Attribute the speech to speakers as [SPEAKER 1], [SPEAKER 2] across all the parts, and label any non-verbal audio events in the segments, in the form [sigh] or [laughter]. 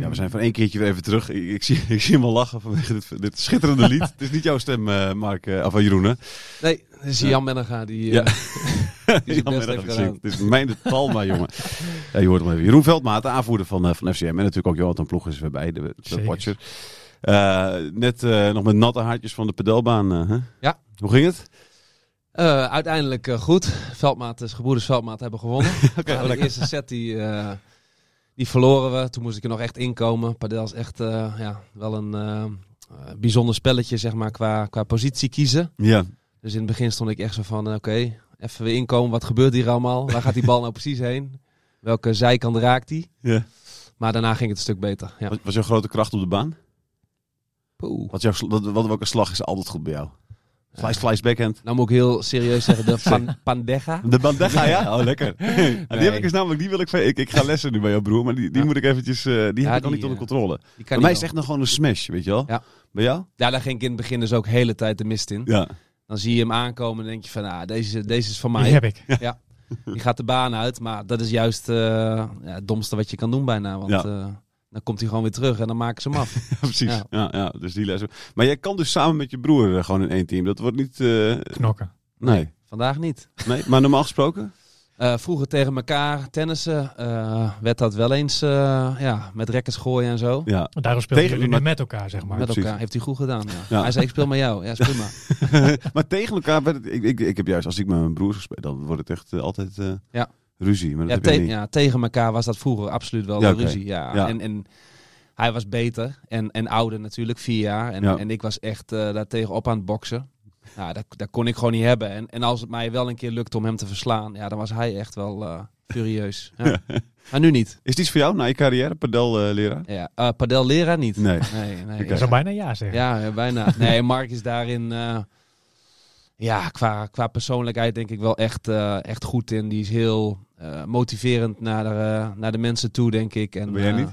[SPEAKER 1] Ja, we zijn van één keertje weer even terug. Ik, ik zie, ik zie hem al lachen vanwege dit, dit schitterende lied. Het is niet jouw stem, eh, Mark, eh, of eh, Jeroen, hè?
[SPEAKER 2] Nee, dat is Jan Menega die...
[SPEAKER 1] Ja.
[SPEAKER 2] eh,
[SPEAKER 1] [laughs] Jan
[SPEAKER 2] die zijn best
[SPEAKER 1] Mergen
[SPEAKER 2] heeft gedaan.
[SPEAKER 1] zingt. Het is mijn talma, jongen. Ja, je hoort hem even. Jeroen Veldmaat, de aanvoerder van, eh, van FCM. En natuurlijk ook Jonathan Ploeg is weer bij, de, de
[SPEAKER 3] Zeker.
[SPEAKER 1] watcher. Eh, net eh, nog met natte haartjes van de pedelbaan. eh, hè?
[SPEAKER 2] Ja.
[SPEAKER 1] Hoe ging het?
[SPEAKER 2] Eh, uiteindelijk eh, goed. Veldmaat, dus gebroeders Veldmaat
[SPEAKER 1] [laughs]
[SPEAKER 2] hebben gewonnen.
[SPEAKER 1] Oké,
[SPEAKER 2] Maar de
[SPEAKER 1] lekker.
[SPEAKER 2] eerste set die, eh, die verloren we. Toen moest ik er nog echt inkomen. Padel is echt eh, ja, wel een eh, eh, bijzonder spelletje zeg maar, qua, qua positie kiezen.
[SPEAKER 1] Ja.
[SPEAKER 2] Dus in het begin stond ik echt zo van, eh, oké, even weer inkomen. Wat gebeurt hier allemaal? Waar gaat die bal nou precies heen? Welke zijkant raakt die?
[SPEAKER 1] ja.
[SPEAKER 2] Maar daarna ging het een stuk beter. Ja.
[SPEAKER 1] Was, was jouw grote kracht op de baan?
[SPEAKER 2] Poeh.
[SPEAKER 1] Wat, jouw, sl- wat, wat welke slag is altijd goed bij jou? Slice, slice, backhand.
[SPEAKER 2] Nou moet ik heel serieus
[SPEAKER 1] [laughs]
[SPEAKER 2] zeggen, de pan- Pandega.
[SPEAKER 1] De bandega, ja? [laughs] Oh, lekker. Ja, die heb
[SPEAKER 2] [laughs] Nee.
[SPEAKER 1] ik dus namelijk, die wil ik, ik, ik ga lessen nu bij jouw broer, maar die, die
[SPEAKER 2] Ja.
[SPEAKER 1] moet ik eventjes, eh, die
[SPEAKER 2] Ja,
[SPEAKER 1] heb ik nog
[SPEAKER 2] die,
[SPEAKER 1] niet onder
[SPEAKER 2] eh,
[SPEAKER 1] controle.
[SPEAKER 2] Die kan
[SPEAKER 1] Bij mij
[SPEAKER 2] niet
[SPEAKER 1] is het echt nog gewoon een smash, weet je wel?
[SPEAKER 2] Ja.
[SPEAKER 1] Bij jou?
[SPEAKER 2] Ja, daar ging ik in het begin dus ook hele tijd de mist in.
[SPEAKER 1] Ja.
[SPEAKER 2] Dan zie je hem aankomen en denk je van, ah, deze, deze is van
[SPEAKER 3] Die
[SPEAKER 2] mij.
[SPEAKER 3] heb
[SPEAKER 1] [laughs]
[SPEAKER 3] ik.
[SPEAKER 2] Die gaat de baan uit, maar dat is juist eh, ja, het domste wat je kan doen bijna. Want
[SPEAKER 1] Ja.
[SPEAKER 2] eh, dan komt hij gewoon weer terug en dan maken ze hem
[SPEAKER 1] [laughs]
[SPEAKER 2] af.
[SPEAKER 1] Ja, precies. Ja.
[SPEAKER 2] Ja.
[SPEAKER 1] Ja, dus die lessen. Maar jij kan dus samen met je broer eh, gewoon in één team. Dat wordt niet. eh,
[SPEAKER 3] Knokken.
[SPEAKER 1] nee.
[SPEAKER 2] Vandaag niet.
[SPEAKER 1] nee. Maar normaal gesproken?
[SPEAKER 2] Eh, vroeger tegen elkaar tennissen eh, werd dat wel eens eh, ja, met rekkers gooien en zo.
[SPEAKER 1] Ja.
[SPEAKER 3] Want Daarom spelen
[SPEAKER 1] Tegen-
[SPEAKER 3] jullie nu
[SPEAKER 1] maar-
[SPEAKER 3] met elkaar, zeg maar.
[SPEAKER 2] met
[SPEAKER 1] precies.
[SPEAKER 2] elkaar. Heeft hij goed gedaan. Ja.
[SPEAKER 1] Ja.
[SPEAKER 2] Hij zei, ik speel met jou. Ja, is prima.
[SPEAKER 1] maar tegen elkaar. werd het- ik, ik, ik heb juist, als ik met mijn broers speel, dan wordt het echt eh, altijd eh,
[SPEAKER 2] Ja.
[SPEAKER 1] ruzie. Maar
[SPEAKER 2] Ja,
[SPEAKER 1] dat heb je
[SPEAKER 2] te-
[SPEAKER 1] niet.
[SPEAKER 2] ja, tegen elkaar was dat vroeger absoluut wel
[SPEAKER 1] Ja,
[SPEAKER 2] de
[SPEAKER 1] oké.
[SPEAKER 2] ruzie. Ja.
[SPEAKER 1] Ja.
[SPEAKER 2] En, en hij was beter en, en ouder natuurlijk, vier jaar. En,
[SPEAKER 1] Ja.
[SPEAKER 2] en ik was echt eh, daar tegenop aan het boksen. Nou, dat, dat kon ik gewoon niet hebben. En, en als het mij wel een keer lukte om hem te verslaan, ja, dan was hij echt wel eh,
[SPEAKER 1] [laughs]
[SPEAKER 2] furieus. Ja. Maar nu niet.
[SPEAKER 1] Is het iets voor jou na je carrière, padel-leraar?
[SPEAKER 2] Ja. eh, Padel leraar niet.
[SPEAKER 1] nee.
[SPEAKER 2] Nee, nee.
[SPEAKER 3] Ik zou bijna ja zeggen.
[SPEAKER 2] Ja, ja, bijna. Nee, Mark is daarin. eh, ja, qua, qua persoonlijkheid denk ik wel echt, eh, echt goed in. Die is heel eh, motiverend naar de, eh, naar de mensen toe, denk ik. En,
[SPEAKER 1] Ben jij
[SPEAKER 2] eh,
[SPEAKER 1] niet?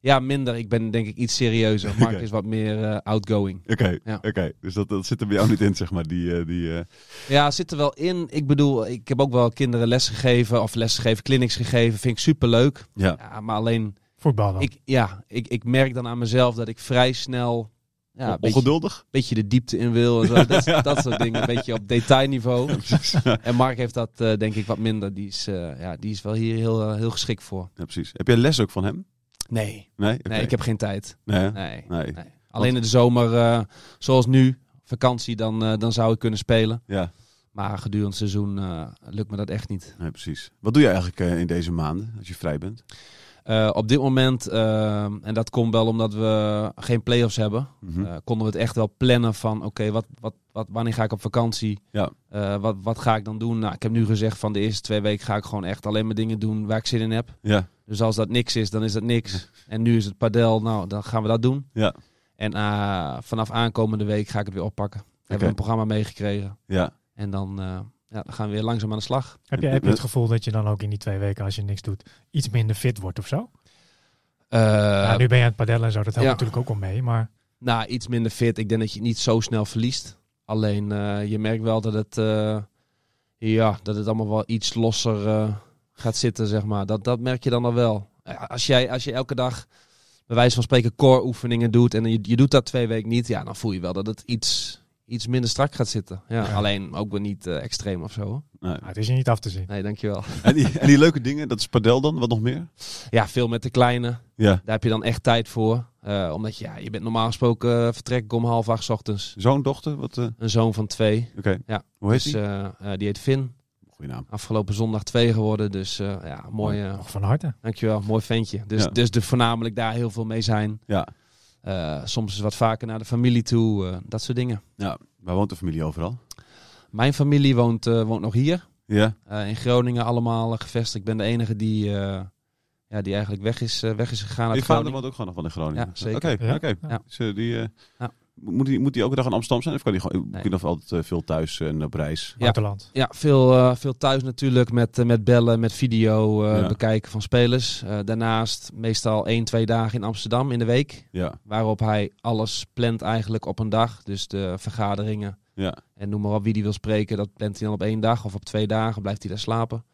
[SPEAKER 2] ja, minder. Ik ben denk ik iets serieuzer. Mark
[SPEAKER 1] Oké.
[SPEAKER 2] is wat meer eh, outgoing.
[SPEAKER 1] Oké,
[SPEAKER 2] Ja.
[SPEAKER 1] oké. dus dat, dat zit er bij jou niet in, zeg maar. Die, eh, die, eh,
[SPEAKER 2] Ja, zit er wel in. Ik bedoel, ik heb ook wel kinderen lesgegeven of lesgegeven, clinics gegeven. Vind ik superleuk.
[SPEAKER 1] ja.
[SPEAKER 2] Ja, maar alleen,
[SPEAKER 3] Voetbal dan.
[SPEAKER 2] ik, ja, ik, ik merk dan aan mezelf dat ik vrij snel... Ja,
[SPEAKER 1] On-
[SPEAKER 2] een beetje,
[SPEAKER 1] Ongeduldig?
[SPEAKER 2] beetje de diepte in wil en zo. Dat, dat soort dingen. Een beetje op detailniveau.
[SPEAKER 1] Precies. ja,
[SPEAKER 2] En Mark heeft dat eh, denk ik wat minder. Die is, eh, ja, die is wel hier heel, eh, heel geschikt voor.
[SPEAKER 1] precies. Heb jij les ook van hem?
[SPEAKER 2] Nee.
[SPEAKER 1] Nee?
[SPEAKER 2] Nee, ik heb geen tijd.
[SPEAKER 1] Nee, hè?
[SPEAKER 2] Nee.
[SPEAKER 1] Nee.
[SPEAKER 2] nee. Alleen in de zomer, eh, zoals nu, vakantie, dan, eh, dan zou ik kunnen spelen.
[SPEAKER 1] Ja,
[SPEAKER 2] Maar gedurende het seizoen eh, lukt me dat echt niet.
[SPEAKER 1] nee, precies. Wat doe je eigenlijk eh, in deze maanden, als je vrij bent?
[SPEAKER 2] Eh, op dit moment, eh, en dat komt wel omdat we geen play-offs hebben,
[SPEAKER 1] Mhm.
[SPEAKER 2] eh, konden we het echt wel plannen van oké, wat, wat, wat, wanneer ga ik op vakantie?
[SPEAKER 1] Ja.
[SPEAKER 2] Eh, wat, wat ga ik dan doen? Nou, ik heb nu gezegd van de eerste twee weken ga ik gewoon echt alleen maar dingen doen waar ik zin in heb.
[SPEAKER 1] Ja,
[SPEAKER 2] Dus als dat niks is, dan is dat niks. En nu is het padel, nou, dan gaan we dat doen.
[SPEAKER 1] ja,
[SPEAKER 2] En eh, vanaf aankomende week ga ik het weer oppakken. Hebben
[SPEAKER 1] Oké.
[SPEAKER 2] we een programma meegekregen.
[SPEAKER 1] ja.
[SPEAKER 2] En dan, eh, ja, dan gaan we weer langzaam aan de slag.
[SPEAKER 3] Heb je, heb je het gevoel dat je dan ook in die twee weken, als je niks doet, iets minder fit wordt of zo?
[SPEAKER 2] Eh,
[SPEAKER 3] nou, nu ben je aan het padellen en zo, dat helpt
[SPEAKER 2] ja.
[SPEAKER 3] natuurlijk ook al mee. Maar
[SPEAKER 2] Nou, iets minder fit. Ik denk dat je het niet zo snel verliest. Alleen eh, je merkt wel dat het, eh, ja, dat het allemaal wel iets losser eh, gaat zitten, zeg maar. Dat, dat merk je dan al wel. Ja, Als, jij, als je elke dag, bij wijze van spreken, core oefeningen doet en je, je doet dat twee weken niet, ja, dan voel je wel dat het iets, iets minder strak gaat zitten. Ja,
[SPEAKER 3] Ja.
[SPEAKER 2] Alleen ook weer niet eh, extreem of zo. hoor.
[SPEAKER 1] Nee.
[SPEAKER 3] Nou, het is je niet af te zien.
[SPEAKER 2] Nee, dankjewel.
[SPEAKER 1] En, die, en die leuke dingen, dat is padel dan, wat nog meer?
[SPEAKER 2] Ja, veel met de kleine.
[SPEAKER 1] Ja.
[SPEAKER 2] Daar heb je dan echt tijd voor. Eh, omdat je, ja, je bent normaal gesproken eh, vertrek ik om half acht 's ochtends.
[SPEAKER 1] Zoon, dochter, wat... eh, Oké,
[SPEAKER 2] Een zoon van twee. Ja,
[SPEAKER 1] hoe heet
[SPEAKER 2] Dus,
[SPEAKER 1] die?
[SPEAKER 2] eh, eh, die heet Finn.
[SPEAKER 1] Goeie naam.
[SPEAKER 2] Afgelopen zondag twee geworden. Dus eh, ja, mooi. eh,
[SPEAKER 3] Nog van harte.
[SPEAKER 2] dankjewel, mooi ventje. Dus,
[SPEAKER 1] Ja.
[SPEAKER 2] dus er voornamelijk daar heel veel mee zijn.
[SPEAKER 1] Ja.
[SPEAKER 2] Eh, soms wat vaker naar de familie toe. eh, dat soort dingen.
[SPEAKER 1] ja, waar woont de familie overal?
[SPEAKER 2] Mijn familie woont, eh, woont nog hier.
[SPEAKER 1] Ja,
[SPEAKER 2] Eh, in Groningen allemaal eh, gevestigd. Ik ben de enige die, eh, ja, die eigenlijk weg is, eh, weg is gegaan uit
[SPEAKER 1] je vader
[SPEAKER 2] Groningen.
[SPEAKER 1] woont ook gewoon nog wel in Groningen.
[SPEAKER 2] Ja, zeker.
[SPEAKER 1] Oké, oké.
[SPEAKER 3] Ja.
[SPEAKER 2] Ja.
[SPEAKER 1] Dus, eh, die, eh,
[SPEAKER 2] Ja.
[SPEAKER 1] moet, die, moet die elke dag in Amsterdam zijn? Of kan die gewoon,
[SPEAKER 2] Nee.
[SPEAKER 1] kun je nog altijd eh, veel thuis en op reis?
[SPEAKER 2] Ja.
[SPEAKER 3] Buitenland.
[SPEAKER 2] Ja, veel, eh, veel thuis natuurlijk met, eh, met bellen, met video, eh,
[SPEAKER 1] Ja.
[SPEAKER 2] bekijken van spelers. Eh, daarnaast meestal één, twee dagen in Amsterdam in de week.
[SPEAKER 1] Ja,
[SPEAKER 2] Waarop hij alles plant eigenlijk op een dag. Dus de vergaderingen
[SPEAKER 1] ja.
[SPEAKER 2] en noem maar op wie die wil spreken. Dat plant hij dan op één dag of op twee dagen. Blijft hij daar slapen.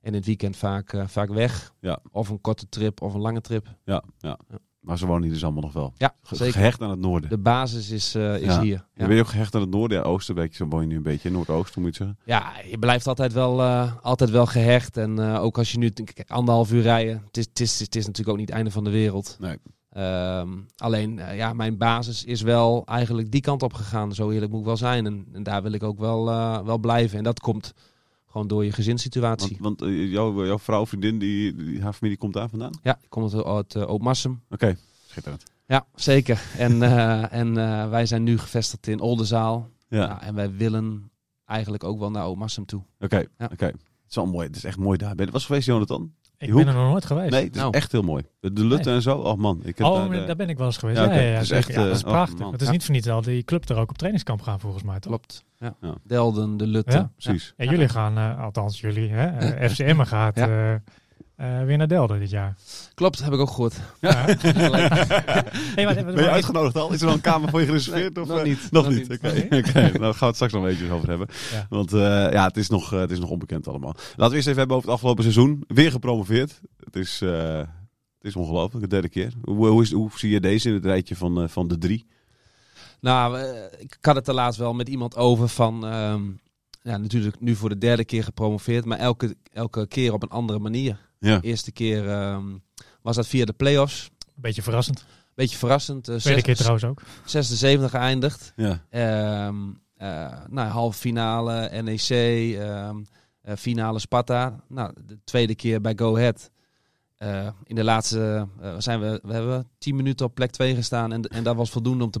[SPEAKER 2] En in het weekend vaak, eh, vaak weg.
[SPEAKER 1] Ja.
[SPEAKER 2] Of een korte trip of een lange trip.
[SPEAKER 1] Ja, ja.
[SPEAKER 2] Ja.
[SPEAKER 1] Maar ze wonen hier dus allemaal nog wel.
[SPEAKER 2] Ja,
[SPEAKER 1] Ge-
[SPEAKER 2] zeker.
[SPEAKER 1] Gehecht aan het noorden.
[SPEAKER 2] De basis is, eh, is
[SPEAKER 1] Ja.
[SPEAKER 2] hier.
[SPEAKER 1] Je bent ook gehecht aan het noorden, ja, oosten, weet je, zo woon je nu een beetje, noordoosten moet je het zeggen.
[SPEAKER 2] Ja, je blijft altijd wel, eh, altijd wel gehecht. En eh, ook als je nu kijk, anderhalf uur rijden, het is, het, is, het is natuurlijk ook niet het einde van de wereld.
[SPEAKER 1] Nee.
[SPEAKER 2] Ehm, alleen, eh, ja, mijn basis is wel eigenlijk die kant op gegaan. Zo eerlijk moet ik wel zijn. En, en daar wil ik ook wel, eh, wel blijven. En dat komt gewoon door je gezinssituatie.
[SPEAKER 1] Want, want eh, jouw, jouw vrouw, vriendin, die, die, haar familie komt daar vandaan?
[SPEAKER 2] Ja, ik kom uit, uit eh, Ootmarsum.
[SPEAKER 1] Oké, schitterend.
[SPEAKER 2] Ja, zeker. En, eh, [laughs] en eh, wij zijn nu gevestigd in Oldenzaal.
[SPEAKER 1] Ja,
[SPEAKER 2] Ja, en wij willen eigenlijk ook wel naar Ootmarsum toe.
[SPEAKER 1] oké,
[SPEAKER 2] Ja.
[SPEAKER 1] oké. Het is al mooi, het is echt mooi daar. Ben je was geweest, Jonathan?
[SPEAKER 3] Ik
[SPEAKER 1] Hoek?
[SPEAKER 3] ben er nog nooit geweest.
[SPEAKER 1] Nee, het is
[SPEAKER 2] Nou.
[SPEAKER 1] echt heel mooi. De, de lutten en zo, oh man. Ik heb
[SPEAKER 3] oh,
[SPEAKER 1] daar,
[SPEAKER 3] maar
[SPEAKER 1] eh,
[SPEAKER 3] daar ben ik wel eens geweest.
[SPEAKER 1] Ja,
[SPEAKER 3] Ja,
[SPEAKER 1] oké.
[SPEAKER 3] ja, ja,
[SPEAKER 1] Dat is
[SPEAKER 3] zeker.
[SPEAKER 1] echt,
[SPEAKER 3] Ja,
[SPEAKER 1] eh,
[SPEAKER 3] dat is
[SPEAKER 1] oh,
[SPEAKER 3] prachtig.
[SPEAKER 1] man.
[SPEAKER 3] het is
[SPEAKER 2] Ja.
[SPEAKER 3] niet voor niets al die club er ook op trainingskamp gaan volgens mij. Toch?
[SPEAKER 2] Klopt. Ja.
[SPEAKER 1] Ja.
[SPEAKER 2] Delden, de Lutte.
[SPEAKER 3] Ja,
[SPEAKER 1] precies.
[SPEAKER 3] En jullie gaan, eh, althans jullie, hè, eh, FC Emmen gaat
[SPEAKER 2] Ja.
[SPEAKER 3] eh, eh, weer naar Delden dit jaar.
[SPEAKER 2] Klopt, heb ik ook gehoord.
[SPEAKER 3] Ja. Hey,
[SPEAKER 1] [laughs]
[SPEAKER 3] maar-
[SPEAKER 1] Ben je uitgenodigd al? Is er al een kamer voor je gereserveerd?
[SPEAKER 2] Nee,
[SPEAKER 1] of,
[SPEAKER 2] nog
[SPEAKER 1] eh,
[SPEAKER 2] niet,
[SPEAKER 1] Nog
[SPEAKER 2] nog
[SPEAKER 1] niet.
[SPEAKER 2] niet.
[SPEAKER 1] Oké, [laughs] oké. nou daar gaan we het straks nog eventjes over hebben.
[SPEAKER 3] Ja.
[SPEAKER 1] Want eh, ja, het is, nog, eh, het is nog onbekend allemaal. Laten we eerst even hebben over het afgelopen seizoen. Weer gepromoveerd. Het is, eh, het is ongelooflijk, de derde keer. Hoe, hoe, is, hoe zie je deze in het rijtje van, eh, van de drie?
[SPEAKER 2] Nou, eh, ik had het er laatst wel met iemand over van... ehm, ja, natuurlijk nu voor de derde keer gepromoveerd, maar elke, elke keer op een andere manier.
[SPEAKER 1] Ja.
[SPEAKER 2] De eerste keer ehm, was dat via de play-offs.
[SPEAKER 3] Beetje verrassend.
[SPEAKER 2] Beetje verrassend. eh,
[SPEAKER 3] Tweede
[SPEAKER 2] zes-
[SPEAKER 3] keer trouwens ook.
[SPEAKER 2] 76 geëindigd.
[SPEAKER 1] Ja.
[SPEAKER 2] Ehm eh, nou, halve finale NEC, ehm, eh, finale Sparta. Nou, de tweede keer bij Go Ahead. Eh, in de laatste eh, zijn we, we hebben 10 minuten op plek 2 gestaan en, en dat was voldoende om te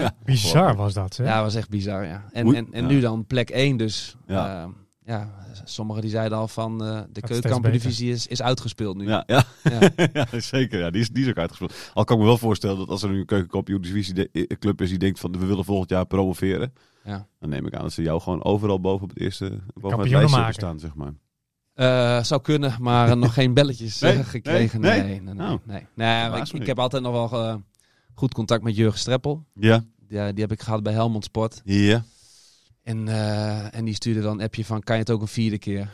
[SPEAKER 1] Ja.
[SPEAKER 2] Ja,
[SPEAKER 3] Bizar was dat. Hè?
[SPEAKER 2] dat was echt bizar. Ja. En,
[SPEAKER 1] Moet-
[SPEAKER 2] en, en
[SPEAKER 1] ja.
[SPEAKER 2] nu dan plek 1 dus.
[SPEAKER 1] Ja.
[SPEAKER 2] Ehm, ja, sommigen die zeiden al van eh, de
[SPEAKER 3] steeds
[SPEAKER 2] keukenkampioen-divisie is, is uitgespeeld nu.
[SPEAKER 1] Ja, ja.
[SPEAKER 2] Ja.
[SPEAKER 1] [laughs] ja, zeker. Ja, die, is, die is ook uitgespeeld. Al kan ik me wel voorstellen dat als er nu een keukenkampioen divisie de- eh, club is die denkt van we willen volgend jaar promoveren.
[SPEAKER 2] Ja.
[SPEAKER 1] Dan neem ik aan dat ze jou gewoon overal boven op het eerste boven het
[SPEAKER 3] Kampioenen
[SPEAKER 1] lijstje
[SPEAKER 3] maken.
[SPEAKER 1] hebben staan, zeg maar.
[SPEAKER 2] Eh, zou kunnen, maar eh, nog geen belletjes eh,
[SPEAKER 1] Nee,
[SPEAKER 2] gekregen.
[SPEAKER 1] nee,
[SPEAKER 2] Nee,
[SPEAKER 1] nee.
[SPEAKER 2] nee, nee.
[SPEAKER 1] Nou,
[SPEAKER 2] nee. Nou,
[SPEAKER 1] verbaast
[SPEAKER 2] ik,
[SPEAKER 1] me.
[SPEAKER 2] ik heb altijd nog wel eh, goed contact met Jurgen Streppel.
[SPEAKER 1] Ja,
[SPEAKER 2] Ja, die heb ik gehad bij Helmond Sport.
[SPEAKER 1] ja.
[SPEAKER 2] En, eh, en die stuurde dan een appje van, kan je het ook een
[SPEAKER 1] [laughs]
[SPEAKER 2] vierde keer?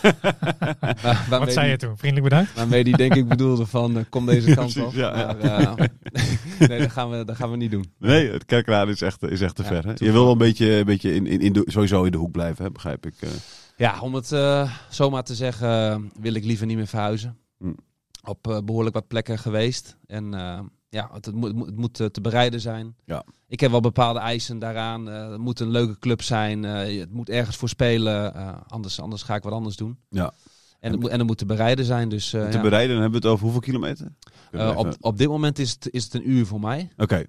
[SPEAKER 2] Waar- waarmee
[SPEAKER 3] Wat zei
[SPEAKER 2] die-
[SPEAKER 3] je toen? Vriendelijk bedankt.
[SPEAKER 2] Waarmee die denk ik bedoelde van, eh, kom deze kant
[SPEAKER 1] precies,
[SPEAKER 2] op.
[SPEAKER 1] [laughs] ja, ja.
[SPEAKER 2] Maar, eh, [laughs] nee, dat gaan, we, dat gaan we niet doen.
[SPEAKER 1] Nee, het kerkraad is echt, is echt te
[SPEAKER 2] Ja,
[SPEAKER 1] ver. Hè? Je
[SPEAKER 2] toevallig.
[SPEAKER 1] wil wel een beetje, een beetje in, in, in de, sowieso in de hoek blijven, hè? begrijp ik. eh.
[SPEAKER 2] Ja, om het eh, zomaar te zeggen, eh, wil ik liever niet meer verhuizen.
[SPEAKER 1] Hm.
[SPEAKER 2] Op eh, behoorlijk wat plekken geweest. En eh, ja, het, het moet, het moet- het moet eh, te bereiden zijn.
[SPEAKER 1] Ja.
[SPEAKER 2] Ik heb wel bepaalde eisen daaraan. Eh, het moet een leuke club zijn. Eh, het moet ergens voor spelen. Eh, anders, anders ga ik wat anders doen.
[SPEAKER 1] Ja.
[SPEAKER 2] En het, moet- en het moet te bereiden zijn. Dus, eh,
[SPEAKER 1] te
[SPEAKER 2] ja.
[SPEAKER 1] bereiden, dan hebben we het over hoeveel kilometer?
[SPEAKER 2] Eh,
[SPEAKER 1] Even-
[SPEAKER 2] op,
[SPEAKER 1] Oké,
[SPEAKER 2] op dit moment is het, is het een uur voor mij. Een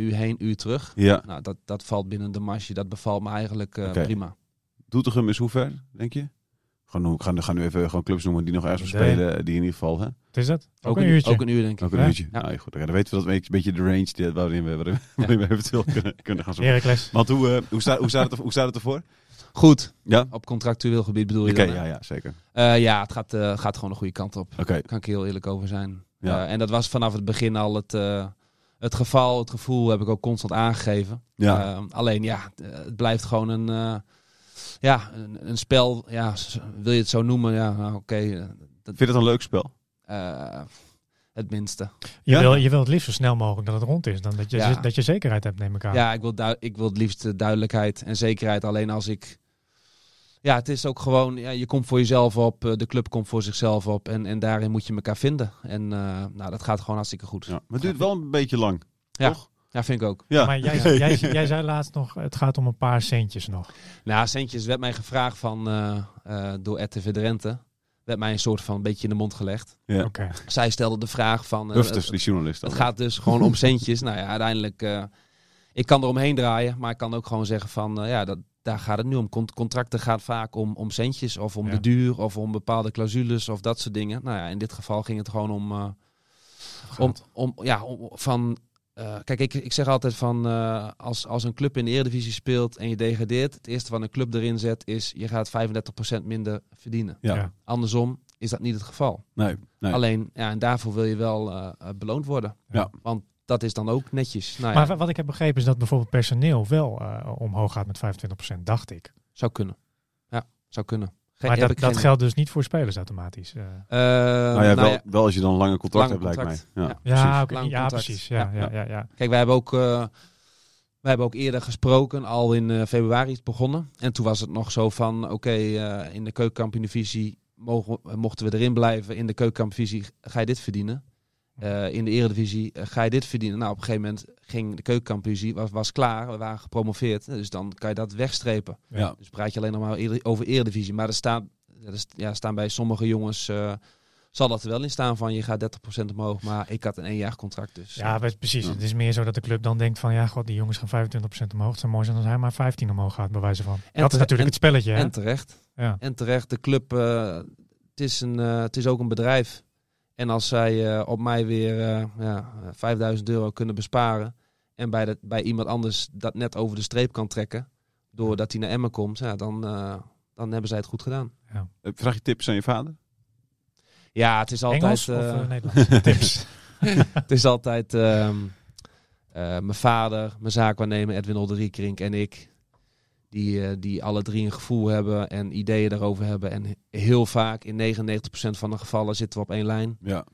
[SPEAKER 2] uur heen, uur terug.
[SPEAKER 1] ja.
[SPEAKER 2] Nou, dat, dat valt binnen de marge. Dat bevalt me eigenlijk eh,
[SPEAKER 1] Oké.
[SPEAKER 2] prima.
[SPEAKER 1] Doetinchem is hoe ver, denk je? Gewoon, ik ga, ga nu even gewoon clubs noemen die nog ergens voor
[SPEAKER 3] Nee.
[SPEAKER 1] spelen, die in ieder geval, hè?
[SPEAKER 3] Wat is dat? Ook, een
[SPEAKER 2] uur-
[SPEAKER 3] uurtje.
[SPEAKER 2] Ook een uur, denk ik.
[SPEAKER 1] Ook een
[SPEAKER 3] Ja.
[SPEAKER 1] uurtje.
[SPEAKER 2] Ja.
[SPEAKER 1] Nou, goed, oké, dan weten we dat een beetje- beetje de range die, waarin we, waarin we- waarin we [laughs] eventueel kunnen, kunnen gaan zoeken.
[SPEAKER 3] Heracles.
[SPEAKER 1] Want hoe, eh, hoe, staat, hoe, staat het, er- hoe staat het ervoor?
[SPEAKER 2] Goed.
[SPEAKER 1] Ja?
[SPEAKER 2] Op contractueel gebied bedoel
[SPEAKER 1] Oké,
[SPEAKER 2] je dan, hè?
[SPEAKER 1] ja, ja, zeker.
[SPEAKER 2] Eh, ja, het gaat, eh, gaat gewoon de goede kant op.
[SPEAKER 1] Oké,
[SPEAKER 2] Daar kan ik heel eerlijk over zijn.
[SPEAKER 1] Ja.
[SPEAKER 2] Eh, en dat was vanaf het begin al het, eh, het geval, het gevoel heb ik ook constant aangegeven.
[SPEAKER 1] Ja.
[SPEAKER 2] Ehm, alleen ja, t- eh, het blijft gewoon een, eh, ja, een, een spel. Ja, s- wil je het zo noemen? Ja, nou, oké. eh,
[SPEAKER 1] Vind je het een leuk spel?
[SPEAKER 2] eh, het minste.
[SPEAKER 3] Je,
[SPEAKER 1] Ja.
[SPEAKER 3] wil, je wil het liefst zo snel mogelijk dat het rond is. Dan dat, je,
[SPEAKER 2] Ja.
[SPEAKER 3] dat je zekerheid hebt, neem ik aan.
[SPEAKER 2] Ja, ik wil, dui- ik wil het liefst eh, duidelijkheid en zekerheid. Alleen als ik. Ja, het is ook gewoon. Ja, je komt voor jezelf op. eh, De club komt voor zichzelf op. En, en daarin moet je elkaar vinden. En eh, nou, dat gaat gewoon hartstikke goed.
[SPEAKER 1] Ja. Maar het duurt wel een beetje lang.
[SPEAKER 2] Ja.
[SPEAKER 1] Toch?
[SPEAKER 2] Ja, vind ik ook.
[SPEAKER 1] Ja.
[SPEAKER 3] Maar jij,
[SPEAKER 1] [laughs]
[SPEAKER 3] jij, jij zei laatst nog, het gaat om een paar centjes nog.
[SPEAKER 2] Nou, Centjes werd mij gevraagd van, eh, eh, door RTV Drenthe. Werd mij een soort van beetje in de mond gelegd.
[SPEAKER 1] Ja.
[SPEAKER 3] Oké.
[SPEAKER 2] Zij stelde de vraag van... eh,
[SPEAKER 1] Hufters,
[SPEAKER 2] het-
[SPEAKER 1] die journalist.
[SPEAKER 2] het
[SPEAKER 1] dan.
[SPEAKER 2] gaat dus gewoon om centjes. Nou ja, uiteindelijk... eh, ik kan er omheen draaien, maar ik kan ook gewoon zeggen van... eh, ja, dat, daar gaat het nu om. Con- contracten gaat vaak om, om centjes of om
[SPEAKER 3] Ja.
[SPEAKER 2] de duur... of om bepaalde clausules of dat soort dingen. Nou ja, in dit geval ging het gewoon om... eh, om, om, ja, om- van. eh, kijk, ik, ik zeg altijd van eh, als, als een club in de Eredivisie speelt en je degradeert, het eerste wat een club erin zet is je gaat 35% minder verdienen.
[SPEAKER 1] Ja.
[SPEAKER 3] Ja.
[SPEAKER 2] Andersom is dat niet het geval.
[SPEAKER 1] Nee, nee.
[SPEAKER 2] Alleen, ja, en daarvoor wil je wel eh, eh, beloond worden.
[SPEAKER 1] Ja.
[SPEAKER 2] Want dat is dan ook netjes. Nou ja,
[SPEAKER 3] Maar wa- wat ik heb begrepen is dat bijvoorbeeld personeel wel eh, omhoog gaat met 25%, dacht ik.
[SPEAKER 2] zou kunnen. Ja, zou kunnen. Geen-
[SPEAKER 3] Maar
[SPEAKER 2] heb
[SPEAKER 3] dat,
[SPEAKER 2] ik
[SPEAKER 3] dat
[SPEAKER 2] geen-
[SPEAKER 3] geldt dus niet voor spelers automatisch. eh.
[SPEAKER 2] Eh,
[SPEAKER 1] Nou ja,
[SPEAKER 2] nou
[SPEAKER 1] wel,
[SPEAKER 2] ja,
[SPEAKER 1] wel als je dan een lange contract
[SPEAKER 2] Lange
[SPEAKER 1] hebt, lijkt
[SPEAKER 2] contract.
[SPEAKER 1] mij. Ja,
[SPEAKER 2] Ja.
[SPEAKER 1] precies.
[SPEAKER 3] ja, oké,
[SPEAKER 2] lang
[SPEAKER 3] ja,
[SPEAKER 2] contract.
[SPEAKER 3] precies. Ja, ja,
[SPEAKER 2] Ja,
[SPEAKER 3] ja, ja, ja.
[SPEAKER 2] Kijk, wij hebben ook, eh wij hebben ook eerder gesproken, al in eh, februari is het begonnen. En toen was het nog zo van, oké, eh, in de keukenkampioenvisie mogen, we- eh, mochten we erin blijven. In de keukenkampioenvisie ga je dit verdienen. Eh, in de eredivisie eh, ga je dit verdienen. Nou, op een gegeven moment ging de keukenkampioenvisie, was, was klaar. We waren gepromoveerd, dus dan kan je dat wegstrepen.
[SPEAKER 1] Ja.
[SPEAKER 2] Dus praat je alleen nog maar eerder- over eredivisie. Maar er staan, er st- ja, staan bij sommige jongens... eh, zal dat er wel in staan van je gaat 30% omhoog, maar ik had een één contract dus.
[SPEAKER 3] Ja, we- precies.
[SPEAKER 1] Ja.
[SPEAKER 3] Het is meer zo dat de club dan denkt van ja, god, die jongens gaan 25% omhoog. Het zou mooi zijn als hij maar 15 omhoog gaat, bij wijze van. dat
[SPEAKER 2] te-
[SPEAKER 3] is natuurlijk
[SPEAKER 2] en-
[SPEAKER 3] het spelletje. hè?
[SPEAKER 2] En terecht.
[SPEAKER 3] ja.
[SPEAKER 2] En terecht, de club, eh, het, is een, eh, het is ook een bedrijf. En als zij eh, op mij weer eh, ja, eh, 5000 euro kunnen besparen. En bij, dat bij iemand anders dat net over de streep kan trekken. Doordat hij naar Emmen komt. Ja, dan, eh, dan hebben zij het goed gedaan.
[SPEAKER 1] Eh, Vraag je tips aan je vader?
[SPEAKER 2] Ja, het is altijd...
[SPEAKER 3] Engels of
[SPEAKER 2] eh, [laughs]
[SPEAKER 3] eh, Nederlands? Tips.
[SPEAKER 2] Het is altijd ehm, eh, mijn vader, mijn zaakwaarnemer Edwin Olderiekrink en ik. Die, eh, die alle drie een gevoel hebben en ideeën daarover hebben. En he- heel vaak, in 99% van de gevallen, zitten we op één lijn.
[SPEAKER 1] Ja.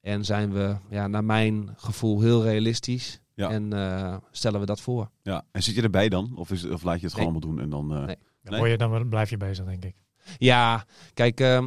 [SPEAKER 2] En zijn we, ja, naar mijn gevoel, heel realistisch.
[SPEAKER 1] Ja.
[SPEAKER 2] En eh, stellen we dat voor.
[SPEAKER 1] ja. En zit je erbij dan? Of, is, of laat je het gewoon allemaal doen en dan... eh,
[SPEAKER 2] Nee.
[SPEAKER 3] Dan, word je, dan wel- blijf je bezig, denk ik.
[SPEAKER 2] Ja, kijk, ehm,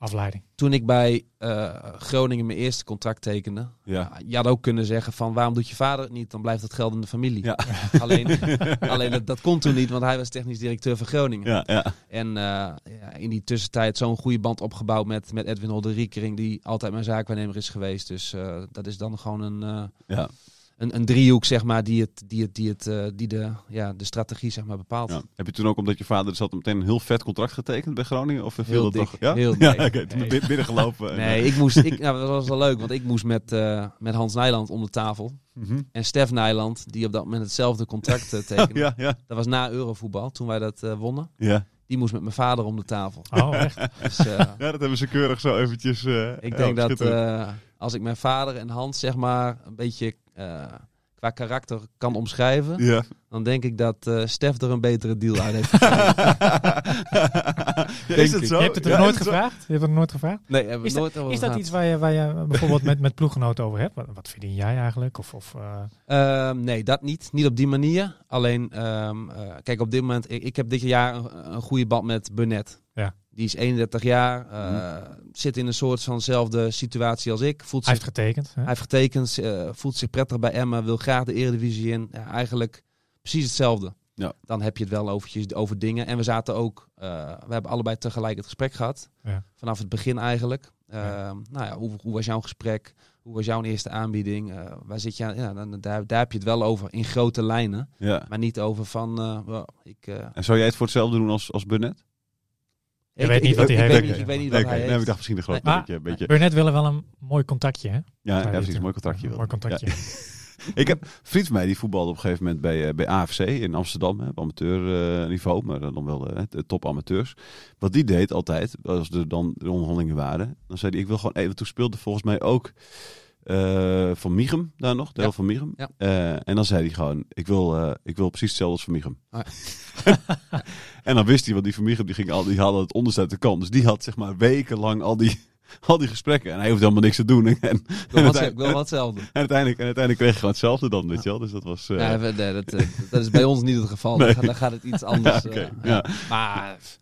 [SPEAKER 3] Afleiding.
[SPEAKER 2] toen ik bij eh, Groningen mijn eerste contract tekende.
[SPEAKER 1] Ja.
[SPEAKER 2] Nou, Je had ook kunnen zeggen van, waarom doet je vader het niet? Dan blijft het geld in de familie.
[SPEAKER 1] Ja.
[SPEAKER 2] [laughs] Alleen,
[SPEAKER 1] [laughs]
[SPEAKER 2] Alleen dat, dat kon toen niet, want hij was technisch directeur van Groningen.
[SPEAKER 1] ja, ja.
[SPEAKER 2] En eh, ja, in die tussentijd zo'n goede band opgebouwd met, met Edwin Holder-Riekering, die altijd mijn zaakwaarnemer is geweest. Dus eh, dat is dan gewoon een, eh,
[SPEAKER 1] ja.
[SPEAKER 2] een, een driehoek, zeg maar, die, het, die, het, die, het, eh, die de, ja, de strategie zeg maar, bepaalt.
[SPEAKER 1] Ja. Heb je toen ook, omdat je vader er zat, meteen een heel vet contract getekend bij Groningen? Of viel
[SPEAKER 2] Heel
[SPEAKER 1] dat
[SPEAKER 2] dik.
[SPEAKER 1] toch? Ja? [laughs]
[SPEAKER 2] Heel
[SPEAKER 1] ja,
[SPEAKER 2] dik.
[SPEAKER 1] oké. Toen ben je binnengelopen. en,
[SPEAKER 2] Nee,
[SPEAKER 1] eh,
[SPEAKER 2] ik moest, ik, nou, dat was wel leuk, want ik moest met, eh, met Hans Nijland om de tafel.
[SPEAKER 1] mhm.
[SPEAKER 2] En Stef Nijland, die op dat moment hetzelfde contract eh, tekende.
[SPEAKER 1] [laughs] Ja, ja,
[SPEAKER 2] Dat was na Eurovoetbal, toen wij dat eh, wonnen.
[SPEAKER 1] ja.
[SPEAKER 2] Die moest met mijn vader om de tafel.
[SPEAKER 1] Ah.
[SPEAKER 2] [laughs]
[SPEAKER 3] Oh, echt?
[SPEAKER 1] [laughs]
[SPEAKER 2] Dus, eh,
[SPEAKER 1] Ja, dat hebben ze keurig zo eventjes... eh,
[SPEAKER 2] Ik
[SPEAKER 1] ja,
[SPEAKER 2] denk dat
[SPEAKER 1] schitterend.
[SPEAKER 2] eh, als ik mijn vader en Hans zeg maar een beetje eh, qua karakter kan omschrijven, [laughs]
[SPEAKER 1] Ja.
[SPEAKER 2] dan denk ik dat eh, Stef er een betere deal uit
[SPEAKER 1] [laughs]
[SPEAKER 2] heeft.
[SPEAKER 1] Ja, is
[SPEAKER 2] Denk
[SPEAKER 1] het
[SPEAKER 2] ik.
[SPEAKER 1] zo?
[SPEAKER 3] je hebt het
[SPEAKER 1] Ja,
[SPEAKER 3] nog nooit
[SPEAKER 1] is het zo?
[SPEAKER 3] gevraagd? Je hebt het nog nooit gevraagd?
[SPEAKER 2] Nee, hebben we
[SPEAKER 3] Is
[SPEAKER 2] nooit over
[SPEAKER 3] Is dat
[SPEAKER 2] gehad.
[SPEAKER 3] iets waar je, waar je bijvoorbeeld met, met ploeggenoten over hebt? Wat, wat verdien jij eigenlijk? Of, of, eh,
[SPEAKER 2] Ehm, nee, dat niet. Niet op die manier. Alleen, ehm, eh, kijk, op dit moment, ik, ik heb dit jaar een, een goede band met Burnett.
[SPEAKER 3] Ja.
[SPEAKER 2] Die is 31 jaar,
[SPEAKER 1] Mhm.
[SPEAKER 2] eh, zit in een soort vanzelfde situatie als ik. Voelt
[SPEAKER 3] hij
[SPEAKER 2] zich
[SPEAKER 3] heeft getekend. Hè?
[SPEAKER 2] Hij heeft getekend, eh, voelt zich prettig bij Emmen, wil graag de Eredivisie in. Ja, eigenlijk precies hetzelfde.
[SPEAKER 1] Ja.
[SPEAKER 2] Dan heb je het wel over, over dingen. En we zaten ook, eh, we hebben allebei tegelijk het gesprek gehad.
[SPEAKER 3] Ja.
[SPEAKER 2] Vanaf het begin eigenlijk. Eh,
[SPEAKER 3] Ja.
[SPEAKER 2] Nou ja, hoe, hoe was jouw gesprek? Hoe was jouw eerste aanbieding? Eh, waar zit je aan? Ja, dan, daar, daar heb je het wel over in grote lijnen.
[SPEAKER 1] Ja.
[SPEAKER 2] Maar niet over van, eh, wel, ik, eh,
[SPEAKER 1] En zou jij het voor hetzelfde doen als, als Burnett?
[SPEAKER 2] ik-
[SPEAKER 3] weet niet
[SPEAKER 2] ik-
[SPEAKER 3] wat hij
[SPEAKER 2] ik
[SPEAKER 3] heeft.
[SPEAKER 2] weet niet- Ik weet niet wat
[SPEAKER 1] Oké,
[SPEAKER 2] hij
[SPEAKER 1] nee, maar ik
[SPEAKER 2] heeft. Ah.
[SPEAKER 1] dacht misschien een groot
[SPEAKER 3] Maar-
[SPEAKER 1] beetje, beetje.
[SPEAKER 3] Burnett willen wel een mooi contactje, hè?
[SPEAKER 1] Ja, ja,
[SPEAKER 3] Zou je
[SPEAKER 1] precies.
[SPEAKER 3] doen.
[SPEAKER 1] Mooi contractje.
[SPEAKER 3] Een
[SPEAKER 1] wilde
[SPEAKER 3] mooi
[SPEAKER 1] ik. Ja.
[SPEAKER 3] contactje.
[SPEAKER 1] Ik heb een vriend van mij die voetbalde op een gegeven moment bij, eh, bij AFC in Amsterdam, hè, op amateurniveau, maar dan wel eh, de topamateurs. Wat die deed altijd, als er dan de onderhandelingen waren, dan zei hij: Ik wil gewoon even. Toen speelde volgens mij ook eh, eh, van Michem daar nog, deel
[SPEAKER 2] Ja.
[SPEAKER 1] van Michem.
[SPEAKER 2] Ja.
[SPEAKER 1] Eh, en dan zei hij gewoon, ik wil, eh, ik wil precies hetzelfde als van Michem.
[SPEAKER 2] Ah.
[SPEAKER 1] [laughs] en dan wist hij, want die van Michem die ging al, die haalde het onderste uit de kant. Dus die had zeg maar wekenlang al die, [laughs] al die gesprekken. En hij hoefde helemaal niks te doen. [laughs] En, en,
[SPEAKER 2] Ik wil wat,
[SPEAKER 1] uiteindelijk-
[SPEAKER 2] ik wil wat hetzelfde.
[SPEAKER 1] en uiteindelijk, en uiteindelijk kreeg je gewoon hetzelfde dan, weet je wel. Dus dat was... eh,
[SPEAKER 2] Nee, we- nee, dat, eh, dat is bij ons niet het geval.
[SPEAKER 1] Nee.
[SPEAKER 2] Dan, gaat, dan gaat het iets
[SPEAKER 1] [laughs]
[SPEAKER 2] anders.
[SPEAKER 1] ja,
[SPEAKER 2] eh,
[SPEAKER 1] oké,
[SPEAKER 2] ja.
[SPEAKER 1] ja.
[SPEAKER 2] Maar pff,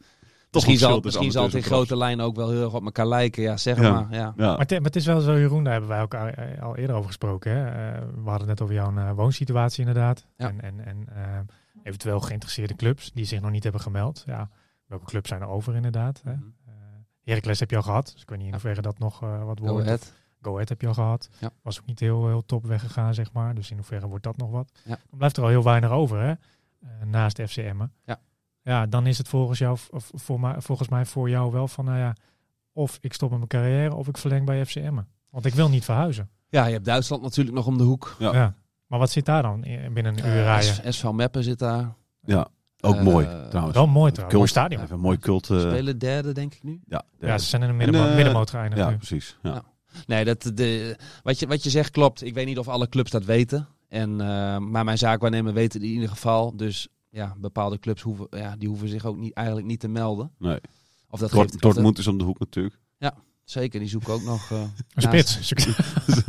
[SPEAKER 1] Toch
[SPEAKER 2] misschien
[SPEAKER 1] een verschil
[SPEAKER 2] zal,
[SPEAKER 1] tussen
[SPEAKER 2] misschien zal het in
[SPEAKER 1] amateurs en
[SPEAKER 2] grote lijnen ook wel heel erg op elkaar lijken. Ja, zeg
[SPEAKER 1] Ja.
[SPEAKER 2] maar. Ja.
[SPEAKER 1] profs.
[SPEAKER 3] Maar het, maar het is wel zo, Jeroen, daar hebben wij ook al, eh, al eerder over gesproken. Hè? Eh, we hadden het net over jouw eh, woonsituatie inderdaad.
[SPEAKER 2] Ja.
[SPEAKER 3] En, en, en eh, eventueel geïnteresseerde clubs die zich nog niet hebben gemeld. Ja, welke clubs zijn er over inderdaad? Hè?
[SPEAKER 1] Mhm.
[SPEAKER 3] Eh, Heracles heb je al gehad, dus ik weet niet in
[SPEAKER 2] Ja. Oh,
[SPEAKER 3] hoeverre dat nog eh, wat
[SPEAKER 2] Go
[SPEAKER 3] wordt.
[SPEAKER 2] ahead.
[SPEAKER 3] Go Ahead heb je al gehad.
[SPEAKER 2] Ja.
[SPEAKER 3] Was ook niet heel, heel top weggegaan, zeg maar. Dus in hoeverre wordt dat nog wat?
[SPEAKER 2] Ja.
[SPEAKER 3] Dan blijft er al heel weinig over, hè? Eh, naast FC Emmen.
[SPEAKER 2] Ja. ja,
[SPEAKER 3] Ja, dan is het volgens, jou, of voor mij, volgens mij voor jou wel van, nou ja, of ik stop met mijn carrière of ik verleng bij FC Emmen. Want ik wil niet verhuizen.
[SPEAKER 2] je hebt Duitsland natuurlijk nog om de hoek.
[SPEAKER 1] Ja.
[SPEAKER 3] Maar wat zit daar dan in- binnen een uur
[SPEAKER 2] Eh,
[SPEAKER 3] rijden?
[SPEAKER 2] S- SV Meppen zit daar.
[SPEAKER 1] Ook
[SPEAKER 2] Eh,
[SPEAKER 1] mooi, trouwens.
[SPEAKER 3] Wel mooi trouwens. Mooi
[SPEAKER 1] Ja,
[SPEAKER 3] stadion.
[SPEAKER 1] even een mooi cult... eh,
[SPEAKER 2] Spelen derde, denk ik nu.
[SPEAKER 1] ja,
[SPEAKER 3] Ja,
[SPEAKER 1] ja,
[SPEAKER 3] ze zijn in de
[SPEAKER 1] En,
[SPEAKER 3] middenmo-
[SPEAKER 1] eh,
[SPEAKER 3] middenmotor eindigd nu.
[SPEAKER 1] precies. Ja.
[SPEAKER 2] Ja. Nee, dat, de, wat, je, wat je zegt klopt. Ik weet niet of alle clubs dat weten. En, eh, maar mijn zaakwaarnemer weet het in ieder geval. Dus ja, bepaalde clubs hoeven, ja, die hoeven zich ook niet, eigenlijk niet te melden.
[SPEAKER 1] Nee.
[SPEAKER 2] Of dat
[SPEAKER 1] Dort-
[SPEAKER 2] geeft, of dat-
[SPEAKER 1] Dortmund is om de hoek natuurlijk.
[SPEAKER 2] zeker, die zoeken ook nog... eh,
[SPEAKER 3] Een
[SPEAKER 2] naast-
[SPEAKER 3] spits. [laughs]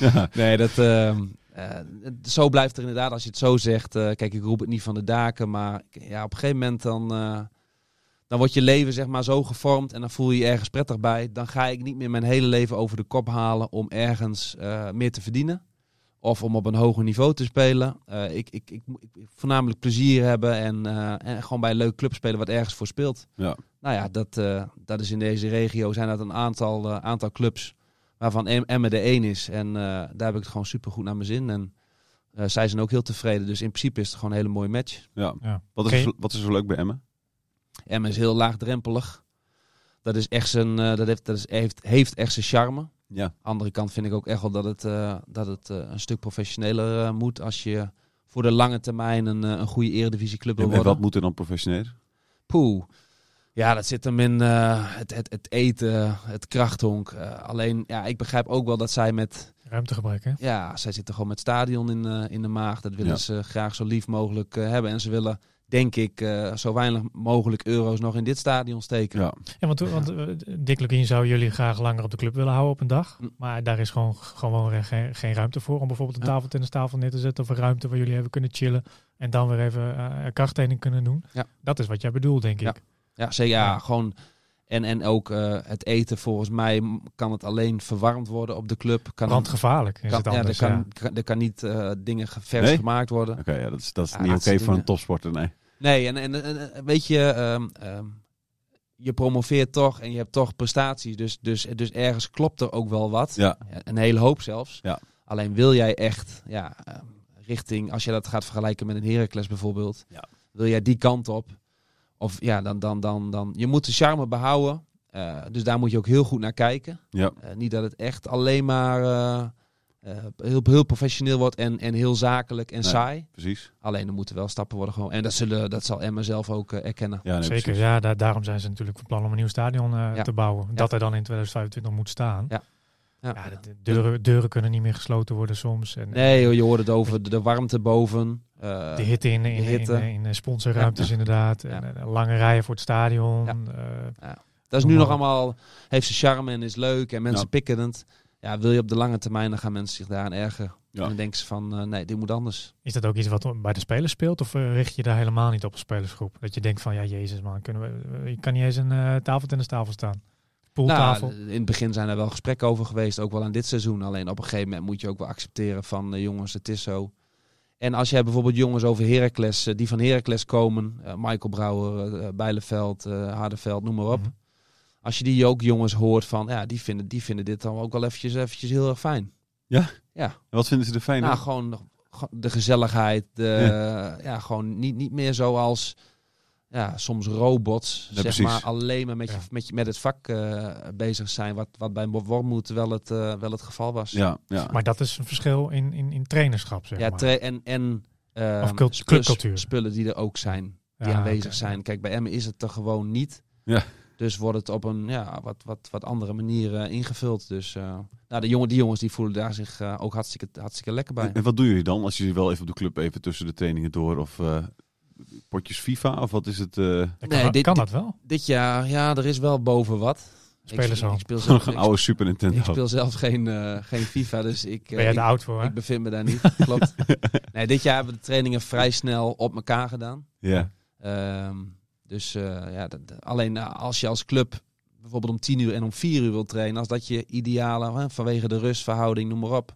[SPEAKER 1] Ja.
[SPEAKER 2] Nee, dat, ehm, eh, het- zo blijft er inderdaad, als je het zo zegt. eh, kijk, ik roep het niet van de daken, maar ik- ja, op een gegeven moment dan, eh, dan wordt je leven zeg maar, zo gevormd en dan voel je je ergens prettig bij. Dan ga ik niet meer mijn hele leven over de kop halen om ergens eh, meer te verdienen. Of om op een hoger niveau te spelen. Eh, ik, ik, ik, moet- ik, moet voornamelijk plezier hebben en, eh, en gewoon bij een leuk club spelen wat ergens voor speelt.
[SPEAKER 1] Ja.
[SPEAKER 2] Nou ja, dat, eh, dat is in deze regio zijn dat een aantal, eh, aantal clubs waarvan Em- Emmen de één is. En eh, daar heb ik het gewoon super goed naar mijn zin. En eh, zij zijn ook heel tevreden. Dus in principe is het gewoon een hele mooie match.
[SPEAKER 1] Ja.
[SPEAKER 3] Ja.
[SPEAKER 1] Wat, is,
[SPEAKER 3] Oké.
[SPEAKER 1] er zo- wat is er zo leuk bij Emmen?
[SPEAKER 2] Emmen is heel laagdrempelig. Dat is echt zijn, eh, dat heeft, dat is, heeft, heeft echt zijn charme.
[SPEAKER 1] Ja.
[SPEAKER 2] Andere kant vind ik ook echt wel dat het, eh, dat het eh, een stuk professioneler eh, moet als je voor de lange termijn een, eh, een goede eredivisieclub wil
[SPEAKER 1] En, en
[SPEAKER 2] worden.
[SPEAKER 1] wat moet er dan professioneel?
[SPEAKER 2] Poeh. Ja, dat zit hem in eh, het, het, het eten, het krachthonk. Eh, alleen, ja, ik begrijp ook wel dat zij met,
[SPEAKER 3] Ruimtegebrek, hè?
[SPEAKER 2] ja, zij zitten gewoon met stadion in, eh, in de maag. Dat willen
[SPEAKER 1] Ja.
[SPEAKER 2] ze graag zo lief mogelijk eh, hebben. En ze willen, denk ik, eh, zo weinig mogelijk euro's nog in dit stadion steken.
[SPEAKER 1] Ja.
[SPEAKER 3] Ja, want, want eh, Dick Lukien zou jullie graag langer op de club willen houden op een dag.
[SPEAKER 2] Hm.
[SPEAKER 3] Maar daar is gewoon, gewoon re- geen, geen ruimte voor. Om bijvoorbeeld een
[SPEAKER 2] Ja.
[SPEAKER 3] tafeltennistafel neer te zetten. Of een ruimte waar jullie even kunnen chillen. En dan weer even eh krachttraining kunnen doen.
[SPEAKER 2] Ja.
[SPEAKER 3] Dat is wat jij bedoelt, denk ik.
[SPEAKER 2] Ja. Ja, ze, ja,
[SPEAKER 3] Ja.
[SPEAKER 2] gewoon. En, en ook eh, het eten, volgens mij m- kan het alleen verwarmd worden op de club. Kan,
[SPEAKER 3] Brandgevaarlijk is
[SPEAKER 2] kan,
[SPEAKER 3] het
[SPEAKER 2] ja, er
[SPEAKER 3] anders. Ja,
[SPEAKER 2] kan, kan- er kan niet eh, dingen ge- vers
[SPEAKER 1] Nee?
[SPEAKER 2] gemaakt worden.
[SPEAKER 1] Oké, ja, dat is, dat is
[SPEAKER 2] Ja,
[SPEAKER 1] niet
[SPEAKER 2] dat
[SPEAKER 1] oké
[SPEAKER 2] soort
[SPEAKER 1] voor een
[SPEAKER 2] dingen.
[SPEAKER 1] topsporter, nee.
[SPEAKER 2] Nee, en, en, en- en weet je, ehm, ehm, je promoveert toch en je hebt toch prestaties. Dus, dus, dus ergens klopt er ook wel wat.
[SPEAKER 1] Ja.
[SPEAKER 2] Een hele hoop zelfs.
[SPEAKER 1] Ja.
[SPEAKER 2] Alleen wil jij echt ja, ehm, richting, als je dat gaat vergelijken met een Heracles bijvoorbeeld,
[SPEAKER 1] Ja.
[SPEAKER 2] wil jij die kant op? Of ja, dan, dan, dan, dan. Je moet de charme behouden. eh, dus daar moet je ook heel goed naar kijken.
[SPEAKER 1] Ja.
[SPEAKER 2] Eh, niet dat het echt alleen maar eh, eh, heel, heel professioneel wordt en, en heel zakelijk en
[SPEAKER 1] Nee.
[SPEAKER 2] saai.
[SPEAKER 1] Precies.
[SPEAKER 2] Alleen er moeten wel stappen worden gewoon. En dat, zullen, dat zal Emma zelf ook eh, erkennen.
[SPEAKER 1] Ja, nee,
[SPEAKER 3] Zeker,
[SPEAKER 1] precies.
[SPEAKER 3] ja, daar- daarom zijn ze natuurlijk van plan om een nieuw stadion eh,
[SPEAKER 2] Ja.
[SPEAKER 3] te bouwen. Dat er dan in 2025 moet staan.
[SPEAKER 2] Ja. Ja.
[SPEAKER 3] Ja, de- de deuren, deuren kunnen niet meer gesloten worden soms. En eh,
[SPEAKER 2] Nee, joh, je hoort het over de, de warmte boven. eh,
[SPEAKER 3] De hitte in, in, in-
[SPEAKER 2] hitte.
[SPEAKER 3] In, in, sponsorruimtes inderdaad. En, eh, lange rijen voor het stadion.
[SPEAKER 2] Ja.
[SPEAKER 3] eh,
[SPEAKER 2] dat is nu nog allemaal, heeft zijn charme en is leuk en mensen
[SPEAKER 1] Ja.
[SPEAKER 2] pikken het. Ja, wil je op de lange termijn, dan gaan mensen zich daaraan ergeren.
[SPEAKER 1] Ja.
[SPEAKER 2] En dan denken ze van, eh, nee, dit moet anders.
[SPEAKER 3] Is dat ook iets wat bij de spelers speelt? Of eh, richt je daar helemaal niet op als spelersgroep? Dat je denkt van, ja, jezus man, kunnen we, eh, je kan niet eens een eh tafeltennistafel staan. Poeltafel.
[SPEAKER 2] Nou, in het begin zijn er wel gesprekken over geweest, ook wel aan dit seizoen. Alleen op een gegeven moment moet je ook wel accepteren van, eh, jongens, het is zo. En als jij bijvoorbeeld jongens over Heracles, eh, die van Heracles komen, eh, Michael Brouwer, eh, Bijleveld, eh Hardeveld, noem maar op.
[SPEAKER 3] Mhm.
[SPEAKER 2] als je die ook jongens hoort van, ja, die vinden, die vinden dit dan ook wel eventjes, eventjes heel erg fijn.
[SPEAKER 1] En wat vinden ze er fijn
[SPEAKER 2] nou,
[SPEAKER 1] aan?
[SPEAKER 2] gewoon nog- gewoon de gezelligheid, de, ja. gewoon niet, niet meer zoals ja, soms robots,
[SPEAKER 1] Ja,
[SPEAKER 2] zeg
[SPEAKER 1] precies.
[SPEAKER 2] maar, alleen maar met, je,
[SPEAKER 3] Ja.
[SPEAKER 2] met, je, met het vak eh, bezig zijn, wat, wat bij Wormoed wel het, eh, wel het geval was.
[SPEAKER 1] Ja, ja.
[SPEAKER 3] Maar dat is een verschil in, in, in trainerschap, zeg
[SPEAKER 2] eh, Ja,
[SPEAKER 3] maar.
[SPEAKER 2] tra- en, en ehm,
[SPEAKER 3] Of cult-
[SPEAKER 2] spu-
[SPEAKER 3] clubcultuur.
[SPEAKER 2] spullen die er ook zijn, die
[SPEAKER 3] Ja,
[SPEAKER 2] aanwezig
[SPEAKER 3] oké.
[SPEAKER 2] zijn. Kijk, bij Emmen is het er gewoon niet.
[SPEAKER 1] Ja.
[SPEAKER 2] Dus wordt het op een ja, wat, wat, wat andere manier eh, ingevuld. Dus eh, nou, de jongen, die jongens die voelen daar zich eh, ook hartstikke, hartstikke lekker bij.
[SPEAKER 1] En, en wat doen jullie dan als jullie wel even op de club even tussen de trainingen door of eh, potjes FIFA of wat is het? eh [laughs]
[SPEAKER 3] Dat kan,
[SPEAKER 2] Nee, dit-
[SPEAKER 3] kan
[SPEAKER 2] dit-
[SPEAKER 3] dat wel?
[SPEAKER 2] Dit jaar, ja, er is wel boven wat.
[SPEAKER 3] Spelen
[SPEAKER 2] ik,
[SPEAKER 3] zo.
[SPEAKER 2] Ik speel
[SPEAKER 1] [laughs]
[SPEAKER 2] zelf,
[SPEAKER 1] een
[SPEAKER 2] ik,
[SPEAKER 1] oude Super Nintendo.
[SPEAKER 2] ik speel zelf geen, eh, geen FIFA, dus ik, eh,
[SPEAKER 3] Ben jij
[SPEAKER 2] ik,
[SPEAKER 3] te oud voor, hè?
[SPEAKER 2] ik bevind me daar
[SPEAKER 3] [laughs]
[SPEAKER 2] niet. Klopt. Nee, dit jaar hebben we de trainingen vrij snel op elkaar gedaan.
[SPEAKER 1] Ja.
[SPEAKER 2] Ehm, dus eh, ja, dat- dat- alleen eh, als je als club bijvoorbeeld om 10 uur en om 4 uur wilt trainen, als dat je ideale hè, vanwege de rustverhouding, noem maar op.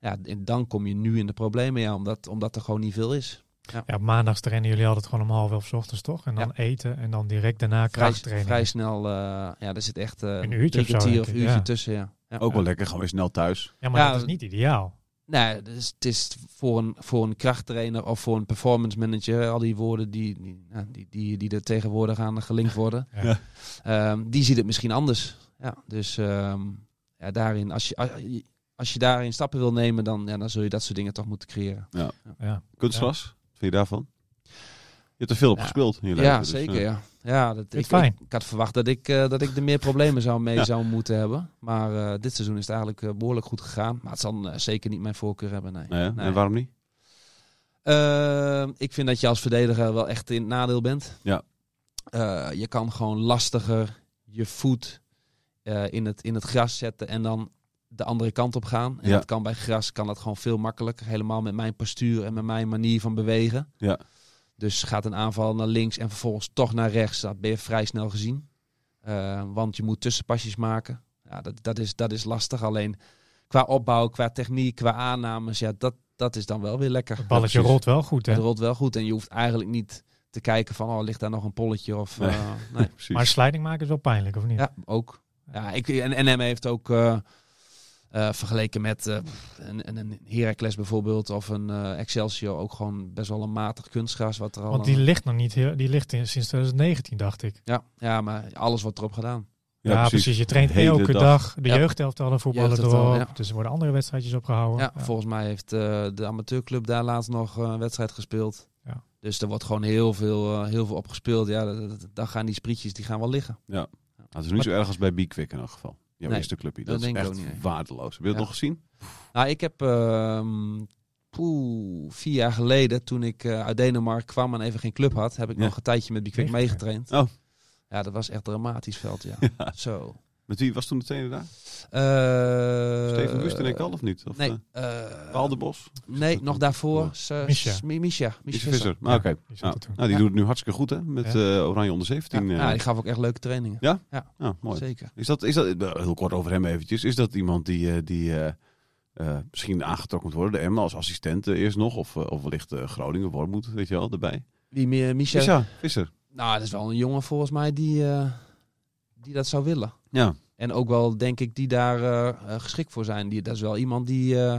[SPEAKER 2] Ja, en dan kom je nu in de problemen, ja, omdat, omdat er gewoon niet veel is.
[SPEAKER 3] Ja, op maandags trainen jullie altijd gewoon om half elf 's ochtends, toch? En dan
[SPEAKER 2] Ja.
[SPEAKER 3] eten en dan direct
[SPEAKER 2] Vrij,
[SPEAKER 3] daarna krachttraining.
[SPEAKER 2] vrij snel, eh, ja, er zit echt eh,
[SPEAKER 3] Een uurtje
[SPEAKER 2] drie
[SPEAKER 3] of zo,
[SPEAKER 2] kwartier
[SPEAKER 3] denk
[SPEAKER 2] of
[SPEAKER 3] ik,
[SPEAKER 2] uurtje
[SPEAKER 3] ja.
[SPEAKER 2] tussen. Ja. Ja.
[SPEAKER 1] Ook wel lekker, gewoon weer snel thuis.
[SPEAKER 3] Ja, maar
[SPEAKER 2] Ja,
[SPEAKER 3] dat is niet ideaal.
[SPEAKER 2] Nee, dus het is voor een, voor een krachttrainer of voor een performance manager, al die woorden die, die, ja, die, die, die er tegenwoordig aan gelinkt worden,
[SPEAKER 3] Ja.
[SPEAKER 2] ehm, die ziet het misschien anders. Ja, dus ehm, ja, daarin, als je, als je- als je daarin stappen wil nemen, dan, ja, dan zul je dat soort dingen toch moeten creëren.
[SPEAKER 3] Ja.
[SPEAKER 1] Kunstgras, wat vind je daarvan? Je hebt er veel op
[SPEAKER 2] Ja.
[SPEAKER 1] gespeeld in je leven.
[SPEAKER 2] Ja,
[SPEAKER 1] dus,
[SPEAKER 2] zeker.
[SPEAKER 1] eh,
[SPEAKER 2] ja. Ja, dat, ik,
[SPEAKER 3] fijn.
[SPEAKER 2] Ik, ik had verwacht dat ik, eh, dat ik er meer problemen zou mee
[SPEAKER 1] Ja.
[SPEAKER 2] zou moeten hebben. Maar eh, dit seizoen is het eigenlijk eh, behoorlijk goed gegaan. Maar het zal eh, zeker niet mijn voorkeur hebben. Nee.
[SPEAKER 1] nou ja,
[SPEAKER 2] Nee.
[SPEAKER 1] En waarom niet?
[SPEAKER 2] Eh, ik vind dat je als verdediger wel echt in het nadeel bent.
[SPEAKER 1] Ja.
[SPEAKER 2] Eh, je kan gewoon lastiger je voet eh, in, het, in het gras zetten en dan de andere kant op gaan. En
[SPEAKER 1] Ja.
[SPEAKER 2] dat kan bij gras kan dat gewoon veel makkelijker. Helemaal met mijn postuur en met mijn manier van bewegen.
[SPEAKER 1] Ja.
[SPEAKER 2] Dus gaat een aanval naar links en vervolgens toch naar rechts. Dat ben je vrij snel gezien. Eh, want je moet tussenpasjes maken. Ja, dat, dat, is, dat is lastig. Alleen qua opbouw, qua techniek, qua aannames, ja, dat, dat is dan wel weer lekker.
[SPEAKER 3] Het balletje
[SPEAKER 1] precies.
[SPEAKER 3] rolt wel goed, hè?
[SPEAKER 2] Het rolt wel goed en je hoeft eigenlijk niet te kijken van, oh, ligt daar nog een polletje of...
[SPEAKER 1] Nee.
[SPEAKER 2] eh, nee.
[SPEAKER 1] [laughs] Precies.
[SPEAKER 3] Maar slijding maken is wel pijnlijk, of niet?
[SPEAKER 2] Ja, ook. Ja, ik, en, en hem heeft ook eh, eh, vergeleken met eh, een, een Heracles bijvoorbeeld of een eh, Excelsior ook gewoon best wel een matig kunstgras wat er al...
[SPEAKER 3] Want die
[SPEAKER 2] aan-
[SPEAKER 3] ligt nog niet heel, die ligt in, sinds 2019, dacht ik.
[SPEAKER 2] ja, ja, maar alles wordt erop gedaan.
[SPEAKER 3] Ja, precies. Je traint
[SPEAKER 1] Hele
[SPEAKER 3] elke
[SPEAKER 1] dag.
[SPEAKER 3] dag, de
[SPEAKER 2] Ja.
[SPEAKER 3] jeugdelftallen voetballen
[SPEAKER 2] Jeugdelftal,
[SPEAKER 3] door.
[SPEAKER 2] ja.
[SPEAKER 3] Dus er worden andere wedstrijdjes opgehouden.
[SPEAKER 2] Ja,
[SPEAKER 3] Oh, Ja.
[SPEAKER 2] volgens mij heeft eh, de amateurclub daar laatst nog eh, een wedstrijd gespeeld.
[SPEAKER 3] Ja.
[SPEAKER 2] Dus er wordt gewoon heel veel, eh, heel veel op gespeeld. Ja, dat- dat- dan gaan die sprietjes die gaan wel liggen.
[SPEAKER 1] Nou, het is niet zo erg als bij B-Quick in elk geval. Jouw
[SPEAKER 2] Nee,
[SPEAKER 1] eerste clubje.
[SPEAKER 2] dat
[SPEAKER 1] Dat, is
[SPEAKER 2] denk ik
[SPEAKER 1] echt
[SPEAKER 2] ook niet, nee.
[SPEAKER 1] waardeloos. Heb je dat
[SPEAKER 2] Ja.
[SPEAKER 1] nog gezien?
[SPEAKER 2] Nou, ik heb ehm, poeh, vier jaar geleden, toen ik eh, uit Denemarken kwam en even geen club had, heb ik
[SPEAKER 1] Ja.
[SPEAKER 2] nog een tijdje met Bikwik meegetraind.
[SPEAKER 1] Oh.
[SPEAKER 2] Ja, dat was echt dramatisch veld, ja.
[SPEAKER 1] [laughs] Ja.
[SPEAKER 2] Zo.
[SPEAKER 1] Met wie was toen de trainer daar?
[SPEAKER 2] Eh,
[SPEAKER 1] Steven Busten en Kal of niet? Of
[SPEAKER 2] Nee,
[SPEAKER 1] eh,
[SPEAKER 2] eh,
[SPEAKER 1] Paul de Bos?
[SPEAKER 2] nee, nog daarvoor. Misha.
[SPEAKER 3] Misha.
[SPEAKER 2] Misha. Misha,
[SPEAKER 1] Is
[SPEAKER 2] Visser.
[SPEAKER 1] Visser. Maar
[SPEAKER 3] Ja,
[SPEAKER 1] oké.
[SPEAKER 3] die zat
[SPEAKER 1] Nou,
[SPEAKER 3] er toen.
[SPEAKER 1] nou, die
[SPEAKER 2] Ja.
[SPEAKER 1] doet het nu hartstikke goed hè? Met eh, Oranje onder 17.
[SPEAKER 2] Ja,
[SPEAKER 1] eh.
[SPEAKER 2] ja, die gaf ook echt leuke trainingen.
[SPEAKER 1] Nou, mooi.
[SPEAKER 2] Zeker.
[SPEAKER 1] Is dat, is dat, eh, heel kort over hem eventjes. Is dat iemand die, eh, die eh, eh, misschien aangetrokken moet worden? De Emma als assistent eh, eerst nog? Of, eh, of wellicht eh, Groningen, Wormoed, weet je wel, erbij.
[SPEAKER 2] Wie meer? Misha.
[SPEAKER 1] Visser. Visser.
[SPEAKER 2] Nou, dat is wel een jongen volgens mij die, eh, die dat zou willen.
[SPEAKER 1] Ja.
[SPEAKER 2] En ook wel, denk ik, die daar eh, eh, geschikt voor zijn. Die, dat is wel iemand die... eh,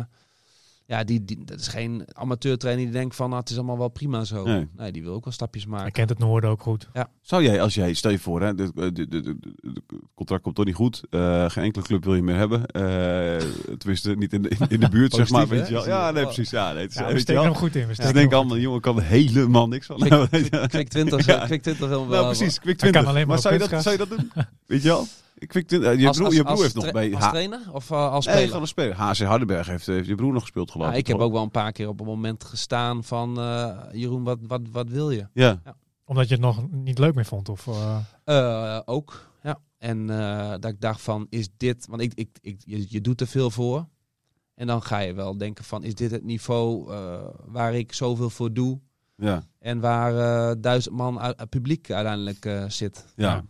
[SPEAKER 2] ja, die, die, dat is geen amateurtrainer die denkt van... Nou, het is allemaal wel prima zo.
[SPEAKER 1] Nee.
[SPEAKER 2] Nee, die wil ook wel stapjes
[SPEAKER 1] [laughs]
[SPEAKER 3] Hij
[SPEAKER 2] maken.
[SPEAKER 3] kent het Noorden ook goed.
[SPEAKER 1] Zou jij, als jij, stel je voor, hè, de- de- de- de- de- het contract komt toch niet goed. eh, geen enkele club wil je meer hebben. eh tenminste, niet in de, in de buurt, zeg maar.
[SPEAKER 2] Positief,
[SPEAKER 1] Weet je
[SPEAKER 2] hè?
[SPEAKER 1] wel. Ja, nee, precies. Ja, nee, het is,
[SPEAKER 3] Ja,
[SPEAKER 1] eh,
[SPEAKER 3] we
[SPEAKER 1] weet je
[SPEAKER 3] steken
[SPEAKER 1] wel.
[SPEAKER 3] hem goed in. We
[SPEAKER 1] Ze
[SPEAKER 3] steken hem
[SPEAKER 1] denken
[SPEAKER 3] goed
[SPEAKER 1] allemaal, die jongen kan er helemaal niks van.
[SPEAKER 3] [laughs]
[SPEAKER 2] Quick, quick, quick 20,
[SPEAKER 1] Ja.
[SPEAKER 2] quick 20 wil wel.
[SPEAKER 1] Nou, precies. Quick 20.
[SPEAKER 3] Hij kan
[SPEAKER 1] Maar,
[SPEAKER 3] alleen maar op
[SPEAKER 1] zou, je dat,
[SPEAKER 3] kunstgras.
[SPEAKER 1] zou je dat doen? Weet je wel? Quick 20. eh, je
[SPEAKER 2] Als-
[SPEAKER 1] broer,
[SPEAKER 2] als-
[SPEAKER 1] je broer
[SPEAKER 2] als
[SPEAKER 1] heeft nog
[SPEAKER 2] tra-
[SPEAKER 1] bij...
[SPEAKER 2] Als
[SPEAKER 1] Ha-
[SPEAKER 2] trainer of eh, als
[SPEAKER 1] nee,
[SPEAKER 2] speler?
[SPEAKER 1] gewoon een speler. HC Hardenberg heeft, heeft je broer nog gespeeld, geloof
[SPEAKER 2] Nou,
[SPEAKER 1] ik.
[SPEAKER 2] ik heb
[SPEAKER 1] toch?
[SPEAKER 2] ook wel een paar keer op een moment gestaan van... eh, Jeroen, wat, wat, wat wil je?
[SPEAKER 1] Ja,
[SPEAKER 3] in. Omdat je het nog niet leuk meer vond. Of, eh,
[SPEAKER 2] Eh, ook, ja. En eh, dat ik dacht van, is dit... Want ik, ik, ik, je, je doet er veel voor. En dan ga je wel denken van, is dit het niveau eh, waar ik zoveel voor doe?
[SPEAKER 1] ja,
[SPEAKER 2] En waar eh, duizend man uit, uit publiek uiteindelijk eh, zit.
[SPEAKER 1] ja.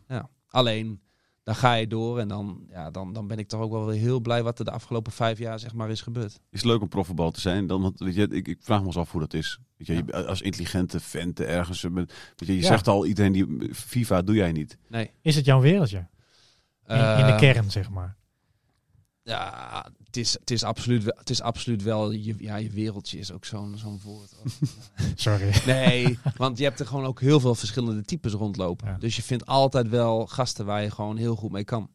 [SPEAKER 2] Alleen, dan ga je door. En dan, ja, dan, dan ben ik toch ook wel weer heel blij wat er de afgelopen vijf jaar zeg maar is gebeurd.
[SPEAKER 1] Is het leuk om profvoetbal te zijn? Dan, want weet je, ik, ik vraag me eens af hoe dat is. Weet je, je- als intelligente vent ergens. eh, met- Weet je, je
[SPEAKER 3] Ja.
[SPEAKER 1] zegt al, iedereen die FIFA doe jij niet.
[SPEAKER 2] Nee.
[SPEAKER 3] is het jouw wereldje? In, in de
[SPEAKER 2] Eh,
[SPEAKER 3] kern, zeg maar.
[SPEAKER 2] Ja, het is, het is absoluut wel, het is absoluut wel je, ja, je wereldje is ook zo'n zo'n woord.
[SPEAKER 3] Sorry. [laughs]
[SPEAKER 2] Nee, want je hebt er gewoon ook heel veel verschillende types rondlopen.
[SPEAKER 3] Ja.
[SPEAKER 2] Dus je vindt altijd wel gasten waar je gewoon heel goed mee kan.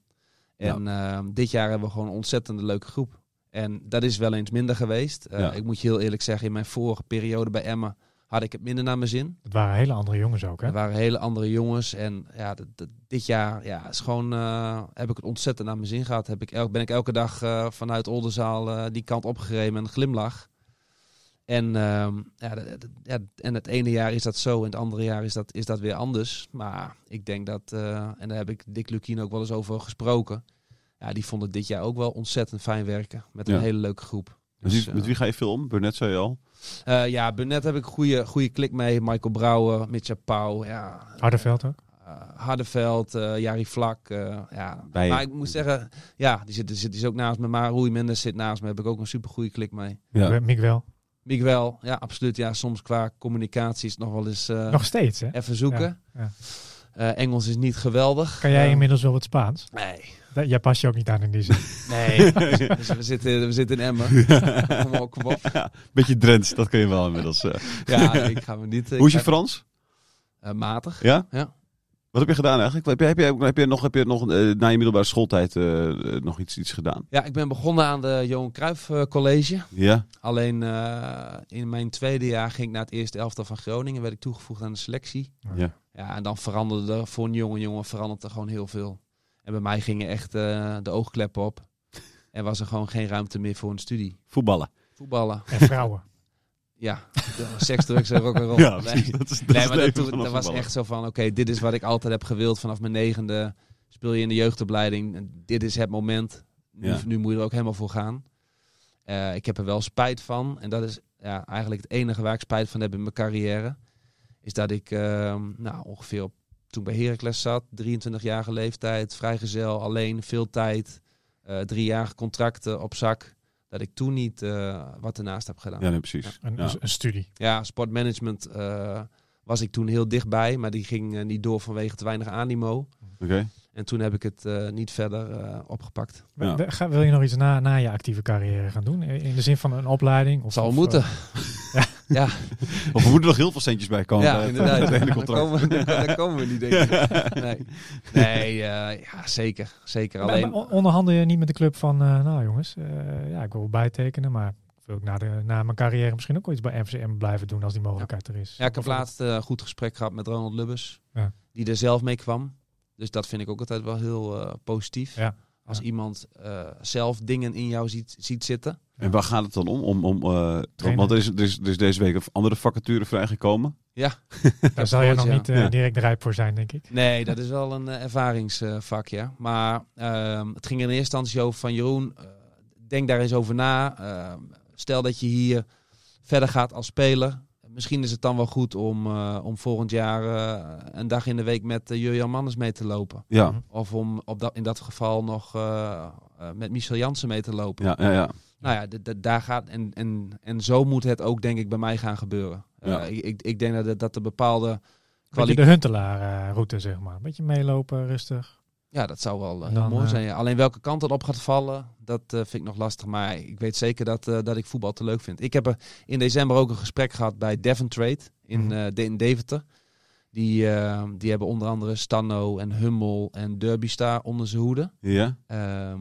[SPEAKER 2] En ehm, dit jaar hebben we gewoon een ontzettend leuke groep. En dat is wel eens minder geweest. Eh,
[SPEAKER 1] Ja.
[SPEAKER 2] Ik moet je heel eerlijk zeggen, in mijn vorige periode bij Emma had ik het minder naar mijn zin.
[SPEAKER 3] Het waren hele andere jongens ook, hè?
[SPEAKER 2] Er waren hele andere jongens. En ja, dat- dat- dit jaar ja, is gewoon, eh, heb ik het ontzettend naar mijn zin gehad. Heb ik el- ben ik elke dag eh, vanuit Oldenzaal eh, die kant opgereden met een glimlach. En, ehm, ja, dat- dat- ja, en het ene jaar is dat zo en het andere jaar is dat, is dat weer anders. Maar ik denk dat, eh, en daar heb ik Dick Lukien ook wel eens over gesproken. Ja, die vond het dit jaar ook wel ontzettend fijn werken. Met een
[SPEAKER 1] Ja.
[SPEAKER 2] hele leuke groep.
[SPEAKER 1] Met
[SPEAKER 2] Dus,
[SPEAKER 1] wie, met
[SPEAKER 2] eh,
[SPEAKER 1] wie ga je veel om? Burnett zei je al.
[SPEAKER 2] eh, ja, Burnett heb ik een goede, goede klik mee. Michael Brouwer, Mitja Pauw. Ja,
[SPEAKER 3] Harderveld ook.
[SPEAKER 2] eh, Hardeveld, eh Jari Vlak. eh, ja.
[SPEAKER 1] Bij-
[SPEAKER 2] Maar ik moet zeggen, ja, die zit, die zit die is ook naast me. Maar Rui Mendes zit naast me. Heb ik ook een super goede klik mee.
[SPEAKER 1] Ja.
[SPEAKER 3] Miguel.
[SPEAKER 2] Miguel, ja, absoluut. Ja, soms qua communicatie is het nog wel eens eh,
[SPEAKER 3] Nog steeds, hè?
[SPEAKER 2] even zoeken.
[SPEAKER 3] ja.
[SPEAKER 2] Eh, Engels is niet geweldig.
[SPEAKER 3] Kan jij
[SPEAKER 2] Eh,
[SPEAKER 3] inmiddels wel wat Spaans?
[SPEAKER 2] Nee,
[SPEAKER 3] Da- Jij past je ook niet aan in die
[SPEAKER 1] [laughs]
[SPEAKER 3] zin. [laughs]
[SPEAKER 2] nee. Dus we, zitten, we zitten in Emmen. kom op, kom op.
[SPEAKER 1] [laughs] Beetje Drents, dat kun je wel inmiddels. eh. [laughs]
[SPEAKER 2] Ja, nee, ik ga me niet... eh,
[SPEAKER 1] Hoe is je
[SPEAKER 2] ik ga-
[SPEAKER 1] Frans?
[SPEAKER 2] eh, matig.
[SPEAKER 1] Ja?
[SPEAKER 2] Ja.
[SPEAKER 1] Wat heb je gedaan eigenlijk? Heb je, heb je, heb je nog, heb je nog eh, na je middelbare schooltijd eh, eh, nog iets, iets gedaan?
[SPEAKER 2] Ja, ik ben begonnen aan de Johan Cruijff eh, College.
[SPEAKER 1] Ja.
[SPEAKER 2] Alleen eh, in mijn tweede jaar ging ik naar het eerste elftal van Groningen. Werd ik toegevoegd aan de selectie.
[SPEAKER 1] Ja.
[SPEAKER 2] Ja, en dan veranderde er voor een jonge jongen verandert er gewoon heel veel. En bij mij gingen echt eh, de oogkleppen op. En was er gewoon geen ruimte meer voor een studie.
[SPEAKER 1] Voetballen.
[SPEAKER 2] Voetballen.
[SPEAKER 3] En vrouwen.
[SPEAKER 2] Ja, [laughs] de seks, drugs en rock'n'roll.
[SPEAKER 1] Ja,
[SPEAKER 2] Oh, Nee.
[SPEAKER 1] precies. Dat is, [laughs] dat is
[SPEAKER 2] Nee, maar
[SPEAKER 1] het
[SPEAKER 2] dat,
[SPEAKER 1] leven
[SPEAKER 2] toen,
[SPEAKER 1] van een
[SPEAKER 2] dat was
[SPEAKER 1] voetballer.
[SPEAKER 2] echt zo van, oké, dit is wat ik altijd heb gewild. Vanaf mijn negende speel je in de jeugdopleiding. En Dit is het moment. Nu,
[SPEAKER 1] Ja.
[SPEAKER 2] nu moet je er ook helemaal voor gaan. Eh, ik heb er wel spijt van. En dat is ja, eigenlijk het enige waar ik spijt van heb in mijn carrière. Is dat ik ehm, nou, ongeveer op, toen ik bij Heracles zat, 23-jarige leeftijd, vrijgezel, alleen, veel tijd. eh driejarige contracten op zak. Dat ik toen niet eh, wat ernaast heb gedaan.
[SPEAKER 1] Ja, nee, precies.
[SPEAKER 3] Een,
[SPEAKER 2] dus-
[SPEAKER 1] Ja.
[SPEAKER 3] een studie.
[SPEAKER 2] Ja, sportmanagement eh, was ik toen heel dichtbij, maar die ging eh, niet door vanwege te weinig animo.
[SPEAKER 1] Oké.
[SPEAKER 2] En toen heb ik het eh, niet verder eh, opgepakt.
[SPEAKER 1] Ja.
[SPEAKER 3] We- we- ga- Wil je nog iets na, na je actieve carrière gaan doen? In in de zin van een opleiding? Of,
[SPEAKER 2] Het zal
[SPEAKER 3] of,
[SPEAKER 2] moeten.
[SPEAKER 3] eh,
[SPEAKER 1] [laughs] Of er moeten nog heel veel centjes bij komen.
[SPEAKER 2] ja,
[SPEAKER 3] eh,
[SPEAKER 1] bij het- [laughs] het
[SPEAKER 2] inderdaad.
[SPEAKER 3] [laughs]
[SPEAKER 1] ene
[SPEAKER 2] Daar
[SPEAKER 1] contract.
[SPEAKER 2] komen, we- daar komen we niet, denk ik. Nee, nee eh, ja, zeker. Zeker.
[SPEAKER 3] maar- maar
[SPEAKER 2] Alleen,
[SPEAKER 3] on- onderhandel je niet met de club van, eh, nou jongens, eh, ja, ik wil bijtekenen, maar ik wil ook na, de, na mijn carrière misschien ook wel iets bij FCM blijven doen als die mogelijkheid er is.
[SPEAKER 2] ja, ik heb
[SPEAKER 3] Of-
[SPEAKER 2] laatst eh, een goed gesprek gehad met Ronald Lubbers,
[SPEAKER 3] Ja.
[SPEAKER 2] die er zelf mee kwam. Dus dat vind ik ook altijd wel heel eh, positief.
[SPEAKER 3] Ja.
[SPEAKER 2] Als
[SPEAKER 3] Ja.
[SPEAKER 2] iemand eh, zelf dingen in jou ziet, ziet zitten.
[SPEAKER 1] En waar gaat het dan om? om, om eh,
[SPEAKER 3] Trainen.
[SPEAKER 1] want er is, er, is, er is deze week een andere vacature vrijgekomen.
[SPEAKER 3] Daar zal je nog
[SPEAKER 2] ja.
[SPEAKER 3] niet eh,
[SPEAKER 1] Ja.
[SPEAKER 3] direct rijp voor zijn, denk ik.
[SPEAKER 2] [laughs] Nee, dat is wel een eh, ervaringsvak, ja. Maar ehm, het ging in eerste instantie over van Jeroen, eh, denk daar eens over na. Ehm, stel dat je hier verder gaat als speler. Misschien is het dan wel goed om, eh, om volgend jaar eh, een dag in de week met eh, Jurjan Manners mee te lopen.
[SPEAKER 1] Ja,
[SPEAKER 2] Of om op dat, in dat geval nog eh, eh, met Michel Jansen mee te lopen.
[SPEAKER 1] ja, ja. ja.
[SPEAKER 2] Nou ja, d- d- daar gaat. En, en, en zo moet het ook, denk ik, bij mij gaan gebeuren.
[SPEAKER 1] Ja.
[SPEAKER 2] Eh, ik- ik, ik denk dat, het- dat de bepaalde
[SPEAKER 3] Beetje
[SPEAKER 2] kwaliteit.
[SPEAKER 3] de Huntelaar-route, zeg maar. Beetje meelopen, rustig.
[SPEAKER 2] Ja, dat zou wel eh,
[SPEAKER 3] Dan,
[SPEAKER 2] heel mooi
[SPEAKER 3] eh,
[SPEAKER 2] zijn. ja. Alleen welke kant het op gaat vallen, dat eh, vind ik nog lastig. Maar ik weet zeker dat, eh, dat ik voetbal te leuk vind. Ik heb er in december ook een gesprek gehad bij Devon Trade in,
[SPEAKER 3] Mhm.
[SPEAKER 2] eh, De- in Deventer. Die, eh, die hebben onder andere Stanno en Hummel en Derbystar onder zijn hoede.
[SPEAKER 1] ja.
[SPEAKER 2] Ehm,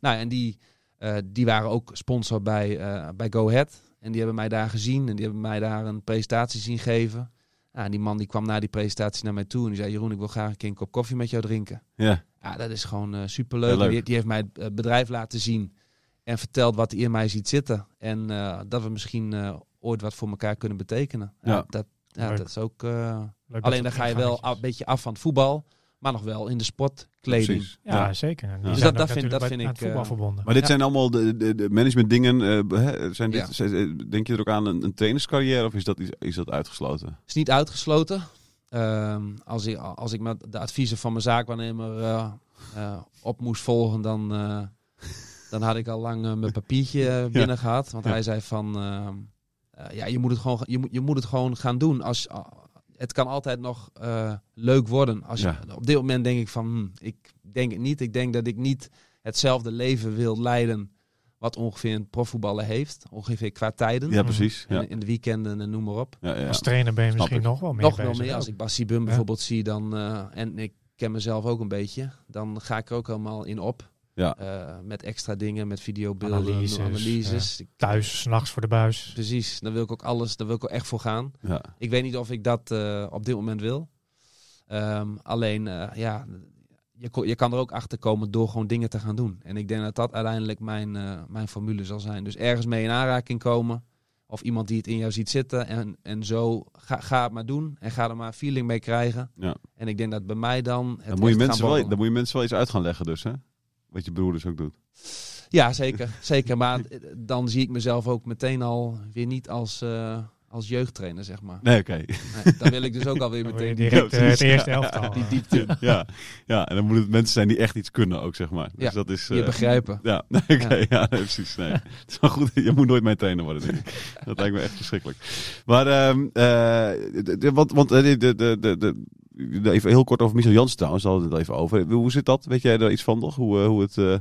[SPEAKER 2] nou, en die, eh, die waren ook sponsor bij, eh, bij Go Ahead. En die hebben mij daar gezien en die hebben mij daar een presentatie zien geven. Nou, en die man die kwam na die presentatie naar mij toe en die zei... Jeroen, ik wil graag een keer een kop koffie met jou drinken.
[SPEAKER 1] ja.
[SPEAKER 2] Ja, dat is gewoon eh, superleuk.
[SPEAKER 1] Ja, leuk.
[SPEAKER 2] Die, die heeft mij het eh, bedrijf laten zien en verteld wat hij in mij ziet zitten. En eh, dat we misschien eh, ooit wat voor elkaar kunnen betekenen. Ja,
[SPEAKER 1] Ja.
[SPEAKER 2] dat, ja,
[SPEAKER 3] Leuk.
[SPEAKER 2] dat is ook. eh,
[SPEAKER 3] Leuk
[SPEAKER 2] alleen dan
[SPEAKER 3] dat soort
[SPEAKER 2] ga je wel
[SPEAKER 3] ingangetjes.
[SPEAKER 2] een beetje af van het voetbal, maar nog wel in de sportkleding.
[SPEAKER 1] Precies.
[SPEAKER 3] Ja,
[SPEAKER 1] Ja.
[SPEAKER 3] zeker. En die
[SPEAKER 1] Dus
[SPEAKER 3] zijn
[SPEAKER 2] dat- dat
[SPEAKER 3] ook
[SPEAKER 2] vind-
[SPEAKER 3] natuurlijk
[SPEAKER 2] dat
[SPEAKER 3] bij-
[SPEAKER 2] vind
[SPEAKER 3] aan het
[SPEAKER 2] ik, eh,
[SPEAKER 3] voetbal verbonden.
[SPEAKER 1] Maar dit
[SPEAKER 2] Ja.
[SPEAKER 1] zijn allemaal de, de, de managementdingen. eh, hè, zijn dit,
[SPEAKER 2] Ja.
[SPEAKER 1] zijn- eh, denk je er ook aan een, een trainerscarrière of is dat, iets- is dat uitgesloten?
[SPEAKER 2] Is niet uitgesloten. Ehm, als, ik, als ik met de adviezen van mijn zaakwaarnemer eh, eh, op moest volgen, dan, eh, dan had ik al lang eh, mijn papiertje eh, binnen gehad. Want
[SPEAKER 1] Ja.
[SPEAKER 2] hij zei van, ehm, eh, ja, je moet, het gewoon, je, moet, je moet het gewoon gaan doen. Als, ah, het kan altijd nog eh, leuk worden. Als je-
[SPEAKER 1] Ja.
[SPEAKER 2] op dit moment denk ik van, hm, ik denk het niet. Ik denk dat ik niet hetzelfde leven wil leiden wat ongeveer een profvoetballer heeft. Ongeveer qua tijden.
[SPEAKER 1] Ja, precies. Ja.
[SPEAKER 2] In, in de weekenden en noem maar op.
[SPEAKER 1] Ja, ja.
[SPEAKER 3] Als trainer ben je
[SPEAKER 1] Snap
[SPEAKER 3] misschien
[SPEAKER 1] ik.
[SPEAKER 3] nog wel meer
[SPEAKER 2] Nog wel
[SPEAKER 3] bezig.
[SPEAKER 2] meer. Als ik Bassi Bum
[SPEAKER 3] Ja.
[SPEAKER 2] bijvoorbeeld zie, dan, eh, en ik ken mezelf ook een beetje, dan ga ik er ook helemaal in op.
[SPEAKER 1] Ja.
[SPEAKER 2] Eh, met extra dingen, met videobeelden,
[SPEAKER 3] Analyses,
[SPEAKER 2] analyses. Ik-
[SPEAKER 3] Thuis, s'nachts voor de
[SPEAKER 2] [laughs]
[SPEAKER 3] buis.
[SPEAKER 2] Precies, daar wil ik ook alles, daar wil ik ook echt voor gaan.
[SPEAKER 1] Ja.
[SPEAKER 2] Ik weet niet of ik dat eh, op dit moment wil. Ehm, alleen, eh, ja, je, ko- je kan er ook achter komen door gewoon dingen te gaan doen. En ik denk dat dat uiteindelijk mijn, eh, mijn formule zal zijn. Dus ergens mee in aanraking komen. Of iemand die het in jou ziet zitten. En, en zo, ga, ga het maar doen. En ga er maar feeling mee krijgen.
[SPEAKER 1] Ja.
[SPEAKER 2] En ik denk dat bij mij dan...
[SPEAKER 1] Dan
[SPEAKER 2] Het
[SPEAKER 1] moet, je
[SPEAKER 2] echt gaan
[SPEAKER 1] mensen wel,
[SPEAKER 2] borrelen.
[SPEAKER 1] dan moet je mensen wel iets uit gaan leggen dus, hè? Wat je broer dus ook doet.
[SPEAKER 2] Ja, zeker. [laughs] zeker. Maar eh, dan zie ik mezelf ook meteen al weer niet als, eh, als jeugdtrainer, zeg maar.
[SPEAKER 1] Nee, oké.
[SPEAKER 2] Nee, dan wil ik dus ook alweer
[SPEAKER 3] [laughs] Dan word je
[SPEAKER 2] meteen...
[SPEAKER 3] direct
[SPEAKER 1] Ja,
[SPEAKER 3] eh, het
[SPEAKER 1] precies.
[SPEAKER 3] eerste elftal.
[SPEAKER 1] Die
[SPEAKER 3] eh.
[SPEAKER 1] diepte. Ja. ja, en dan moeten het mensen zijn die echt iets kunnen ook, zeg maar. Dus
[SPEAKER 2] Ja,
[SPEAKER 1] dat is...
[SPEAKER 2] Je
[SPEAKER 1] eh,
[SPEAKER 2] begrijpen.
[SPEAKER 1] ja, [laughs] nee, oké, ja. nee, precies. Nee. Het is wel goed, je moet nooit mijn trainer worden, denk ik. Dat lijkt me echt verschrikkelijk. Maar, ehm, eh, d- d- want, want eh, de, de, de, de, de- even heel kort over Michel Jans trouwens, daar hadden we het even over. Hoe zit dat? Weet jij daar iets van nog? Hoe, eh, hoe het... eh,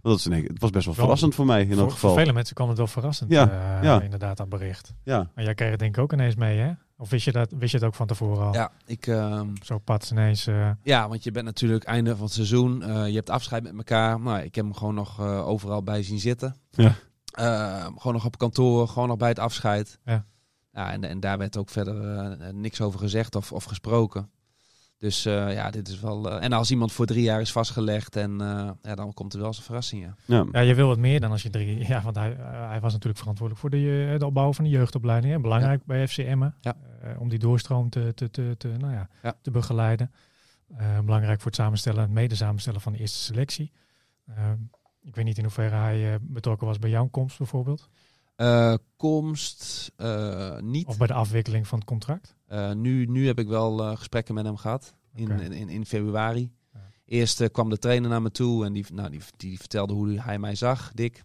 [SPEAKER 1] want dat is, een- het was best wel
[SPEAKER 3] Wel,
[SPEAKER 1] verrassend voor mij in
[SPEAKER 3] Voor,
[SPEAKER 1] elk
[SPEAKER 3] voor
[SPEAKER 1] geval.
[SPEAKER 3] vele mensen kwam het wel verrassend,
[SPEAKER 1] Ja,
[SPEAKER 3] eh,
[SPEAKER 1] ja.
[SPEAKER 3] inderdaad, dat bericht.
[SPEAKER 1] Ja,
[SPEAKER 3] Maar jij kreeg het denk ik ook ineens mee, hè? Of wist je, dat, wist je het ook van tevoren al?
[SPEAKER 2] Ja, ik, ehm,
[SPEAKER 3] Zo pats ineens. eh,
[SPEAKER 2] ja, want je bent natuurlijk einde van het seizoen. eh, je hebt afscheid met elkaar. Nou, ik heb hem gewoon nog eh, overal bij zien zitten.
[SPEAKER 1] Ja.
[SPEAKER 2] Eh, gewoon nog op kantoor, gewoon nog bij het afscheid.
[SPEAKER 3] Ja.
[SPEAKER 2] Ja, en, en daar werd ook verder eh, niks over gezegd of, of gesproken. Dus eh, ja, dit is wel. eh, en als iemand voor drie jaar is vastgelegd, en, eh, ja, dan komt er wel eens een verrassing. Ja.
[SPEAKER 1] ja.
[SPEAKER 3] ja, je wil wat meer dan als je drie... Ja, want hij, eh, hij was natuurlijk verantwoordelijk voor de, eh, de opbouw van de jeugdopleiding. Hè? Belangrijk bij FC Emmen.
[SPEAKER 2] Ja.
[SPEAKER 3] Eh, om die doorstroom te, te, te, te, nou ja,
[SPEAKER 2] Ja.
[SPEAKER 3] te begeleiden. Eh, belangrijk voor het samenstellen, het mede samenstellen van de eerste selectie. Eh, ik weet niet in hoeverre hij eh, betrokken was bij jouw komst bijvoorbeeld.
[SPEAKER 2] Eh, komst eh, niet.
[SPEAKER 3] Of bij de afwikkeling van het contract.
[SPEAKER 2] Eh, nu, nu heb ik wel eh, gesprekken met hem gehad in,
[SPEAKER 3] Oké.
[SPEAKER 2] in, in, in februari.
[SPEAKER 3] Ja.
[SPEAKER 2] Eerst eh, kwam de trainer naar me toe en die, nou, die, die vertelde hoe hij mij zag, Dick.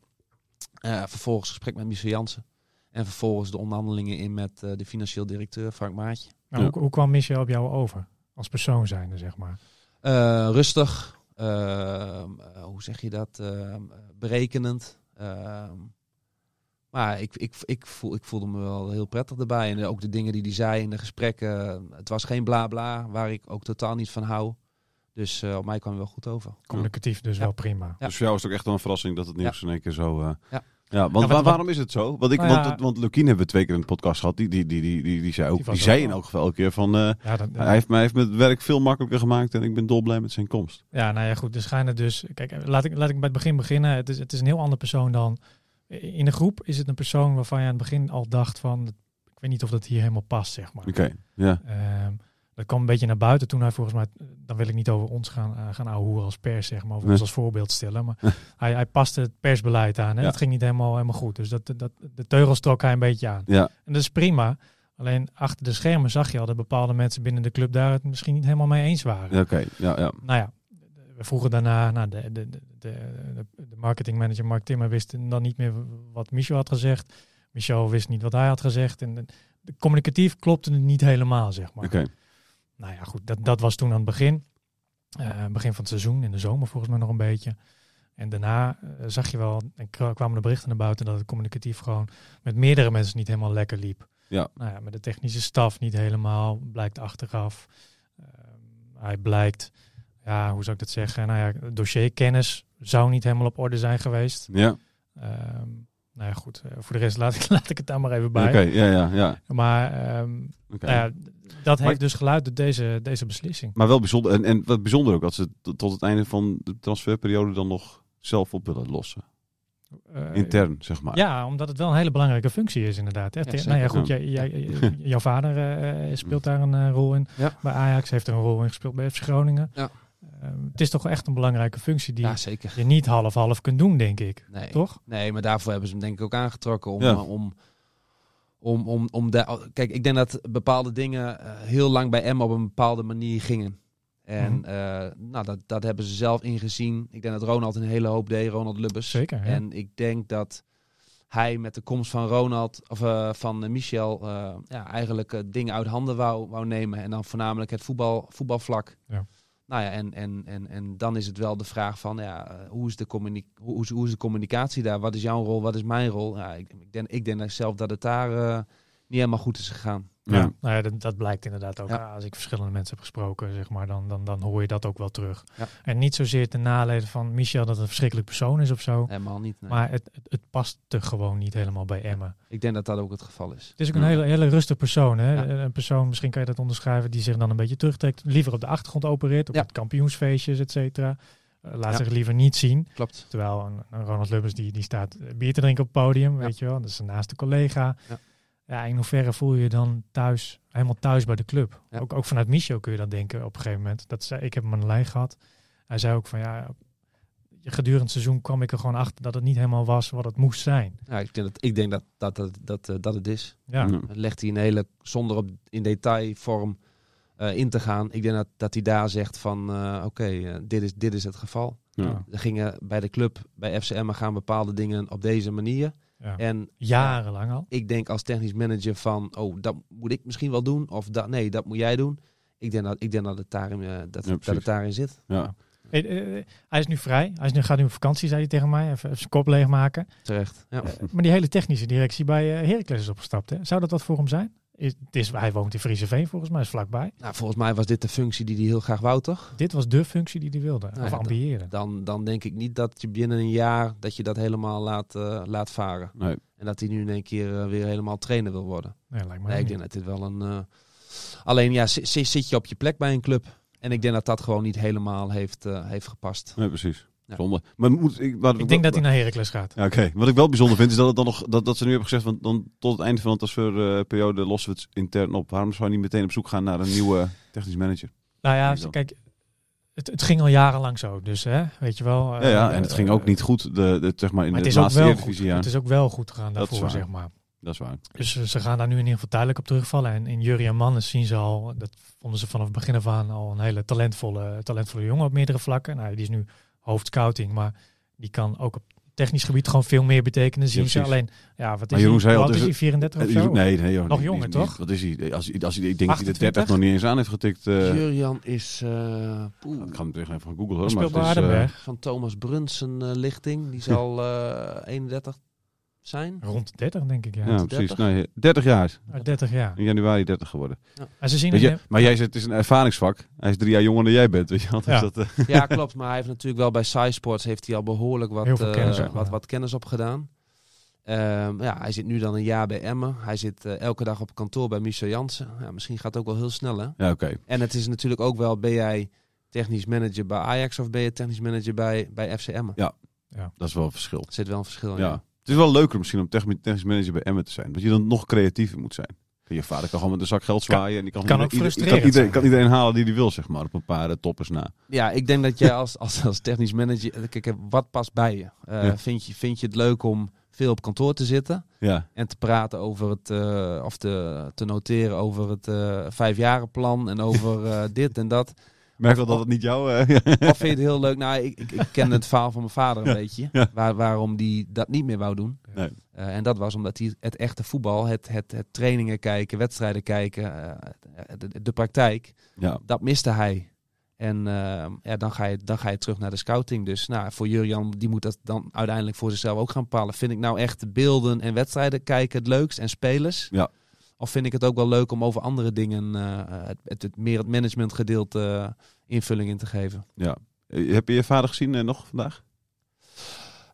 [SPEAKER 2] Eh, vervolgens gesprek met Michel Jansen. En vervolgens de onderhandelingen in met eh, de financieel directeur Frank Maatje.
[SPEAKER 3] Nou,
[SPEAKER 1] Ja.
[SPEAKER 3] hoe, hoe kwam Michel op jou over? Als persoon zijnde, zeg maar.
[SPEAKER 2] Eh, rustig, ehm, eh, hoe zeg je dat? Ehm, berekenend. Ehm, maar ik, ik, ik, voel, ik voelde me wel heel prettig erbij. En ook de dingen die hij zei in de gesprekken. Het was geen bla bla, waar ik ook totaal niet van hou. Dus eh, op mij kwam hij wel goed over.
[SPEAKER 3] Communicatief dus
[SPEAKER 2] Ja.
[SPEAKER 3] wel prima.
[SPEAKER 2] Ja.
[SPEAKER 1] Dus voor jou is het ook echt wel een verrassing dat het nieuws in één keer zo... eh, ja.
[SPEAKER 2] Ja.
[SPEAKER 1] want wa-
[SPEAKER 3] Ja, wat-
[SPEAKER 1] waarom is het zo? Want, ik,
[SPEAKER 3] Nou ja.
[SPEAKER 1] want, het- want Lukien hebben we twee keer in de podcast gehad. Die, die, die, die, die, die zei, ook,
[SPEAKER 3] Die
[SPEAKER 1] die
[SPEAKER 3] was
[SPEAKER 1] zei
[SPEAKER 3] ook
[SPEAKER 1] in
[SPEAKER 3] wel.
[SPEAKER 1] elk geval elke keer van... eh,
[SPEAKER 3] Ja, dat,
[SPEAKER 1] Hij heeft, mij, heeft mijn werk veel makkelijker gemaakt en ik ben dolblij met zijn komst.
[SPEAKER 3] Ja, nou ja, goed. Er schijnen dus. Kijk, laat ik, laat ik bij het begin beginnen. Het is, het is een heel ander persoon dan. In de groep is het een persoon waarvan je aan het begin al dacht van. Ik weet niet of dat hier helemaal past, zeg maar.
[SPEAKER 1] Oké, ja.
[SPEAKER 3] Ehm, dat kwam een beetje naar buiten toen hij volgens mij. Dan wil ik niet over ons gaan, eh, gaan ouwehoeren als pers, zeg maar. Of
[SPEAKER 1] Nee.
[SPEAKER 3] ons als voorbeeld
[SPEAKER 1] [laughs]
[SPEAKER 3] stellen. Maar hij, hij paste het persbeleid aan. Hè?
[SPEAKER 1] Ja.
[SPEAKER 3] Het ging niet helemaal, helemaal goed. Dus dat, dat, de teugels trok hij een beetje aan.
[SPEAKER 1] Ja,
[SPEAKER 3] En dat is prima. Alleen achter de schermen zag je al dat bepaalde mensen binnen de club daar het misschien niet helemaal mee eens waren.
[SPEAKER 1] ja, oké. Ja, ja.
[SPEAKER 3] Nou ja, we vroegen daarna, nou, de, de, de, de, de marketingmanager Mark Timmer wist dan niet meer wat Michel had gezegd. Michel wist niet wat hij had gezegd. En de, de communicatief klopte het niet helemaal, zeg maar.
[SPEAKER 1] Oké,
[SPEAKER 3] Nou ja, goed, dat, dat was toen aan het begin. Eh, begin van het seizoen, in de zomer volgens mij nog een beetje. En daarna eh, zag je wel, en kra- kwamen de berichten naar buiten dat het communicatief gewoon met meerdere mensen niet helemaal lekker liep.
[SPEAKER 1] Ja.
[SPEAKER 3] Nou ja, met de technische staf niet helemaal, blijkt achteraf. Ehm, hij blijkt, ja, hoe zou ik dat zeggen? Nou ja, dossierkennis zou niet helemaal op orde zijn geweest.
[SPEAKER 1] ja.
[SPEAKER 3] Ehm, nou ja, goed, eh, voor de rest [laughs] laat ik, laat ik het daar maar even bij.
[SPEAKER 1] Oké, ja, ja, ja.
[SPEAKER 3] Maar ehm,
[SPEAKER 1] Oké.
[SPEAKER 3] nou ja, dat
[SPEAKER 1] Maar-
[SPEAKER 3] heeft dus geluid tot deze, deze beslissing.
[SPEAKER 1] Maar wel bijzonder. En, en wat bijzonder ook, dat ze t- tot het einde van de transferperiode dan nog zelf op willen lossen.
[SPEAKER 3] Eh,
[SPEAKER 1] Intern, zeg maar.
[SPEAKER 3] Ja, omdat het wel een hele belangrijke functie is inderdaad. Echt,
[SPEAKER 2] Ja,
[SPEAKER 3] eh,
[SPEAKER 2] zeker.
[SPEAKER 3] nou ja, goed, jij, jij, eh, jouw vader eh, eh, speelt daar een eh, rol in.
[SPEAKER 2] Ja.
[SPEAKER 3] Bij Ajax heeft er een rol in gespeeld bij FC Groningen.
[SPEAKER 2] Ja.
[SPEAKER 3] Eh, het is toch echt een belangrijke functie die
[SPEAKER 2] Ja, zeker.
[SPEAKER 3] je niet half-half kunt doen, denk ik.
[SPEAKER 2] Nee.
[SPEAKER 3] Toch?
[SPEAKER 2] Nee, maar daarvoor hebben ze hem denk ik ook aangetrokken. Om,
[SPEAKER 1] Ja.
[SPEAKER 2] eh, om, om, om, om daar- Kijk, ik denk dat bepaalde dingen eh, heel lang bij Emma op een bepaalde manier gingen. En
[SPEAKER 3] Mhm.
[SPEAKER 2] eh, nou, dat, dat hebben ze zelf ingezien. Ik denk dat Ronald een hele hoop deed, Ronald Lubbers.
[SPEAKER 3] Zeker. ja.
[SPEAKER 2] En ik denk dat hij met de komst van Ronald, of eh, van eh, Michel, eh, ja, eigenlijk eh, dingen uit handen wou, wou nemen. En dan voornamelijk het voetbal, voetbalvlak.
[SPEAKER 3] Ja.
[SPEAKER 2] Nou ja, en, en, en, en dan is het wel de vraag van, ja, eh, hoe, is de communi- hoe, is, hoe is de communicatie daar? Wat is jouw rol? Wat is mijn rol? Ja, ik, ik, denk, ik denk zelf dat het daar eh, niet helemaal goed is gegaan.
[SPEAKER 1] Ja.
[SPEAKER 3] Ja. Nou ja, dat, dat blijkt inderdaad ook.
[SPEAKER 2] Ja.
[SPEAKER 3] Ja, Als ik verschillende mensen heb gesproken, zeg maar, dan, dan, dan hoor je dat ook wel terug.
[SPEAKER 2] Ja.
[SPEAKER 3] En niet zozeer ten nadelen van Michel dat het een verschrikkelijk persoon is of zo.
[SPEAKER 2] Helemaal niet. nee.
[SPEAKER 3] Maar het, het, het past er gewoon niet helemaal bij Emmen.
[SPEAKER 2] Ik denk dat dat ook het geval is.
[SPEAKER 3] Het is ook een
[SPEAKER 1] Ja.
[SPEAKER 3] hele, hele rustige persoon. Hè? Eh,
[SPEAKER 2] Ja.
[SPEAKER 3] Een persoon, misschien kan je dat onderschrijven, die zich dan een beetje terugtrekt. Liever op de achtergrond opereert, op
[SPEAKER 2] Ja.
[SPEAKER 3] het kampioensfeestjes, et cetera. Eh, laat
[SPEAKER 2] Ja.
[SPEAKER 3] zich liever niet zien.
[SPEAKER 2] Klopt.
[SPEAKER 3] Terwijl een, een Ronald Lubbers, die, die staat eh, bier te drinken op het podium, weet je wel. Dat is een naaste collega.
[SPEAKER 2] Ja.
[SPEAKER 3] Ja. in hoeverre voel je je dan thuis, helemaal thuis bij de club?
[SPEAKER 2] Ja.
[SPEAKER 3] Ook, ook vanuit Michel kun je dat denken op een gegeven moment. Dat zei, ik heb hem aan de lijn gehad. Hij zei ook van, ja, gedurende het seizoen kwam ik er gewoon achter dat het niet helemaal was wat het moest zijn.
[SPEAKER 2] Ja, ik denk dat ik denk dat, dat, dat, dat, eh, dat het is.
[SPEAKER 3] Ja.
[SPEAKER 2] Dan legt hij een hele, zonder op, in detailvorm eh, in te gaan. Ik denk dat, dat hij daar zegt van, eh, oké, eh, dit, is, dit is het geval.
[SPEAKER 1] Ja.
[SPEAKER 2] Er gingen bij de club, bij FCM, gaan bepaalde dingen op deze manier.
[SPEAKER 3] Ja.
[SPEAKER 2] En
[SPEAKER 3] Jarenlang al.
[SPEAKER 2] ik denk als technisch manager van, oh, dat moet ik misschien wel doen. Of dat, nee, dat moet jij doen. Ik denk dat, ik denk dat, het, daarin, eh, dat,
[SPEAKER 1] Ja,
[SPEAKER 2] dat het
[SPEAKER 1] precies.
[SPEAKER 2] daarin zit.
[SPEAKER 1] Ja.
[SPEAKER 3] Hey, eh, eh, hij is nu vrij. Hij is nu, gaat nu op vakantie, zei hij tegen mij. Even, even zijn kop leegmaken.
[SPEAKER 2] Terecht. Ja.
[SPEAKER 3] Maar die hele technische directie bij eh Heracles is opgestapt. Hè? Zou dat wat voor hem zijn? Is, het is, hij woont in Frieseveen volgens mij, is vlakbij.
[SPEAKER 2] Nou, volgens mij was dit de functie die hij heel graag wou, toch?
[SPEAKER 3] Dit was de functie die hij wilde.
[SPEAKER 2] ja,
[SPEAKER 3] of
[SPEAKER 2] dat-
[SPEAKER 3] ambiëren.
[SPEAKER 2] dan, dan denk ik niet dat je binnen een jaar dat je dat helemaal laat, eh, laat varen.
[SPEAKER 1] Nee.
[SPEAKER 2] En dat hij nu in één keer eh, weer helemaal trainer wil worden.
[SPEAKER 3] Nee, lijkt me
[SPEAKER 2] nee, ik
[SPEAKER 3] niet.
[SPEAKER 2] denk dat dit wel een. eh, alleen ja, zi- zi- zit je op je plek bij een club. En ik denk dat dat gewoon niet helemaal heeft, eh, heeft gepast.
[SPEAKER 1] Nee, precies.
[SPEAKER 2] Ja.
[SPEAKER 1] Zonde. Maar moet ik, maar,
[SPEAKER 3] Ik denk dat hij naar Heracles gaat.
[SPEAKER 1] Ja, oké. Wat ik wel bijzonder vind is dat, het dan nog, dat, dat ze nu hebben gezegd van dan tot het einde van de transferperiode lossen we het intern op. Waarom zou je niet meteen op zoek gaan naar een nieuwe technisch manager?
[SPEAKER 3] Nou ja,
[SPEAKER 1] Denk ik
[SPEAKER 3] kijk, het, het ging al jarenlang zo. Dus hè, weet je wel.
[SPEAKER 1] Ja,
[SPEAKER 3] eh,
[SPEAKER 1] ja en het
[SPEAKER 3] eh,
[SPEAKER 1] ging ook niet goed de, de, zeg maar in
[SPEAKER 3] Maar
[SPEAKER 1] de
[SPEAKER 3] het is, ook
[SPEAKER 1] laatste
[SPEAKER 3] wel goed,
[SPEAKER 1] Eredivisie. Ja.
[SPEAKER 3] het is ook wel goed gegaan
[SPEAKER 1] Dat is
[SPEAKER 3] daarvoor,
[SPEAKER 1] waar.
[SPEAKER 3] zeg maar.
[SPEAKER 1] Dat is waar.
[SPEAKER 3] Dus eh, ze gaan daar nu in ieder geval tijdelijk op terugvallen. En in Jurriën Mannes zien ze al, dat vonden ze vanaf het begin af aan al een hele talentvolle, talentvolle jongen op meerdere vlakken. Nou, die is nu hoofdscouting, maar die kan ook op technisch gebied gewoon veel meer betekenen. Zien ze
[SPEAKER 1] precies.
[SPEAKER 3] alleen, ja, wat
[SPEAKER 1] Maar
[SPEAKER 3] is,
[SPEAKER 1] Jeroen
[SPEAKER 3] hij?
[SPEAKER 1] zei al,
[SPEAKER 3] Hoe oud
[SPEAKER 1] dus
[SPEAKER 3] is hij? 34 of
[SPEAKER 1] Eh,
[SPEAKER 3] Oh, zo?
[SPEAKER 1] nee, nee, joh,
[SPEAKER 3] Nog
[SPEAKER 1] niet-
[SPEAKER 3] jonger,
[SPEAKER 1] niet-
[SPEAKER 3] toch?
[SPEAKER 1] Wat is hij? Als, als, als, ik denk dat hij de
[SPEAKER 3] 28?
[SPEAKER 1] 30 nog niet eens aan heeft getikt. eh,
[SPEAKER 2] Jurian is eh, poeh,
[SPEAKER 1] ik ga hem terug even van Google
[SPEAKER 3] Hij
[SPEAKER 1] hoor. Maar
[SPEAKER 3] speelt bij
[SPEAKER 1] het is, eh,
[SPEAKER 3] Aardenberg.
[SPEAKER 2] van Thomas Brunsen eh, lichting. Die zal eh, 31 zijn.
[SPEAKER 3] Rond de 30, denk ik, ja.
[SPEAKER 1] eh, ja, precies. Nee, 30 jaar.
[SPEAKER 3] Ah, 30 jaar.
[SPEAKER 1] In januari 30 geworden.
[SPEAKER 3] En ze zien
[SPEAKER 1] Weet
[SPEAKER 3] in
[SPEAKER 1] je,
[SPEAKER 3] hem-
[SPEAKER 1] maar jij zegt het is een ervaringsvak. Hij is drie jaar jonger dan jij bent. Weet je, wel. Dus
[SPEAKER 3] Ja.
[SPEAKER 1] dat, eh,
[SPEAKER 2] Ja, klopt. Maar hij heeft natuurlijk wel bij SciSports heeft hij al behoorlijk wat,
[SPEAKER 3] Heel veel
[SPEAKER 2] eh,
[SPEAKER 3] kennis
[SPEAKER 2] wat,
[SPEAKER 3] opgedaan.
[SPEAKER 2] wat kennis opgedaan. Ehm, ja, hij zit nu dan een jaar bij Emmen. Hij zit eh, elke dag op kantoor bij Michel Jansen. Ja, misschien gaat het ook wel heel snel, hè?
[SPEAKER 1] ja, oké.
[SPEAKER 2] En het is natuurlijk ook wel, ben jij technisch manager bij Ajax of ben je technisch manager bij, bij FC Emmen?
[SPEAKER 1] Ja. Dat is wel een verschil.
[SPEAKER 2] Er zit wel een verschil in.
[SPEAKER 1] Ja. Het is wel leuker misschien om techni- technisch manager bij Emmen te zijn. Dat je dan nog creatiever moet zijn. Je vader kan gewoon met een zak geld zwaaien. en die kan,
[SPEAKER 3] kan
[SPEAKER 1] gewoon
[SPEAKER 3] ook
[SPEAKER 1] ieder- ieder-
[SPEAKER 3] frustrerend
[SPEAKER 1] kan iedereen,
[SPEAKER 3] zijn.
[SPEAKER 1] kan iedereen halen die hij wil, zeg maar. Op een paar eh, toppers na.
[SPEAKER 2] Ja, ik denk dat jij als, als, als technisch manager... Kijk, wat past bij je? Eh,
[SPEAKER 1] Ja.
[SPEAKER 2] vind je? Vind je het leuk om veel op kantoor te zitten?
[SPEAKER 1] Ja,
[SPEAKER 2] En te praten over het, eh, of te, te noteren over het eh, vijfjarenplan en
[SPEAKER 1] [laughs]
[SPEAKER 2] over eh, dit en dat.
[SPEAKER 1] Ik merk wel dat het niet jou... eh, [laughs]
[SPEAKER 2] Of vind je het heel leuk? Nou, ik, ik, ik ken het verhaal van mijn vader een
[SPEAKER 1] Ja,
[SPEAKER 2] beetje.
[SPEAKER 1] ja.
[SPEAKER 2] Waar, waarom die dat niet meer wou doen.
[SPEAKER 1] Nee.
[SPEAKER 2] Eh, en dat was omdat hij het echte voetbal, het, het, het trainingen kijken, wedstrijden kijken, eh, de, de praktijk,
[SPEAKER 1] ja.
[SPEAKER 2] dat miste hij. En eh, ja, dan, ga je, dan ga je terug naar de scouting. Dus nou, voor Jurjan, die moet dat dan uiteindelijk voor zichzelf ook gaan bepalen. Vind ik nou echt beelden en wedstrijden kijken het leukst en spelers?
[SPEAKER 1] Ja.
[SPEAKER 2] Of vind ik het ook wel leuk om over andere dingen eh, het, het, het- meer het management gedeelte invulling in te geven?
[SPEAKER 1] Eh, Heb je je vader gezien eh, nog vandaag?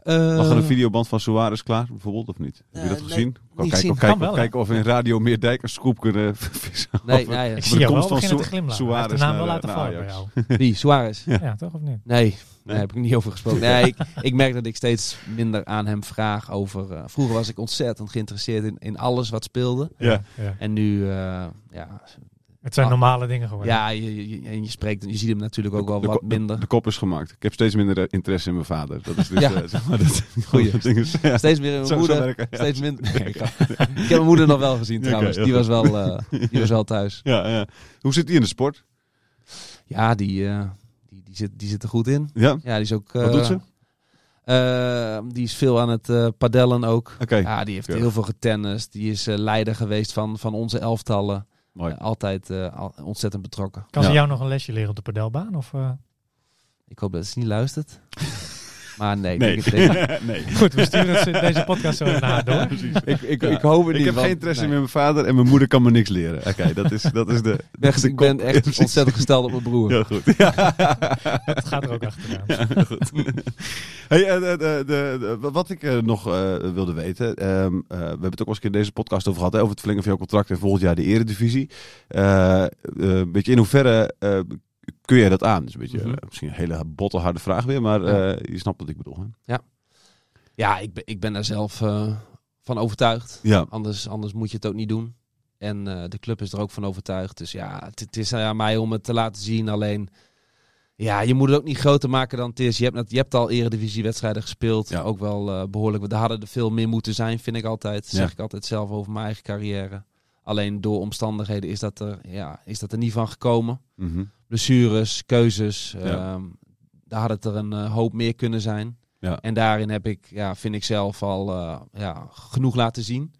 [SPEAKER 2] Uh,
[SPEAKER 1] Lag er een videoband van Suarez klaar, bijvoorbeeld, of niet? Heb je
[SPEAKER 2] Eh,
[SPEAKER 1] dat
[SPEAKER 2] nee,
[SPEAKER 1] gezien? Kan
[SPEAKER 2] niet
[SPEAKER 1] kijken,
[SPEAKER 2] gezien.
[SPEAKER 1] Of, kijken,
[SPEAKER 3] Kan wel, hè?
[SPEAKER 1] kijken of we in Radio Meerdijk een scoop kunnen [laughs] vissen.
[SPEAKER 2] Nee,
[SPEAKER 1] over- [laughs]
[SPEAKER 2] nee,
[SPEAKER 3] ik
[SPEAKER 2] eh,
[SPEAKER 3] zie jou
[SPEAKER 1] komst
[SPEAKER 3] wel
[SPEAKER 1] van
[SPEAKER 3] beginnen te
[SPEAKER 1] Su-
[SPEAKER 3] glimlachen. Hij heeft de
[SPEAKER 1] Suarez
[SPEAKER 3] naam wel
[SPEAKER 1] naar-
[SPEAKER 3] laten
[SPEAKER 1] naar
[SPEAKER 3] vallen bij
[SPEAKER 1] Ajax.
[SPEAKER 3] jou.
[SPEAKER 2] wie? Suarez?
[SPEAKER 1] Ja.
[SPEAKER 3] Ja, toch of niet?
[SPEAKER 2] Nee, daar heb ik niet
[SPEAKER 1] [laughs]
[SPEAKER 2] over gesproken. Nee, ik, ik merk dat ik steeds minder aan hem vraag over... eh, vroeger was ik ontzettend geïnteresseerd in, in alles wat speelde.
[SPEAKER 1] Ja.
[SPEAKER 3] Ja.
[SPEAKER 2] En nu, eh, ja,
[SPEAKER 3] Het zijn
[SPEAKER 2] Ah.
[SPEAKER 3] normale dingen geworden.
[SPEAKER 2] ja je, je- je- en je spreekt, je ziet hem natuurlijk ook wel
[SPEAKER 1] De
[SPEAKER 2] wat
[SPEAKER 1] ko- de-
[SPEAKER 2] minder.
[SPEAKER 1] De kop is gemaakt. Ik heb steeds minder eh, interesse in mijn vader. Dat is dus...
[SPEAKER 2] Ja.
[SPEAKER 1] eh, zeg maar,
[SPEAKER 2] [laughs]
[SPEAKER 1] dat, [laughs]
[SPEAKER 2] Goeie.
[SPEAKER 1] dat ding is- ja.
[SPEAKER 2] [laughs] Steeds meer
[SPEAKER 1] [laughs]
[SPEAKER 2] in
[SPEAKER 1] Zo-
[SPEAKER 2] mijn
[SPEAKER 1] zo
[SPEAKER 2] moeder,
[SPEAKER 1] werken, [laughs] ja.
[SPEAKER 2] steeds minder. Nee, ik, ga- ik heb mijn moeder nog wel
[SPEAKER 1] [laughs]
[SPEAKER 2] gezien
[SPEAKER 1] Oké,
[SPEAKER 2] trouwens.
[SPEAKER 1] heel
[SPEAKER 2] die, was
[SPEAKER 1] goed.
[SPEAKER 2] wel, eh,
[SPEAKER 1] [laughs]
[SPEAKER 2] die was wel thuis.
[SPEAKER 1] Ja, ja. Hoe zit hij in de sport?
[SPEAKER 2] Ja, die, eh, die, die, zit, die zit er goed in.
[SPEAKER 1] Ja? Wat
[SPEAKER 2] Ja, die is ook...
[SPEAKER 1] doet
[SPEAKER 2] eh,
[SPEAKER 1] ze? Oké.
[SPEAKER 2] eh, die is veel aan het eh, padellen ook. Ja, die heeft
[SPEAKER 1] keurig.
[SPEAKER 2] heel veel getennist. Die is eh, leider geweest van, van onze elftallen.
[SPEAKER 1] Mooi.
[SPEAKER 2] Eh, altijd eh, al- ontzettend betrokken.
[SPEAKER 3] Kan
[SPEAKER 1] Ja.
[SPEAKER 3] ze jou nog een lesje leren op de padelbaan? Of, eh?
[SPEAKER 1] [laughs]
[SPEAKER 2] Ik hoop dat ze niet luistert. Maar nee, ik
[SPEAKER 1] Nee.
[SPEAKER 2] denk het tegen.
[SPEAKER 1] nee.
[SPEAKER 3] Goed, we sturen het- deze podcast zo na
[SPEAKER 1] [laughs] Ja,
[SPEAKER 3] door.
[SPEAKER 1] precies.
[SPEAKER 2] Ik, ik,
[SPEAKER 1] Ja.
[SPEAKER 2] ik hoop het
[SPEAKER 1] [laughs] Ik
[SPEAKER 2] niet.
[SPEAKER 1] heb
[SPEAKER 2] want-
[SPEAKER 1] geen interesse
[SPEAKER 2] nee.
[SPEAKER 1] meer in mijn vader en mijn moeder kan me niks leren. Oké, dat, is, dat is de.
[SPEAKER 2] Ik ben echt- Ik
[SPEAKER 1] [laughs]
[SPEAKER 2] ben echt
[SPEAKER 1] precies.
[SPEAKER 2] ontzettend gesteld op mijn broer.
[SPEAKER 1] Heel goed. Ja.
[SPEAKER 2] [laughs]
[SPEAKER 3] Dat gaat er ook achteraan.
[SPEAKER 1] Ja, goed. [laughs] Hey, eh, de, de, de- de- wat ik eh, nog eh, wilde weten. ehm, eh, we hebben het ook wel eens een keer in deze podcast over gehad. Hè, over het verlengen van jouw contract en volgend jaar de eredivisie. Eh, eh, weet je, in hoeverre eh, kun jij dat aan? Dat is een beetje,
[SPEAKER 2] Mhm.
[SPEAKER 1] eh, misschien een hele botte harde vraag weer. Maar
[SPEAKER 2] Ja.
[SPEAKER 1] eh, je snapt wat ik bedoel. Hè?
[SPEAKER 2] Ja, ik ben, ik ben daar zelf eh, van overtuigd.
[SPEAKER 1] Ja.
[SPEAKER 2] Anders, anders moet je het ook niet doen. En eh, de club is er ook van overtuigd. Dus ja, het, het is aan mij om het te laten zien. Alleen, ja, je moet het ook niet groter maken dan het is. Je hebt, net- je hebt al eredivisiewedstrijden gespeeld.
[SPEAKER 1] Ja.
[SPEAKER 2] Ook wel eh, behoorlijk. Daar hadden er veel meer moeten zijn, vind ik altijd.
[SPEAKER 1] Ja.
[SPEAKER 2] Zeg ik altijd zelf over mijn eigen carrière. Alleen door omstandigheden is dat er, ja, is dat er niet van gekomen.
[SPEAKER 1] Mhm.
[SPEAKER 2] blessures, keuzes.
[SPEAKER 1] Ja.
[SPEAKER 2] ehm, daar had het er een eh, hoop meer kunnen zijn.
[SPEAKER 1] Ja.
[SPEAKER 2] En daarin heb ik, ja, vind ik zelf al eh, ja, genoeg laten zien.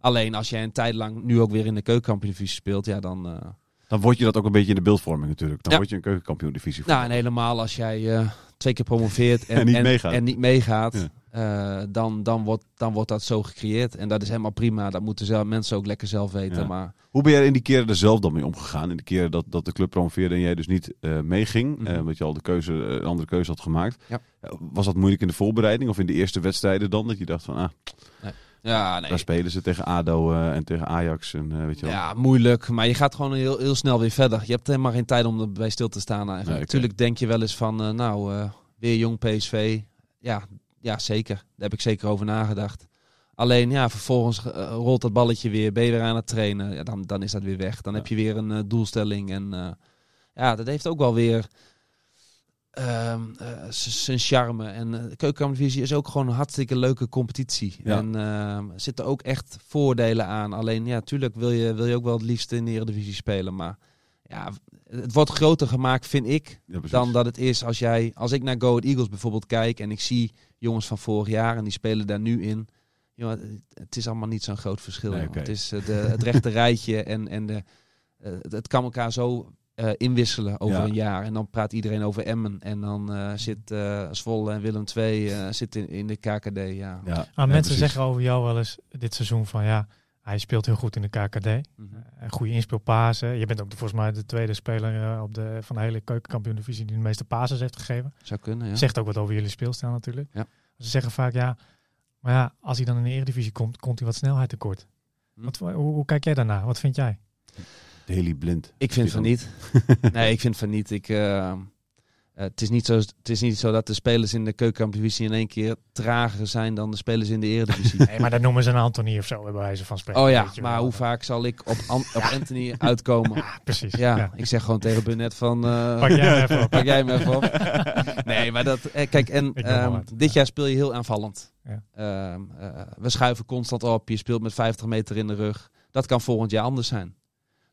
[SPEAKER 2] Alleen als jij een tijd lang nu ook weer in de keukenkampioen-divisie speelt, ja, dan.
[SPEAKER 1] [laughs]
[SPEAKER 2] eh,
[SPEAKER 1] Dan word je dat ook een beetje in de beeldvorming natuurlijk. Dan
[SPEAKER 2] Ja.
[SPEAKER 1] word je een keukenkampioen divisie.
[SPEAKER 2] nou, en helemaal als jij eh, twee keer
[SPEAKER 1] [laughs]
[SPEAKER 2] promoveert en,
[SPEAKER 1] En niet meegaat.
[SPEAKER 2] en niet meegaat,
[SPEAKER 1] Ja.
[SPEAKER 2] eh, dan, dan, wordt, dan wordt dat zo gecreëerd. En dat is helemaal prima. Dat moeten zelf, mensen ook lekker zelf weten.
[SPEAKER 1] Ja.
[SPEAKER 2] Maar
[SPEAKER 1] Hoe ben jij in die keren er zelf dan mee omgegaan? In de keren dat, dat de club promoveerde en jij dus niet eh, meeging,
[SPEAKER 2] Mhm.
[SPEAKER 1] eh, omdat je al de keuze, eh, een andere keuze had gemaakt.
[SPEAKER 2] Ja.
[SPEAKER 1] Eh, Was dat moeilijk in de voorbereiding of in de eerste wedstrijden dan? Dat je dacht van, ah,
[SPEAKER 2] ja, nee.
[SPEAKER 1] daar spelen ze tegen ADO eh, en tegen Ajax en eh, weet je wel.
[SPEAKER 2] Ja, moeilijk. Maar je gaat gewoon heel, heel snel weer verder. Je hebt helemaal geen tijd om erbij stil te staan eigenlijk.
[SPEAKER 1] Nee, oké.
[SPEAKER 2] Natuurlijk denk je wel eens van, eh, nou, eh, weer jong PSV. Ja, ja, zeker. Daar heb ik zeker over nagedacht. Alleen ja, vervolgens eh, rolt dat balletje weer. Ben je weer aan het trainen? Ja, dan, dan is dat weer weg. Dan
[SPEAKER 1] Ja.
[SPEAKER 2] heb je weer een eh, doelstelling. En eh, ja, dat heeft ook wel weer ehm, eh, z- zijn charme. En eh, de keukenkampioenvisie is ook gewoon een hartstikke leuke competitie.
[SPEAKER 1] Ja.
[SPEAKER 2] En ehm, er zitten ook echt voordelen aan. Alleen ja, tuurlijk wil je, wil je ook wel het liefst in de Eredivisie spelen. Maar ja, het wordt groter gemaakt, vind ik,
[SPEAKER 1] Ja, precies.
[SPEAKER 2] dan dat het is als jij... Als ik naar Go Ahead Eagles bijvoorbeeld kijk en ik zie jongens van vorig jaar en die spelen daar nu in. Jongen, het- het is allemaal niet zo'n groot verschil.
[SPEAKER 1] Nee,
[SPEAKER 2] jongen.
[SPEAKER 1] oké.
[SPEAKER 2] Het is eh, de, het
[SPEAKER 1] [laughs]
[SPEAKER 2] rechte rijtje en, en de, eh, het, het kan elkaar zo eh, inwisselen over
[SPEAKER 1] Ja.
[SPEAKER 2] een jaar. En dan praat iedereen over Emmen. En dan eh, zit eh, Zwolle en Willem II eh, zit in, in de KKD. Ja.
[SPEAKER 1] Ja.
[SPEAKER 3] Maar
[SPEAKER 1] Ja,
[SPEAKER 3] Ah, mensen
[SPEAKER 1] precies.
[SPEAKER 3] zeggen over jou wel eens dit seizoen van ja, hij speelt heel goed in de KKD.
[SPEAKER 2] Mhm.
[SPEAKER 3] Een Eh, goede inspeelpasen. Je bent ook volgens mij de tweede speler eh, op de, van de hele keukenkampioen-divisie die de meeste pases heeft gegeven.
[SPEAKER 2] Zou kunnen, ja.
[SPEAKER 3] Zegt ook wat over jullie speelstijl natuurlijk.
[SPEAKER 2] Ja.
[SPEAKER 3] Ze zeggen vaak ja, maar ja, als hij dan in de Eredivisie komt, komt hij wat snelheid tekort.
[SPEAKER 2] Hm.
[SPEAKER 3] Wat, hoe, hoe kijk jij daarna? Wat vind jij?
[SPEAKER 1] Daily blind.
[SPEAKER 2] Ik vind van niet.
[SPEAKER 3] [laughs]
[SPEAKER 2] nee, ik vind van niet. Ik, eh, eh, het, is niet zo, het is niet zo dat de spelers in de keukenkampioen in één keer trager zijn dan de spelers in de Eredivisie.
[SPEAKER 3] [laughs] Nee, maar dat noemen ze een Anthony of zo, bij wijze van spreken.
[SPEAKER 2] Oh ja,
[SPEAKER 3] weet je wel.
[SPEAKER 2] maar hoe vaak zal ik op, An- op Anthony uitkomen?
[SPEAKER 3] Ah, Precies.
[SPEAKER 2] Ja,
[SPEAKER 3] [laughs] Ja.
[SPEAKER 2] ik zeg gewoon tegen Burnett van... eh,
[SPEAKER 3] Pak jij hem even op.
[SPEAKER 2] pak jij
[SPEAKER 1] [laughs]
[SPEAKER 2] hem even op. Nee, maar dat... eh, Kijk, en
[SPEAKER 3] Ik noem maar
[SPEAKER 2] ehm,
[SPEAKER 3] wat.
[SPEAKER 2] dit jaar speel je heel aanvallend.
[SPEAKER 3] Ja.
[SPEAKER 2] Ehm, eh, we schuiven constant op. Je speelt met 50 meter in de rug. Dat kan volgend jaar anders zijn.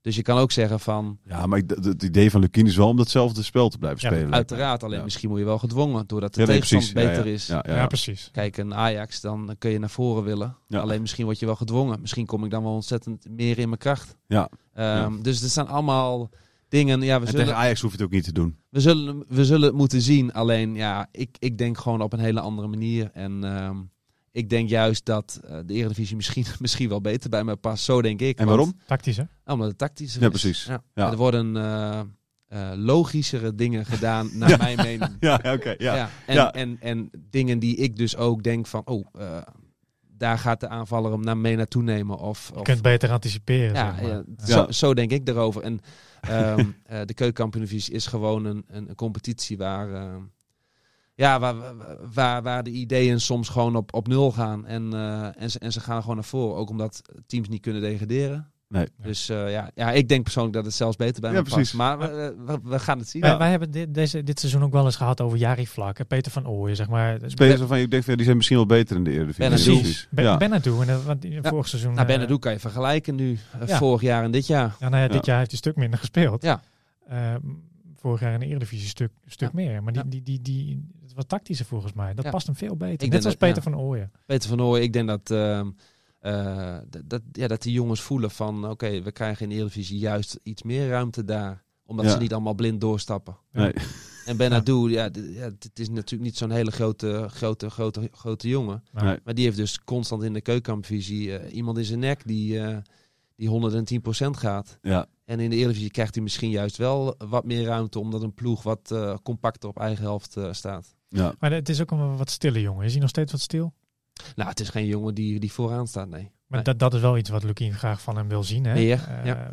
[SPEAKER 2] Dus je kan ook zeggen van...
[SPEAKER 1] Ja, maar ik, d- d- het idee van Lukien is wel om datzelfde spel te blijven
[SPEAKER 3] Ja,
[SPEAKER 1] spelen.
[SPEAKER 2] Uiteraard, alleen
[SPEAKER 1] Ja.
[SPEAKER 2] misschien moet je wel gedwongen... doordat de
[SPEAKER 1] Ja, nee,
[SPEAKER 2] tegenstand
[SPEAKER 1] precies. Ja, ja.
[SPEAKER 2] beter is.
[SPEAKER 1] Ja, ja,
[SPEAKER 3] Ja,
[SPEAKER 1] ja.
[SPEAKER 3] precies.
[SPEAKER 2] Kijk, een Ajax, dan kun je naar voren willen.
[SPEAKER 1] Ja.
[SPEAKER 2] Alleen misschien word je wel gedwongen. Misschien kom ik dan wel ontzettend meer in mijn kracht.
[SPEAKER 1] Ja.
[SPEAKER 2] Ehm, Dus het zijn allemaal dingen... Ja, we
[SPEAKER 1] En
[SPEAKER 2] zullen,
[SPEAKER 1] tegen Ajax hoef je het ook niet te doen.
[SPEAKER 2] we zullen, we zullen het moeten zien. Alleen ja, ik, ik denk gewoon op een hele andere manier. En ehm, ik denk juist dat eh, de Eredivisie misschien, [laughs] misschien wel beter bij mij past. Zo denk ik.
[SPEAKER 1] En
[SPEAKER 2] Want-
[SPEAKER 1] waarom?
[SPEAKER 3] Tactisch, hè?
[SPEAKER 2] Ah, Omdat het tactischer
[SPEAKER 1] Ja,
[SPEAKER 2] is.
[SPEAKER 1] precies.
[SPEAKER 2] Ja.
[SPEAKER 1] Ja.
[SPEAKER 2] Er worden eh, eh, logischere dingen
[SPEAKER 1] [laughs]
[SPEAKER 2] gedaan, naar
[SPEAKER 1] Ja.
[SPEAKER 2] mijn mening.
[SPEAKER 1] [laughs] Ja, oké. ja.
[SPEAKER 2] En,
[SPEAKER 1] Ja.
[SPEAKER 2] En, en dingen die ik dus ook denk van... Oh, eh, daar gaat de aanvaller hem naar mee naartoe nemen. Of,
[SPEAKER 3] Je
[SPEAKER 2] of
[SPEAKER 3] kunt beter anticiperen.
[SPEAKER 2] ja,
[SPEAKER 3] zeg maar.
[SPEAKER 2] ja,
[SPEAKER 3] Ja.
[SPEAKER 2] Zo, zo denk ik daarover. En ehm [laughs] eh de keukenkampioenvisie is gewoon een, een, een competitie waar, ehm, ja, waar, waar, waar de ideeën soms gewoon op, op nul gaan. En, eh, en, ze, en ze gaan gewoon naar voren. Ook omdat teams niet kunnen degraderen.
[SPEAKER 1] Nee.
[SPEAKER 2] Dus eh, ja, ja, ik denk persoonlijk dat het zelfs beter bij
[SPEAKER 1] Ja,
[SPEAKER 2] me
[SPEAKER 1] precies.
[SPEAKER 2] past. Maar we, we, we gaan het zien.
[SPEAKER 3] Wij, wij hebben dit, deze, dit seizoen ook wel eens gehad over Jari Vlak. hè. Peter van Ooyen, zeg maar. Dus
[SPEAKER 1] Spelers waarvan je denkt, van, ja, die zijn misschien wel beter in de Eredivisie.
[SPEAKER 2] Benadou.
[SPEAKER 1] Precies.
[SPEAKER 3] Ben,
[SPEAKER 1] Ja.
[SPEAKER 3] Benadou, en dat- want die- vorig seizoen...
[SPEAKER 2] Nou,
[SPEAKER 3] eh,
[SPEAKER 2] Benadou kan je vergelijken nu. eh,
[SPEAKER 3] Ja.
[SPEAKER 2] Vorig jaar en dit jaar.
[SPEAKER 3] Ja, nou ja, dit
[SPEAKER 1] Ja.
[SPEAKER 3] jaar heeft hij een stuk minder gespeeld.
[SPEAKER 2] Ja.
[SPEAKER 3] Eh, vorig jaar in de Eredivisie een stuk, stuk meer. Maar die,
[SPEAKER 2] Ja.
[SPEAKER 3] die, die, die, het was tactischer volgens mij. Dat
[SPEAKER 2] Ja.
[SPEAKER 3] past hem veel beter.
[SPEAKER 2] denk
[SPEAKER 3] Net als
[SPEAKER 2] dat-
[SPEAKER 3] Peter van Ooyen.
[SPEAKER 2] Peter van Ooy, ik denk dat, ehm, eh, dat- dat, ja, dat die jongens voelen van... oké, we krijgen in de Eredivisie juist iets meer ruimte daar. Omdat
[SPEAKER 1] Ja.
[SPEAKER 2] ze niet allemaal blind doorstappen.
[SPEAKER 1] Nee.
[SPEAKER 2] [laughs] En Benadou, ja, d- ja, d- het is natuurlijk niet zo'n hele grote, grote, grote, grote jongen.
[SPEAKER 1] Nee.
[SPEAKER 2] Maar die heeft dus constant in de keukenkampvisie eh, iemand in zijn nek die, eh, die 110% gaat.
[SPEAKER 1] Ja.
[SPEAKER 2] En in de Eredivisie krijgt hij misschien juist wel wat meer ruimte, omdat een ploeg wat eh, compacter op eigen helft eh, staat.
[SPEAKER 1] Ja.
[SPEAKER 3] Maar het is ook een wat stille jongen. Is hij nog steeds wat stil?
[SPEAKER 2] Nou, het is geen jongen die, die vooraan staat, nee.
[SPEAKER 3] Maar
[SPEAKER 2] Nee.
[SPEAKER 3] dat, dat is wel iets wat Lukien graag van hem wil zien. Hè?
[SPEAKER 2] Ja,
[SPEAKER 3] Eh,
[SPEAKER 2] ja.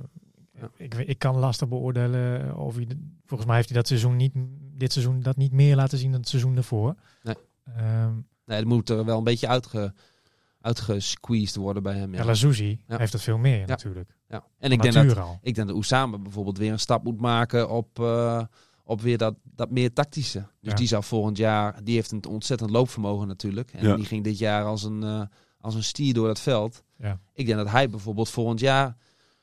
[SPEAKER 3] Ik, ik kan lastig beoordelen of hij... de- Volgens mij heeft hij dat seizoen niet, dit seizoen dat niet meer laten zien dan het seizoen daarvoor.
[SPEAKER 2] Nee.
[SPEAKER 3] Ehm,
[SPEAKER 2] Nee, er moet er wel een beetje uitge, uitgesqueezed worden bij hem. Ja.
[SPEAKER 3] ja. Lazouzi
[SPEAKER 2] Ja.
[SPEAKER 3] heeft dat veel meer natuurlijk.
[SPEAKER 2] Ja. En ik
[SPEAKER 3] Van
[SPEAKER 2] denk, dat,
[SPEAKER 3] nature al.
[SPEAKER 2] ik denk dat Oesama bijvoorbeeld weer een stap moet maken op, eh, op weer dat, dat meer tactische. Dus
[SPEAKER 3] Ja.
[SPEAKER 2] die zou volgend jaar, die heeft een ontzettend loopvermogen natuurlijk. En
[SPEAKER 1] Ja.
[SPEAKER 2] die ging dit jaar als een, eh, als een stier door dat veld.
[SPEAKER 3] Ja.
[SPEAKER 2] Ik denk dat hij bijvoorbeeld volgend jaar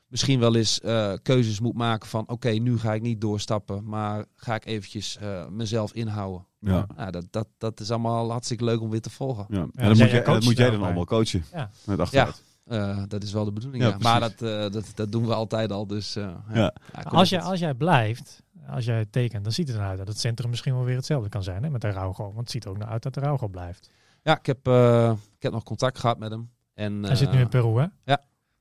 [SPEAKER 2] misschien wel eens eh, keuzes moet maken van oké, nu ga ik niet doorstappen, maar ga ik eventjes eh, mezelf inhouden.
[SPEAKER 1] Ja.
[SPEAKER 2] Nou, dat, dat, dat is allemaal hartstikke leuk om weer te volgen.
[SPEAKER 1] Ja. En
[SPEAKER 3] jij-
[SPEAKER 1] dat,
[SPEAKER 3] jij
[SPEAKER 1] moet, jij,
[SPEAKER 3] coacht
[SPEAKER 1] dat moet jij
[SPEAKER 3] daar
[SPEAKER 1] dan
[SPEAKER 3] ook
[SPEAKER 1] allemaal coachen.
[SPEAKER 3] Ja.
[SPEAKER 1] Met achteruit.
[SPEAKER 2] Eh, dat is wel de bedoeling.
[SPEAKER 1] Ja,
[SPEAKER 2] Ja,
[SPEAKER 1] precies.
[SPEAKER 2] Maar dat, eh, dat, dat doen we altijd al. Dus, eh, ja.
[SPEAKER 1] Ja.
[SPEAKER 2] Ja, kom
[SPEAKER 3] Als,
[SPEAKER 2] op
[SPEAKER 3] jij, als jij blijft, als jij het tekent, dan ziet het eruit dat het centrum misschien wel weer hetzelfde kan zijn. Hè? Met Araujo. Want het ziet er ook naar uit dat Araujo blijft.
[SPEAKER 2] Ja, ik heb, eh, ik heb nog contact gehad met hem. En, eh,
[SPEAKER 3] Hij zit nu in Peru, hè?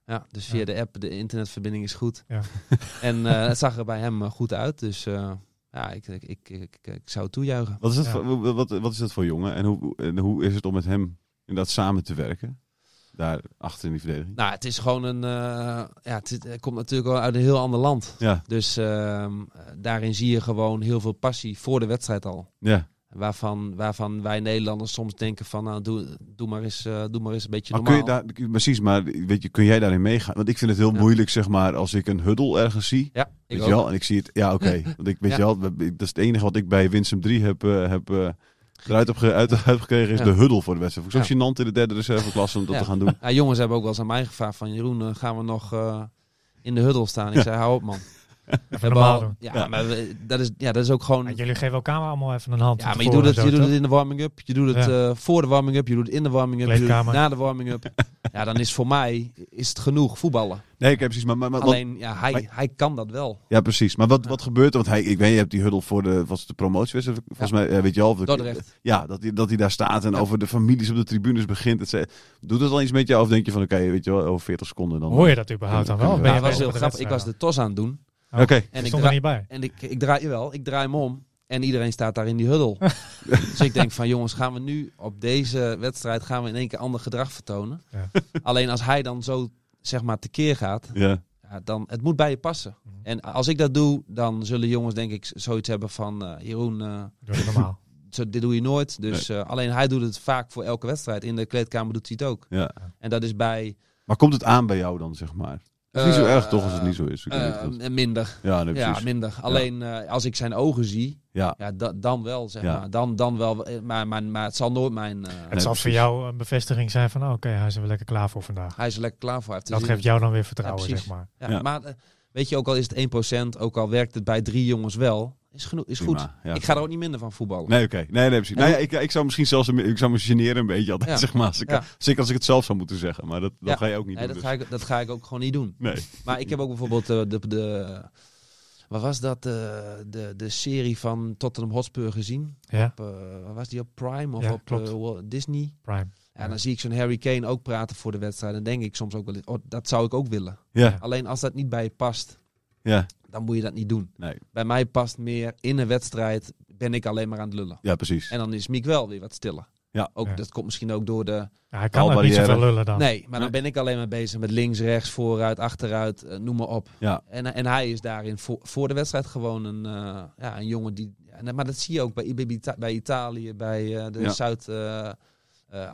[SPEAKER 2] Ja, dus via
[SPEAKER 3] Ja.
[SPEAKER 2] de app, de internetverbinding is goed.
[SPEAKER 3] Ja.
[SPEAKER 2] [laughs] en eh, het zag er bij hem eh, goed uit. Dus eh, ja, ik, ik, ik, ik, ik zou het toejuichen.
[SPEAKER 1] Wat, is dat
[SPEAKER 3] Ja.
[SPEAKER 1] voor, wat, wat is dat voor jongen? En hoe, en hoe is het om met hem inderdaad samen te werken? Daar achter in die verdediging.
[SPEAKER 2] Nou, het is gewoon een... eh, ja, het, is- het komt natuurlijk wel uit een heel ander land.
[SPEAKER 1] Ja.
[SPEAKER 2] Dus ehm, eh, daarin zie je gewoon heel veel passie voor de wedstrijd al.
[SPEAKER 1] Ja.
[SPEAKER 2] Waarvan, waarvan wij Nederlanders soms denken van... Nou, doe, doe, maar eens, eh, doe maar eens een beetje
[SPEAKER 1] Maar
[SPEAKER 2] normaal.
[SPEAKER 1] kun je daar, precies, maar weet je, kun jij daarin meegaan? Want ik vind het heel
[SPEAKER 2] Ja.
[SPEAKER 1] moeilijk, zeg maar, als ik een huddle ergens zie.
[SPEAKER 2] Ja, ik
[SPEAKER 1] Weet
[SPEAKER 2] ook.
[SPEAKER 1] je wel? En ik zie het, ja, oké. Want ik weet
[SPEAKER 2] Ja.
[SPEAKER 1] je wel, dat is het enige wat ik bij Winsum 3 heb, eh, heb eh, eruit heb ge- uit, uitgekregen, is
[SPEAKER 2] Ja.
[SPEAKER 1] de huddle voor de wedstrijd. Vond ik zo
[SPEAKER 2] Ja.
[SPEAKER 1] gênant in de derde reserveklasse om dat
[SPEAKER 2] Ja.
[SPEAKER 1] te gaan doen.
[SPEAKER 2] Ja, jongens hebben ook wel eens aan mij gevraagd van Jeroen, eh, gaan we nog eh, in de huddle staan? Ik zei, hou
[SPEAKER 3] [laughs]
[SPEAKER 2] op man. We hebben
[SPEAKER 3] normaal
[SPEAKER 2] al-
[SPEAKER 3] doen.
[SPEAKER 2] Ja,
[SPEAKER 1] Ja.
[SPEAKER 2] maar we- dat, is, ja, dat is ook gewoon...
[SPEAKER 3] Ja, jullie geven elkaar allemaal even een hand.
[SPEAKER 2] ja,
[SPEAKER 3] van
[SPEAKER 2] maar je doet, het,
[SPEAKER 3] tevoren
[SPEAKER 2] je doet
[SPEAKER 3] en zo,
[SPEAKER 2] het in de warming-up, je doet het eh, voor de warming-up, je doet het in de warming-up, je doet het
[SPEAKER 3] Kleedkamer.
[SPEAKER 2] na de
[SPEAKER 3] [laughs]
[SPEAKER 2] warming-up. ja, dan is voor mij is het genoeg voetballen.
[SPEAKER 1] Nee, ik heb precies, maar, maar, maar- want-
[SPEAKER 2] Alleen, ja, hij,
[SPEAKER 1] maar-
[SPEAKER 2] hij kan dat wel.
[SPEAKER 1] ja, precies. Maar wat, wat gebeurt er? Want hij, ik weet, je hebt die huddle voor de, was het de promotiewedstrijd, volgens mij, eh, weet je wel. of de-
[SPEAKER 2] Dordrecht.
[SPEAKER 1] Ja, dat hij, dat hij daar staat en over de families op de tribunes begint. Het, ze- doet dat al iets met jou? Of denk je van, oké, weet je wel, over 40 seconden dan...
[SPEAKER 3] Hoor je dat überhaupt dan wel?
[SPEAKER 1] Ja,
[SPEAKER 3] Of ben
[SPEAKER 2] Maar
[SPEAKER 3] je
[SPEAKER 2] het was
[SPEAKER 3] bezig
[SPEAKER 2] heel
[SPEAKER 3] met
[SPEAKER 2] grappig, ik was
[SPEAKER 3] wedstrijd
[SPEAKER 2] de tos aan het doen.
[SPEAKER 3] dan?
[SPEAKER 1] Oké.
[SPEAKER 3] Ik
[SPEAKER 2] En ik,
[SPEAKER 3] stond
[SPEAKER 2] dra-
[SPEAKER 3] er niet bij.
[SPEAKER 2] en ik, ik draai wel, ik draai hem om. En iedereen staat daar in die huddle. dus ik denk van jongens, gaan we nu op deze wedstrijd gaan we in één keer ander gedrag vertonen.
[SPEAKER 3] Ja.
[SPEAKER 2] [laughs] Alleen als hij dan zo zeg maar tekeer gaat,
[SPEAKER 1] Ja,
[SPEAKER 2] ja, dan het moet bij je passen. En als ik dat doe, dan zullen jongens denk ik z- zoiets hebben van eh, Jeroen, eh,
[SPEAKER 3] Doe het
[SPEAKER 2] [laughs]
[SPEAKER 3] normaal.
[SPEAKER 2] zo, dit doe je nooit. Dus eh, alleen hij doet het vaak voor elke wedstrijd. In de kleedkamer doet hij het ook.
[SPEAKER 1] ja.
[SPEAKER 2] En dat is bij
[SPEAKER 1] Maar komt het aan bij jou dan, zeg maar? Het is niet zo
[SPEAKER 2] eh,
[SPEAKER 1] erg toch als het niet zo is. Ik weet het
[SPEAKER 2] eh,
[SPEAKER 1] goed.
[SPEAKER 2] minder.
[SPEAKER 1] ja, nee,
[SPEAKER 2] Ja,
[SPEAKER 1] precies.
[SPEAKER 2] minder. Alleen eh, als ik zijn ogen zie,
[SPEAKER 1] Ja,
[SPEAKER 2] Ja, da- dan wel, zeg
[SPEAKER 1] Ja.
[SPEAKER 2] maar. Dan, dan wel, eh, maar, maar, maar het zal nooit mijn... eh,
[SPEAKER 3] Het zal voor
[SPEAKER 1] precies.
[SPEAKER 3] jou een bevestiging zijn van, oh, oké, hij is er wel lekker klaar voor vandaag.
[SPEAKER 2] Hij is er lekker klaar voor. Hij heeft er
[SPEAKER 3] Dat
[SPEAKER 2] zin
[SPEAKER 3] geeft
[SPEAKER 2] in.
[SPEAKER 3] jou dan weer vertrouwen,
[SPEAKER 2] precies.
[SPEAKER 3] zeg maar.
[SPEAKER 2] Ja,
[SPEAKER 1] Ja.
[SPEAKER 2] Maar eh, weet je, ook al is het 1%, ook al werkt het bij drie jongens wel, is, genoeg, is
[SPEAKER 1] prima.
[SPEAKER 2] goed.
[SPEAKER 1] Ja.
[SPEAKER 2] Ik ga er ook niet minder van voetballen.
[SPEAKER 1] Nee, oké. Nee, nee, precies.
[SPEAKER 2] En
[SPEAKER 1] Nou ja, ik, ik zou misschien zelfs een- ik zou me generen een beetje altijd,
[SPEAKER 2] Ja.
[SPEAKER 1] [laughs] zeg maar. Als ik,
[SPEAKER 2] Ja.
[SPEAKER 1] Zeker als ik het zelf zou moeten zeggen. Maar dat, dat
[SPEAKER 2] Ja.
[SPEAKER 1] ga je ook niet
[SPEAKER 2] Nee,
[SPEAKER 1] doen.
[SPEAKER 2] dat, ga ik, dat ga ik ook gewoon niet doen.
[SPEAKER 1] dus. Nee.
[SPEAKER 2] Maar ik heb ook bijvoorbeeld eh, de... de wat was dat? De, de, de serie van Tottenham Hotspur gezien.
[SPEAKER 3] Ja,
[SPEAKER 2] Op, eh, wat was die op Prime of
[SPEAKER 3] Ja,
[SPEAKER 2] op
[SPEAKER 3] klopt.
[SPEAKER 2] eh, Walt Disney?
[SPEAKER 3] prime.
[SPEAKER 2] Ja, dan zie ik zo'n Harry Kane ook praten voor de wedstrijd. Dan denk ik soms ook wel eens, oh, dat zou ik ook willen.
[SPEAKER 1] Ja,
[SPEAKER 2] Alleen als dat niet bij je past,
[SPEAKER 1] ja,
[SPEAKER 2] dan moet je dat niet doen.
[SPEAKER 1] Nee.
[SPEAKER 2] Bij mij past meer in een wedstrijd ben ik alleen maar aan het lullen.
[SPEAKER 1] ja, precies.
[SPEAKER 2] En dan is Miek wel weer wat stiller.
[SPEAKER 1] Ja.
[SPEAKER 2] Ook,
[SPEAKER 3] Ja.
[SPEAKER 2] Dat komt misschien ook door de...
[SPEAKER 3] Ja, hij kan ook niet
[SPEAKER 1] Balbarrière.
[SPEAKER 3] zoveel lullen dan.
[SPEAKER 2] Nee, maar dan ben ik alleen maar bezig met links, rechts, vooruit, achteruit, eh, noem maar op.
[SPEAKER 1] Ja.
[SPEAKER 2] En, en hij is daarin voor, voor de wedstrijd gewoon een, eh, ja, een jongen die... en- Maar dat zie je ook bij, bij, Ita- bij Italië, bij eh, de
[SPEAKER 1] Ja.
[SPEAKER 2] Zuid... eh, eh,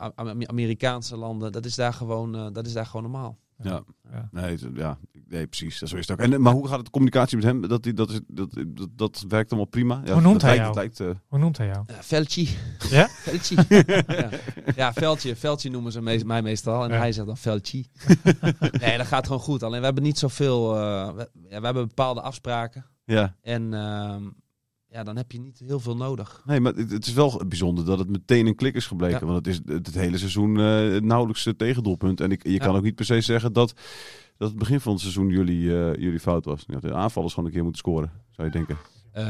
[SPEAKER 2] Am- Am- Amerikaanse landen, dat is daar gewoon, eh, dat is daar gewoon normaal.
[SPEAKER 1] Ja.
[SPEAKER 3] Ja.
[SPEAKER 1] Nee, het- ja, nee, precies. Dat zo is het ook. En, maar hoe gaat het communicatie met hem? Dat, die- dat, is, dat, dat, dat werkt allemaal prima. Ja,
[SPEAKER 3] Hoe noemt
[SPEAKER 1] dat
[SPEAKER 3] hij
[SPEAKER 1] lijkt,
[SPEAKER 3] jou?
[SPEAKER 1] dat lijkt, eh,
[SPEAKER 3] Hoe noemt hij jou?
[SPEAKER 2] Eh Veltje.
[SPEAKER 3] Ja?
[SPEAKER 2] Veltje. ja. ja, Veldje. Veldje noemen ze mees- mij meestal. En
[SPEAKER 3] Ja.
[SPEAKER 2] hij zegt dan Veldje. nee, dat gaat gewoon goed. Alleen we hebben niet zoveel... eh, we, ja, we hebben bepaalde afspraken.
[SPEAKER 1] ja.
[SPEAKER 2] En ehm, ja, dan heb je niet heel veel nodig.
[SPEAKER 1] Nee, maar het, het is wel bijzonder dat het meteen een klik is gebleken.
[SPEAKER 2] Ja.
[SPEAKER 1] Want het is het, het hele seizoen eh nauwelijks het tegendoelpunt. En ik, je
[SPEAKER 2] Ja.
[SPEAKER 1] kan ook niet per se zeggen dat, dat het begin van het seizoen jullie, eh, jullie fout was. Ja, De aanvallers gewoon een keer moeten scoren, zou je denken.
[SPEAKER 2] Eh,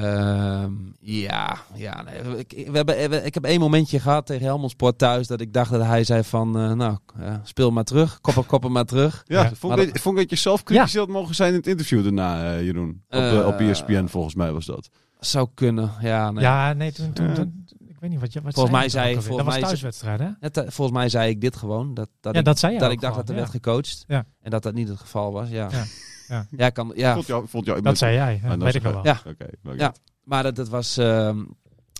[SPEAKER 2] Ehm, ja, ja nee, ik, ik- we hebben, we- ik heb één momentje gehad tegen Helmond Sport thuis dat ik dacht dat hij zei van, eh, nou, eh, speel maar terug, koppen, koppen maar terug.
[SPEAKER 1] Ja,
[SPEAKER 3] Ja.
[SPEAKER 1] Vond,
[SPEAKER 2] Maar
[SPEAKER 1] ik, dat... vond ik dat je zelf kritisch had mogen zijn in het interview daarna, eh, Jeroen. Op, eh,
[SPEAKER 2] Eh,
[SPEAKER 1] op ESPN volgens mij was dat.
[SPEAKER 2] Zou kunnen, ja. [laughs] Nee.
[SPEAKER 3] Ja, nee, toen, toen,
[SPEAKER 1] Ja.
[SPEAKER 3] toen- ik weet niet wat je wat
[SPEAKER 2] Volgens mij
[SPEAKER 3] je toen
[SPEAKER 2] zei-
[SPEAKER 3] ook alweer?
[SPEAKER 2] volgens
[SPEAKER 3] dat was
[SPEAKER 2] mij
[SPEAKER 3] thuiswedstrijd, hè?
[SPEAKER 2] Net, eh, volgens mij zei ik dit gewoon, dat, dat,
[SPEAKER 3] Ja,
[SPEAKER 2] ik,
[SPEAKER 3] dat zei je
[SPEAKER 2] dat
[SPEAKER 3] ook
[SPEAKER 2] ik dacht
[SPEAKER 3] gewoon,
[SPEAKER 2] dat er
[SPEAKER 3] ja.
[SPEAKER 2] werd gecoacht
[SPEAKER 3] Ja.
[SPEAKER 2] en dat dat niet het geval was, ja.
[SPEAKER 3] Ja. Ja.
[SPEAKER 2] [laughs] Ja, kan, ja.
[SPEAKER 1] Vond jou, vond jou,
[SPEAKER 3] Dat zei jij, hè?
[SPEAKER 1] Ah, dat
[SPEAKER 3] weet
[SPEAKER 1] zei-
[SPEAKER 3] ik nog wel.
[SPEAKER 2] Ja.
[SPEAKER 1] Oké, maakt
[SPEAKER 2] Ja. Maar dat, dat, was, ehm,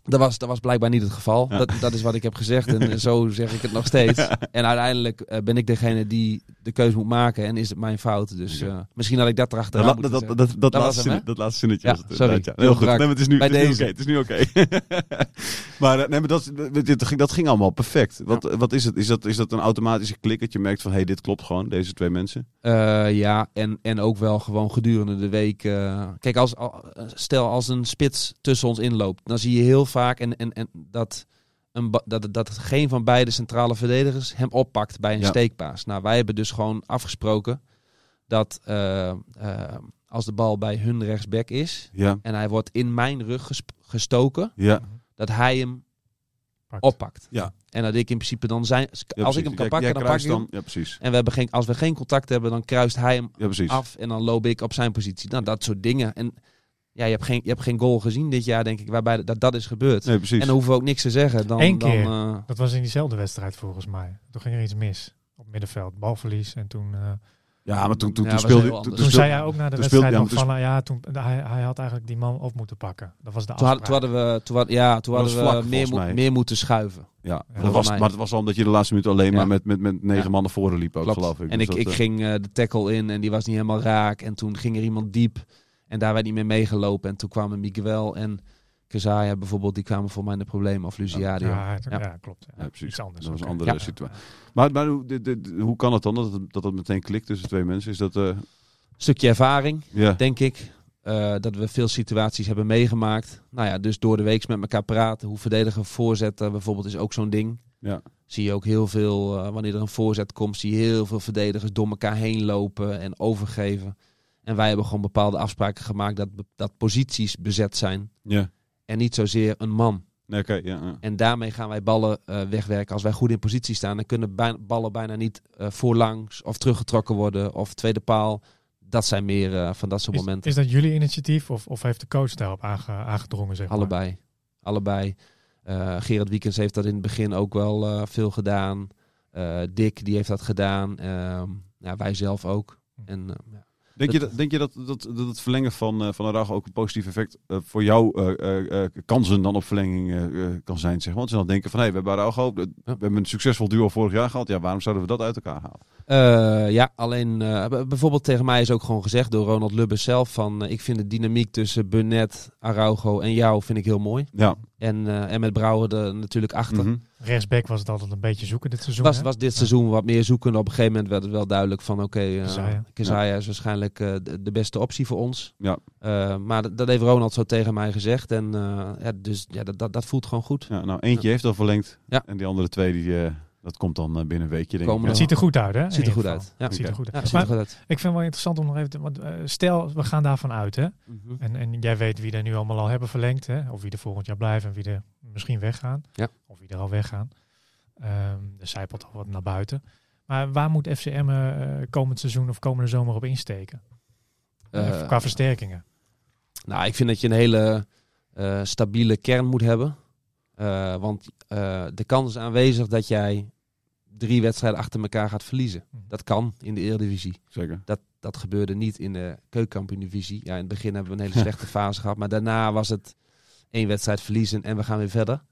[SPEAKER 2] dat, was, dat was blijkbaar niet het geval.
[SPEAKER 1] Ja.
[SPEAKER 2] Dat, dat is wat ik heb gezegd en eh,
[SPEAKER 1] [laughs]
[SPEAKER 2] zo zeg ik het nog steeds. En uiteindelijk eh, ben ik degene die de keuze moet maken en is het mijn fout. Dus
[SPEAKER 1] Ja.
[SPEAKER 2] eh, misschien had ik dat
[SPEAKER 1] Dat,
[SPEAKER 2] erachteraan
[SPEAKER 1] la-
[SPEAKER 2] moeten
[SPEAKER 1] dat, dat,
[SPEAKER 2] zeggen.
[SPEAKER 1] dat, dat,
[SPEAKER 2] was
[SPEAKER 1] laatste,
[SPEAKER 2] hem,
[SPEAKER 1] zin-
[SPEAKER 2] hè?
[SPEAKER 1] dat laatste zinnetje
[SPEAKER 2] Ja,
[SPEAKER 1] was het inderdaad,
[SPEAKER 2] sorry.
[SPEAKER 1] ja. Heel
[SPEAKER 2] Heel
[SPEAKER 1] goed. Nee,
[SPEAKER 2] brak.
[SPEAKER 1] maar het is nu,
[SPEAKER 2] Bij
[SPEAKER 1] het is nu
[SPEAKER 2] deze.
[SPEAKER 1] oké. Het is nu oké. [laughs] maar eh, nee, maar dat, dit, ging- dat ging allemaal perfect. Wat, eh, wat is het? Is dat, is dat een automatische klik dat je merkt van... hé, hey, dit klopt gewoon, deze twee mensen?
[SPEAKER 2] Eh, ja, en, en ook wel gewoon gedurende de week. eh, kijk, als, al- stel als een spits tussen ons inloopt, dan zie je heel vaak en, en, en dat, een, ba- dat, dat geen van beide centrale verdedigers hem oppakt bij een
[SPEAKER 1] Ja.
[SPEAKER 2] steekpaas. Nou, wij hebben dus gewoon afgesproken dat eh, eh, als de bal bij hun rechtsback is
[SPEAKER 1] Ja,
[SPEAKER 2] en hij wordt in mijn rug gesp- gestoken,
[SPEAKER 1] ja.
[SPEAKER 2] dat hij hem
[SPEAKER 3] Pakt.
[SPEAKER 2] oppakt.
[SPEAKER 1] Ja.
[SPEAKER 2] En dat ik in principe dan zijn. Als
[SPEAKER 1] Ja,
[SPEAKER 2] ik
[SPEAKER 1] precies.
[SPEAKER 2] hem kan
[SPEAKER 1] Jij-
[SPEAKER 2] pakken,
[SPEAKER 1] jij
[SPEAKER 2] dan pak
[SPEAKER 1] kruist
[SPEAKER 2] ik hem.
[SPEAKER 1] Ja, precies.
[SPEAKER 2] En we hebben geen, als we geen contact hebben, dan kruist hij hem
[SPEAKER 1] Ja, precies.
[SPEAKER 2] af en dan loop ik op zijn positie. Nou, dat soort dingen. En ja, je hebt geen, je hebt geen goal gezien dit jaar, denk ik, waarbij dat, dat is gebeurd.
[SPEAKER 1] Nee, precies.
[SPEAKER 2] en dan hoeven we ook niks te zeggen. Dan,
[SPEAKER 3] Eén
[SPEAKER 2] dan,
[SPEAKER 3] keer.
[SPEAKER 2] eh,
[SPEAKER 3] Dat was in diezelfde wedstrijd volgens mij. Toen ging er iets mis op middenveld, balverlies. En toen,
[SPEAKER 2] Dus
[SPEAKER 3] eh,
[SPEAKER 1] ja, maar toen, toen, toen
[SPEAKER 2] Ja, was
[SPEAKER 1] speelde... Toen,
[SPEAKER 2] heel
[SPEAKER 1] toen,
[SPEAKER 2] anders.
[SPEAKER 3] toen
[SPEAKER 1] speelde-
[SPEAKER 3] zei hij ook na de
[SPEAKER 2] dus
[SPEAKER 1] toen
[SPEAKER 3] wedstrijd
[SPEAKER 1] speelde- ja,
[SPEAKER 3] nog
[SPEAKER 1] maar
[SPEAKER 3] van, nou ja, toen, hij, hij had eigenlijk die man op moeten pakken. Dat was de
[SPEAKER 2] toen,
[SPEAKER 3] afspraak.
[SPEAKER 2] hadden, toen hadden we, toen, had- ja, toen
[SPEAKER 1] Dat
[SPEAKER 2] hadden
[SPEAKER 1] was
[SPEAKER 2] we
[SPEAKER 1] vlak,
[SPEAKER 2] meer,
[SPEAKER 1] volgens
[SPEAKER 2] moet-
[SPEAKER 1] mij.
[SPEAKER 2] meer moeten schuiven.
[SPEAKER 1] Ja,
[SPEAKER 3] Ja.
[SPEAKER 1] dat was,
[SPEAKER 2] Mij.
[SPEAKER 1] maar het was al omdat je de laatste minuut alleen
[SPEAKER 2] Ja.
[SPEAKER 1] maar met, met, met negen
[SPEAKER 2] Ja.
[SPEAKER 1] man naar voren liep ook,
[SPEAKER 2] Klopt.
[SPEAKER 1] geloof ik.
[SPEAKER 2] En
[SPEAKER 1] Dus
[SPEAKER 2] ik,
[SPEAKER 1] dat,
[SPEAKER 2] ik
[SPEAKER 1] eh,
[SPEAKER 2] ging eh, de tackle in en die was niet helemaal raak. En toen ging er iemand diep en daar werd niet meer meegelopen. En toen kwamen Miguel en Kazaya bijvoorbeeld, die kwamen voor mij in de problemen. Of Luciadio.
[SPEAKER 3] ja, het-
[SPEAKER 2] Ja.
[SPEAKER 3] ja, klopt. Ja,
[SPEAKER 1] Ja, precies.
[SPEAKER 3] Iets anders.
[SPEAKER 1] Dat was een
[SPEAKER 3] oké.
[SPEAKER 1] andere
[SPEAKER 3] Ja.
[SPEAKER 1] situatie. Maar, maar hoe, dit- dit- hoe kan het dan dat het, dat het meteen klikt tussen twee mensen? Is dat... eh,
[SPEAKER 2] Stukje ervaring.
[SPEAKER 1] ja.
[SPEAKER 2] denk ik. eh, dat we veel situaties hebben meegemaakt. Nou ja, dus door de week met elkaar praten. Hoe verdedigen we voorzetten bijvoorbeeld is ook zo'n ding.
[SPEAKER 1] Ja.
[SPEAKER 2] Zie je ook heel veel, eh, wanneer er een voorzet komt, zie je heel veel verdedigers door elkaar heen lopen en overgeven. En wij hebben gewoon bepaalde afspraken gemaakt dat, be- dat posities bezet zijn.
[SPEAKER 1] ja.
[SPEAKER 2] En niet zozeer een man.
[SPEAKER 1] Nee, oké, ja, ja.
[SPEAKER 2] En daarmee gaan wij ballen eh, wegwerken. Als wij goed in positie staan, dan kunnen bij- ballen bijna niet eh, voorlangs of teruggetrokken worden. Of tweede paal. Dat zijn meer eh, van dat soort
[SPEAKER 3] Is,
[SPEAKER 2] momenten.
[SPEAKER 3] is dat jullie initiatief of, of heeft de coach daarop aange- aangedrongen? Zeg maar?
[SPEAKER 2] Allebei. Allebei. Eh, Gerard Wiekens heeft dat in het begin ook wel eh, veel gedaan. Eh, Dick, die heeft dat gedaan. Ehm, ja, wij zelf ook.
[SPEAKER 3] Hm.
[SPEAKER 2] En, eh, ja.
[SPEAKER 1] Denk je, dat, denk je dat, dat, dat het verlengen van, eh, van Araujo ook een positief effect eh, voor jouw eh, eh, eh, kansen dan op verlenging eh, eh, kan zijn? Zeg maar. Want ze dan denken van, hé, we hebben Araujo, eh, we hebben een succesvol duo vorig jaar gehad. Ja, waarom zouden we dat uit elkaar halen?
[SPEAKER 2] Eh, ja, alleen eh, b- bijvoorbeeld tegen mij is ook gewoon gezegd door Ronald Lubbers zelf van... eh, ik vind de dynamiek tussen Burnett, Araujo en jou vind ik heel mooi.
[SPEAKER 1] Ja.
[SPEAKER 2] En, eh, en met Brouwer er natuurlijk achter.
[SPEAKER 1] Mhm.
[SPEAKER 3] Rechtsback was het altijd een beetje zoeken dit seizoen.
[SPEAKER 2] Was,
[SPEAKER 3] hè?
[SPEAKER 2] was dit seizoen wat meer zoeken. Op een gegeven moment werd het wel duidelijk van... oké, eh,
[SPEAKER 3] Keziah.
[SPEAKER 2] Keziah is waarschijnlijk eh, de, de beste optie voor ons.
[SPEAKER 1] Ja.
[SPEAKER 2] Eh, maar dat, dat heeft Ronald zo tegen mij gezegd. En eh, ja, dus ja, dat, dat, dat voelt gewoon goed.
[SPEAKER 1] ja nou, eentje heeft al verlengd.
[SPEAKER 2] Ja.
[SPEAKER 1] En die andere twee, die, eh, dat komt dan eh, binnen een weekje, denk
[SPEAKER 2] Komen
[SPEAKER 1] ik.
[SPEAKER 3] Het ziet er goed uit, hè? in
[SPEAKER 2] ziet er
[SPEAKER 3] ieder
[SPEAKER 2] goed
[SPEAKER 3] geval.
[SPEAKER 2] uit. Ja.
[SPEAKER 3] Het ziet er
[SPEAKER 1] Oké.
[SPEAKER 3] goed
[SPEAKER 2] Ja,
[SPEAKER 3] uit.
[SPEAKER 2] ziet
[SPEAKER 3] Maar
[SPEAKER 2] er goed uit.
[SPEAKER 3] ik vind het wel interessant om nog even te... Want, eh, stel, we gaan daarvan uit, hè? En, en jij weet wie er nu allemaal al hebben verlengd. Hè? Of wie er volgend jaar blijven en wie er misschien weggaan.
[SPEAKER 2] Ja.
[SPEAKER 3] Of wie er al weggaan. Ehm er zijpelt al wat naar buiten. Maar waar moet FCM eh, komend seizoen of komende zomer op insteken?
[SPEAKER 2] Eh,
[SPEAKER 3] Qua versterkingen.
[SPEAKER 2] nou, ik vind dat je een hele eh, stabiele kern moet hebben. Eh, want eh, de kans is aanwezig dat jij drie wedstrijden achter elkaar gaat verliezen.
[SPEAKER 3] Hm.
[SPEAKER 2] Dat kan in de Eredivisie.
[SPEAKER 1] Zeker.
[SPEAKER 2] Dat, dat gebeurde niet in de Keukenkampioen-divisie. Ja, in het begin hebben we een hele
[SPEAKER 3] [laughs]
[SPEAKER 2] slechte fase gehad. Maar daarna was het één wedstrijd verliezen en we gaan weer verder.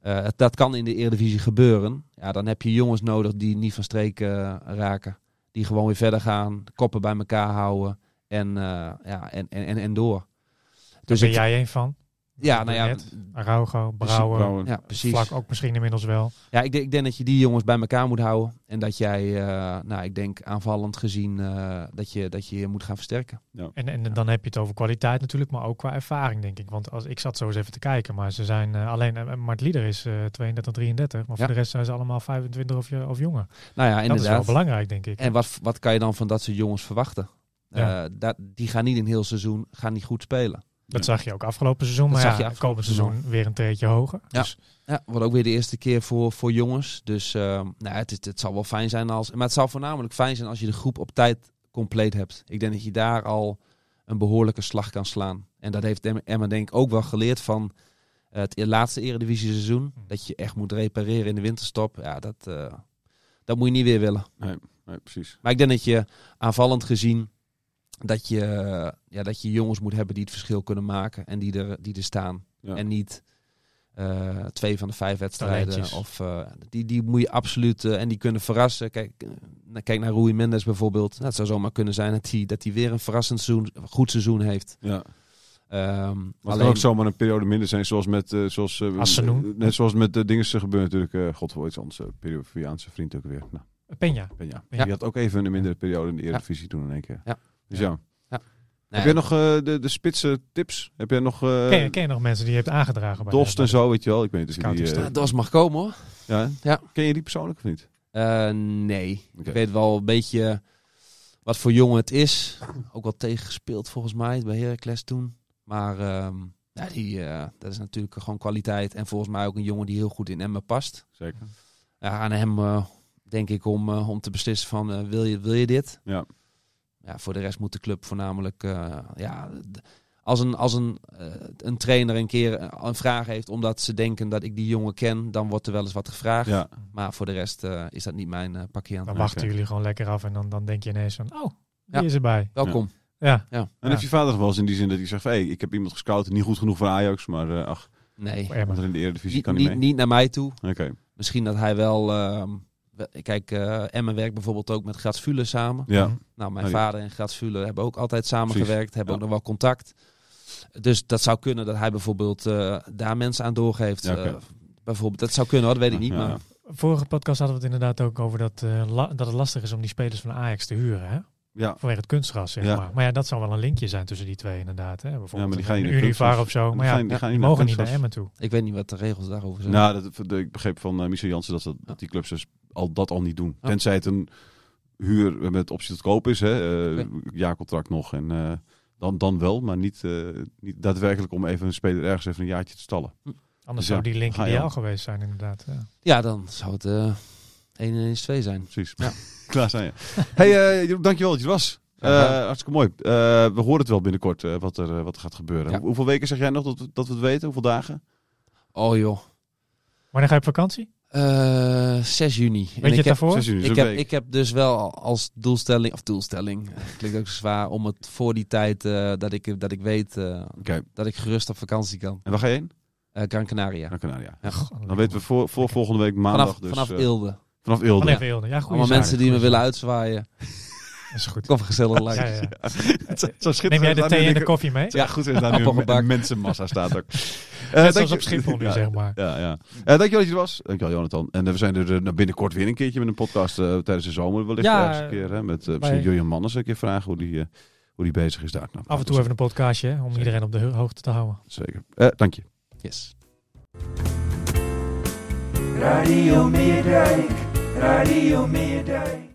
[SPEAKER 2] Eh, het- dat kan in de Eredivisie gebeuren. Ja, dan heb je jongens nodig die niet van streek eh, raken. Die gewoon weer verder gaan, koppen bij elkaar houden en, eh, ja, en, en, en, en door. Dus
[SPEAKER 3] ben
[SPEAKER 2] ik-
[SPEAKER 3] jij een van?
[SPEAKER 2] ja, nou ja,
[SPEAKER 3] Burnett, Araujo, Brouwer,
[SPEAKER 1] Brouwer.
[SPEAKER 2] ja, precies.
[SPEAKER 3] Vlak ook misschien inmiddels wel.
[SPEAKER 2] Ja, ik, denk- ik denk dat je die jongens bij elkaar moet houden. En dat jij, eh, nou, ik denk aanvallend gezien, eh, dat, je, dat je je moet gaan versterken.
[SPEAKER 3] En, en dan heb je het over kwaliteit natuurlijk, maar ook qua ervaring, denk ik. Want als, ik zat zo eens even te kijken, maar ze zijn eh, alleen... eh, Mart Lieder is eh 32, 33, maar voor
[SPEAKER 2] Ja.
[SPEAKER 3] de rest zijn ze allemaal 25 of, je- of jonger.
[SPEAKER 2] Nou ja,
[SPEAKER 3] Dat is wel
[SPEAKER 2] inderdaad.
[SPEAKER 3] belangrijk, denk ik.
[SPEAKER 2] En wat, wat kan je dan van dat soort jongens verwachten?
[SPEAKER 3] Ja.
[SPEAKER 2] Eh, dat, die gaan niet een heel seizoen gaan niet goed spelen.
[SPEAKER 3] Dat zag je ook afgelopen seizoen.
[SPEAKER 2] Dat
[SPEAKER 3] maar
[SPEAKER 2] zag je
[SPEAKER 3] ja,
[SPEAKER 2] afgelopen
[SPEAKER 3] komend seizoen weer een treetje hoger.
[SPEAKER 2] Ja.
[SPEAKER 3] Dus
[SPEAKER 2] Ja, wordt ook weer de eerste keer voor, voor jongens. Dus eh, nou, het, is, het zal wel fijn zijn als. Maar het zou voornamelijk fijn zijn als je de groep op tijd compleet hebt. Ik denk dat je daar al een behoorlijke slag kan slaan. En dat heeft Emma- Emma denk ik ook wel geleerd van eh, het e- laatste eredivisie seizoen. Dat je echt moet repareren in de winterstop. Ja, dat, eh, dat moet je niet weer willen.
[SPEAKER 1] Nee, precies.
[SPEAKER 2] Maar ik denk dat je aanvallend gezien dat je, eh, ja, dat je jongens moet hebben die het verschil kunnen maken en die er, die er staan.
[SPEAKER 1] Ja.
[SPEAKER 2] En niet eh, twee van de vijf wedstrijden.
[SPEAKER 3] Talentjes.
[SPEAKER 2] Of, eh, die, die moet je absoluut eh, en die kunnen verrassen. Kijk, eh, nou, kijk naar Rui Mendes bijvoorbeeld. Nou, het zou zomaar kunnen zijn dat hij dat die weer een verrassend seizoen, goed seizoen heeft.
[SPEAKER 1] Ja.
[SPEAKER 2] Ehm,
[SPEAKER 1] Maar het kan ook zomaar een periode minder zijn, zoals met, eh, zoals, eh,
[SPEAKER 3] Hassanoen.
[SPEAKER 1] net zoals met de dingen gebeuren natuurlijk. eh God voor iets anders, eh, Peruviaanse vriend ook weer. Nou,
[SPEAKER 3] eh, Peña.
[SPEAKER 1] ben ja.
[SPEAKER 3] Ja.
[SPEAKER 1] Die had ook even een mindere periode in de Eredivisie toen in één keer.
[SPEAKER 2] Ja.
[SPEAKER 1] Dus ja.
[SPEAKER 2] nee,
[SPEAKER 1] Heb jij nog eh, de, de spitse tips? Heb jij nog eh
[SPEAKER 3] Ken, je- ken je nog mensen die je hebt aangedragen? Bij
[SPEAKER 1] Dost
[SPEAKER 3] de-
[SPEAKER 1] en zo, weet je wel? Ik weet niet of je
[SPEAKER 3] Scouting
[SPEAKER 1] die... eh,
[SPEAKER 2] ja, Dos mag komen hoor.
[SPEAKER 1] ja.
[SPEAKER 2] Ja.
[SPEAKER 1] Ken je die persoonlijk of niet?
[SPEAKER 2] Eh, nee.
[SPEAKER 1] Oké.
[SPEAKER 2] Ik weet wel een beetje wat voor jongen het is. Ook wel tegengespeeld volgens mij bij Heracles toen. Maar ehm, ja, die, eh, dat is natuurlijk gewoon kwaliteit. En volgens mij ook een jongen die heel goed in Emmen past.
[SPEAKER 1] Zeker.
[SPEAKER 2] Ja, aan hem eh, denk ik om, eh, om te beslissen van eh, wil, je, wil je dit?
[SPEAKER 1] Ja.
[SPEAKER 2] Ja, voor de rest moet de club voornamelijk... eh, ja, d- als een, als een, eh, een trainer een keer eh, een vraag heeft omdat ze denken dat ik die jongen ken, dan wordt er wel eens wat gevraagd.
[SPEAKER 1] Ja.
[SPEAKER 2] Maar voor de rest eh, is dat niet mijn eh pakje aan.
[SPEAKER 3] Dan
[SPEAKER 1] Oké.
[SPEAKER 3] wachten jullie gewoon lekker af en dan, dan denk je ineens van, oh,
[SPEAKER 2] Ja.
[SPEAKER 3] die is erbij.
[SPEAKER 2] Welkom.
[SPEAKER 3] Ja,
[SPEAKER 1] En
[SPEAKER 3] Ja.
[SPEAKER 1] heeft je vader nog wel eens in die zin dat hij zegt... van, hey, ik heb iemand gescout, niet goed genoeg voor Ajax, maar eh, ach,
[SPEAKER 2] Nee,
[SPEAKER 3] voor Emmen.
[SPEAKER 1] wat er in de Eredivisie
[SPEAKER 2] niet,
[SPEAKER 1] kan niet
[SPEAKER 2] niet,
[SPEAKER 1] mee.
[SPEAKER 2] niet naar mij toe.
[SPEAKER 1] Oké,
[SPEAKER 2] Misschien dat hij wel... ehm, we- kijk, eh Emmen werkt bijvoorbeeld ook met Gats Fuller samen.
[SPEAKER 1] ja.
[SPEAKER 3] Mhm.
[SPEAKER 2] Nou, mijn
[SPEAKER 1] Oh ja.
[SPEAKER 2] vader en Gats Fuller hebben ook altijd samengewerkt. Hebben
[SPEAKER 1] ja.
[SPEAKER 2] ook nog wel contact. Dus dat zou kunnen dat hij bijvoorbeeld eh, daar mensen aan doorgeeft.
[SPEAKER 1] Ja, oké.
[SPEAKER 2] Eh, bijvoorbeeld, dat zou kunnen hoor, dat weet ik niet.
[SPEAKER 1] Ja,
[SPEAKER 2] maar
[SPEAKER 1] ja.
[SPEAKER 3] Vorige podcast hadden we het inderdaad ook over dat, eh, la- dat het lastig is om die spelers van Ajax te huren. Hè?
[SPEAKER 1] Ja,
[SPEAKER 3] Vanwege het kunstgras, zeg
[SPEAKER 1] Ja.
[SPEAKER 3] maar. Maar ja, dat zou wel een linkje zijn tussen die twee inderdaad. Hè? Bijvoorbeeld
[SPEAKER 1] Ja, maar die gaan niet
[SPEAKER 3] een
[SPEAKER 1] naar
[SPEAKER 3] Univar
[SPEAKER 1] kunstgras.
[SPEAKER 3] of zo. Maar
[SPEAKER 1] Die
[SPEAKER 3] ja,
[SPEAKER 1] gaan- die gaan
[SPEAKER 3] die
[SPEAKER 1] niet
[SPEAKER 3] mogen
[SPEAKER 1] naar
[SPEAKER 3] niet naar
[SPEAKER 1] kunstgras.
[SPEAKER 3] Emmen toe.
[SPEAKER 2] ik weet niet wat de regels daarover zijn.
[SPEAKER 1] Nou, dat, de- ik begreep van eh Michel Jansen dat, dat, dat die clubs dus al, dat al niet doen.
[SPEAKER 2] Ja.
[SPEAKER 1] Tenzij het een huur met optie tot koop is, hè, eh, jaarcontract nog. En, eh, dan, dan wel, maar niet, eh, niet daadwerkelijk om even een speler ergens even een jaartje te stallen.
[SPEAKER 3] Anders
[SPEAKER 1] Ja.
[SPEAKER 3] zou die link
[SPEAKER 1] Ga je
[SPEAKER 3] ideaal
[SPEAKER 1] al.
[SPEAKER 3] geweest zijn inderdaad. Ja.
[SPEAKER 2] Ja, dan zou het eh 1 en 1 is 2 zijn.
[SPEAKER 1] Precies.
[SPEAKER 2] Ja.
[SPEAKER 1] [laughs] Klaar zijn je. hey, eh, Jeroen, dankjewel dat je er was. Eh,
[SPEAKER 2] Graag gedaan.
[SPEAKER 1] hartstikke mooi. Eh, we horen het wel binnenkort eh, wat, er, eh, wat er gaat gebeuren.
[SPEAKER 2] Ja.
[SPEAKER 1] Hoe- hoeveel weken zeg jij nog dat, we- dat we het weten? Hoeveel dagen?
[SPEAKER 2] Oh joh,
[SPEAKER 3] Wanneer ga je op vakantie?
[SPEAKER 2] Eh, 6 juni. En
[SPEAKER 3] Weet je
[SPEAKER 2] ik
[SPEAKER 3] het
[SPEAKER 2] heb-
[SPEAKER 3] daarvoor?
[SPEAKER 1] Zes juni,
[SPEAKER 2] Ik
[SPEAKER 1] zo'n
[SPEAKER 2] heb,
[SPEAKER 1] week.
[SPEAKER 2] ik heb dus wel als doelstelling, of doelstelling, eh, klinkt ook zwaar, om het voor die tijd eh, dat, ik, dat ik weet eh,
[SPEAKER 1] Oké.
[SPEAKER 2] dat ik gerust op vakantie kan.
[SPEAKER 1] En waar ga je heen?
[SPEAKER 2] Eh Gran Canaria.
[SPEAKER 1] Naar Canaria.
[SPEAKER 2] Ja.
[SPEAKER 3] Goh,
[SPEAKER 1] Dan weten we voor, voor
[SPEAKER 3] Oké.
[SPEAKER 1] volgende week maandag.
[SPEAKER 2] Vanaf,
[SPEAKER 1] dus,
[SPEAKER 2] vanaf Oh,
[SPEAKER 1] eh,
[SPEAKER 2] Eelde.
[SPEAKER 1] vanaf Eelde.
[SPEAKER 3] Vanaf Eelde. Ja, goede
[SPEAKER 2] Allemaal
[SPEAKER 3] zaak,
[SPEAKER 2] mensen die me
[SPEAKER 3] goede
[SPEAKER 2] willen
[SPEAKER 3] zaak.
[SPEAKER 2] uitzwaaien.
[SPEAKER 3] Is
[SPEAKER 2] [laughs]
[SPEAKER 3] goed.
[SPEAKER 2] Kom gezellig
[SPEAKER 3] Ja,
[SPEAKER 2] langs.
[SPEAKER 3] ja, ja.
[SPEAKER 1] [laughs] Zo schitterend.
[SPEAKER 3] Neem jij de
[SPEAKER 1] Laat me
[SPEAKER 3] thee en de
[SPEAKER 1] denken-
[SPEAKER 3] koffie mee?
[SPEAKER 1] Ja, goed. Er is
[SPEAKER 3] [laughs]
[SPEAKER 1] daar nu een
[SPEAKER 2] Appelgebak.
[SPEAKER 1] men- mensenmassa staat ook. Eh, dank
[SPEAKER 3] Net zoals
[SPEAKER 1] je-
[SPEAKER 3] op Schiphol nu,
[SPEAKER 1] Ja,
[SPEAKER 3] zeg maar.
[SPEAKER 1] Ja, ja. Eh, dankjewel dat je er was. Dankjewel, Jonathan. En eh, we zijn er eh, nou, binnenkort weer een keertje met een podcast eh, tijdens de zomer. Wellicht
[SPEAKER 3] Ja,
[SPEAKER 1] ergens een keer. Hè, met eh, misschien
[SPEAKER 3] bij-
[SPEAKER 1] Julian Manners een keer vragen hoe die, eh, hoe die bezig is daar. Nou,
[SPEAKER 3] Af en toe even een podcastje, hè, om iedereen op de ho- hoogte te houden.
[SPEAKER 1] Zeker. Eh, dank je.
[SPEAKER 2] Yes.
[SPEAKER 4] Radio Meerdijk, Radio Meerdijk.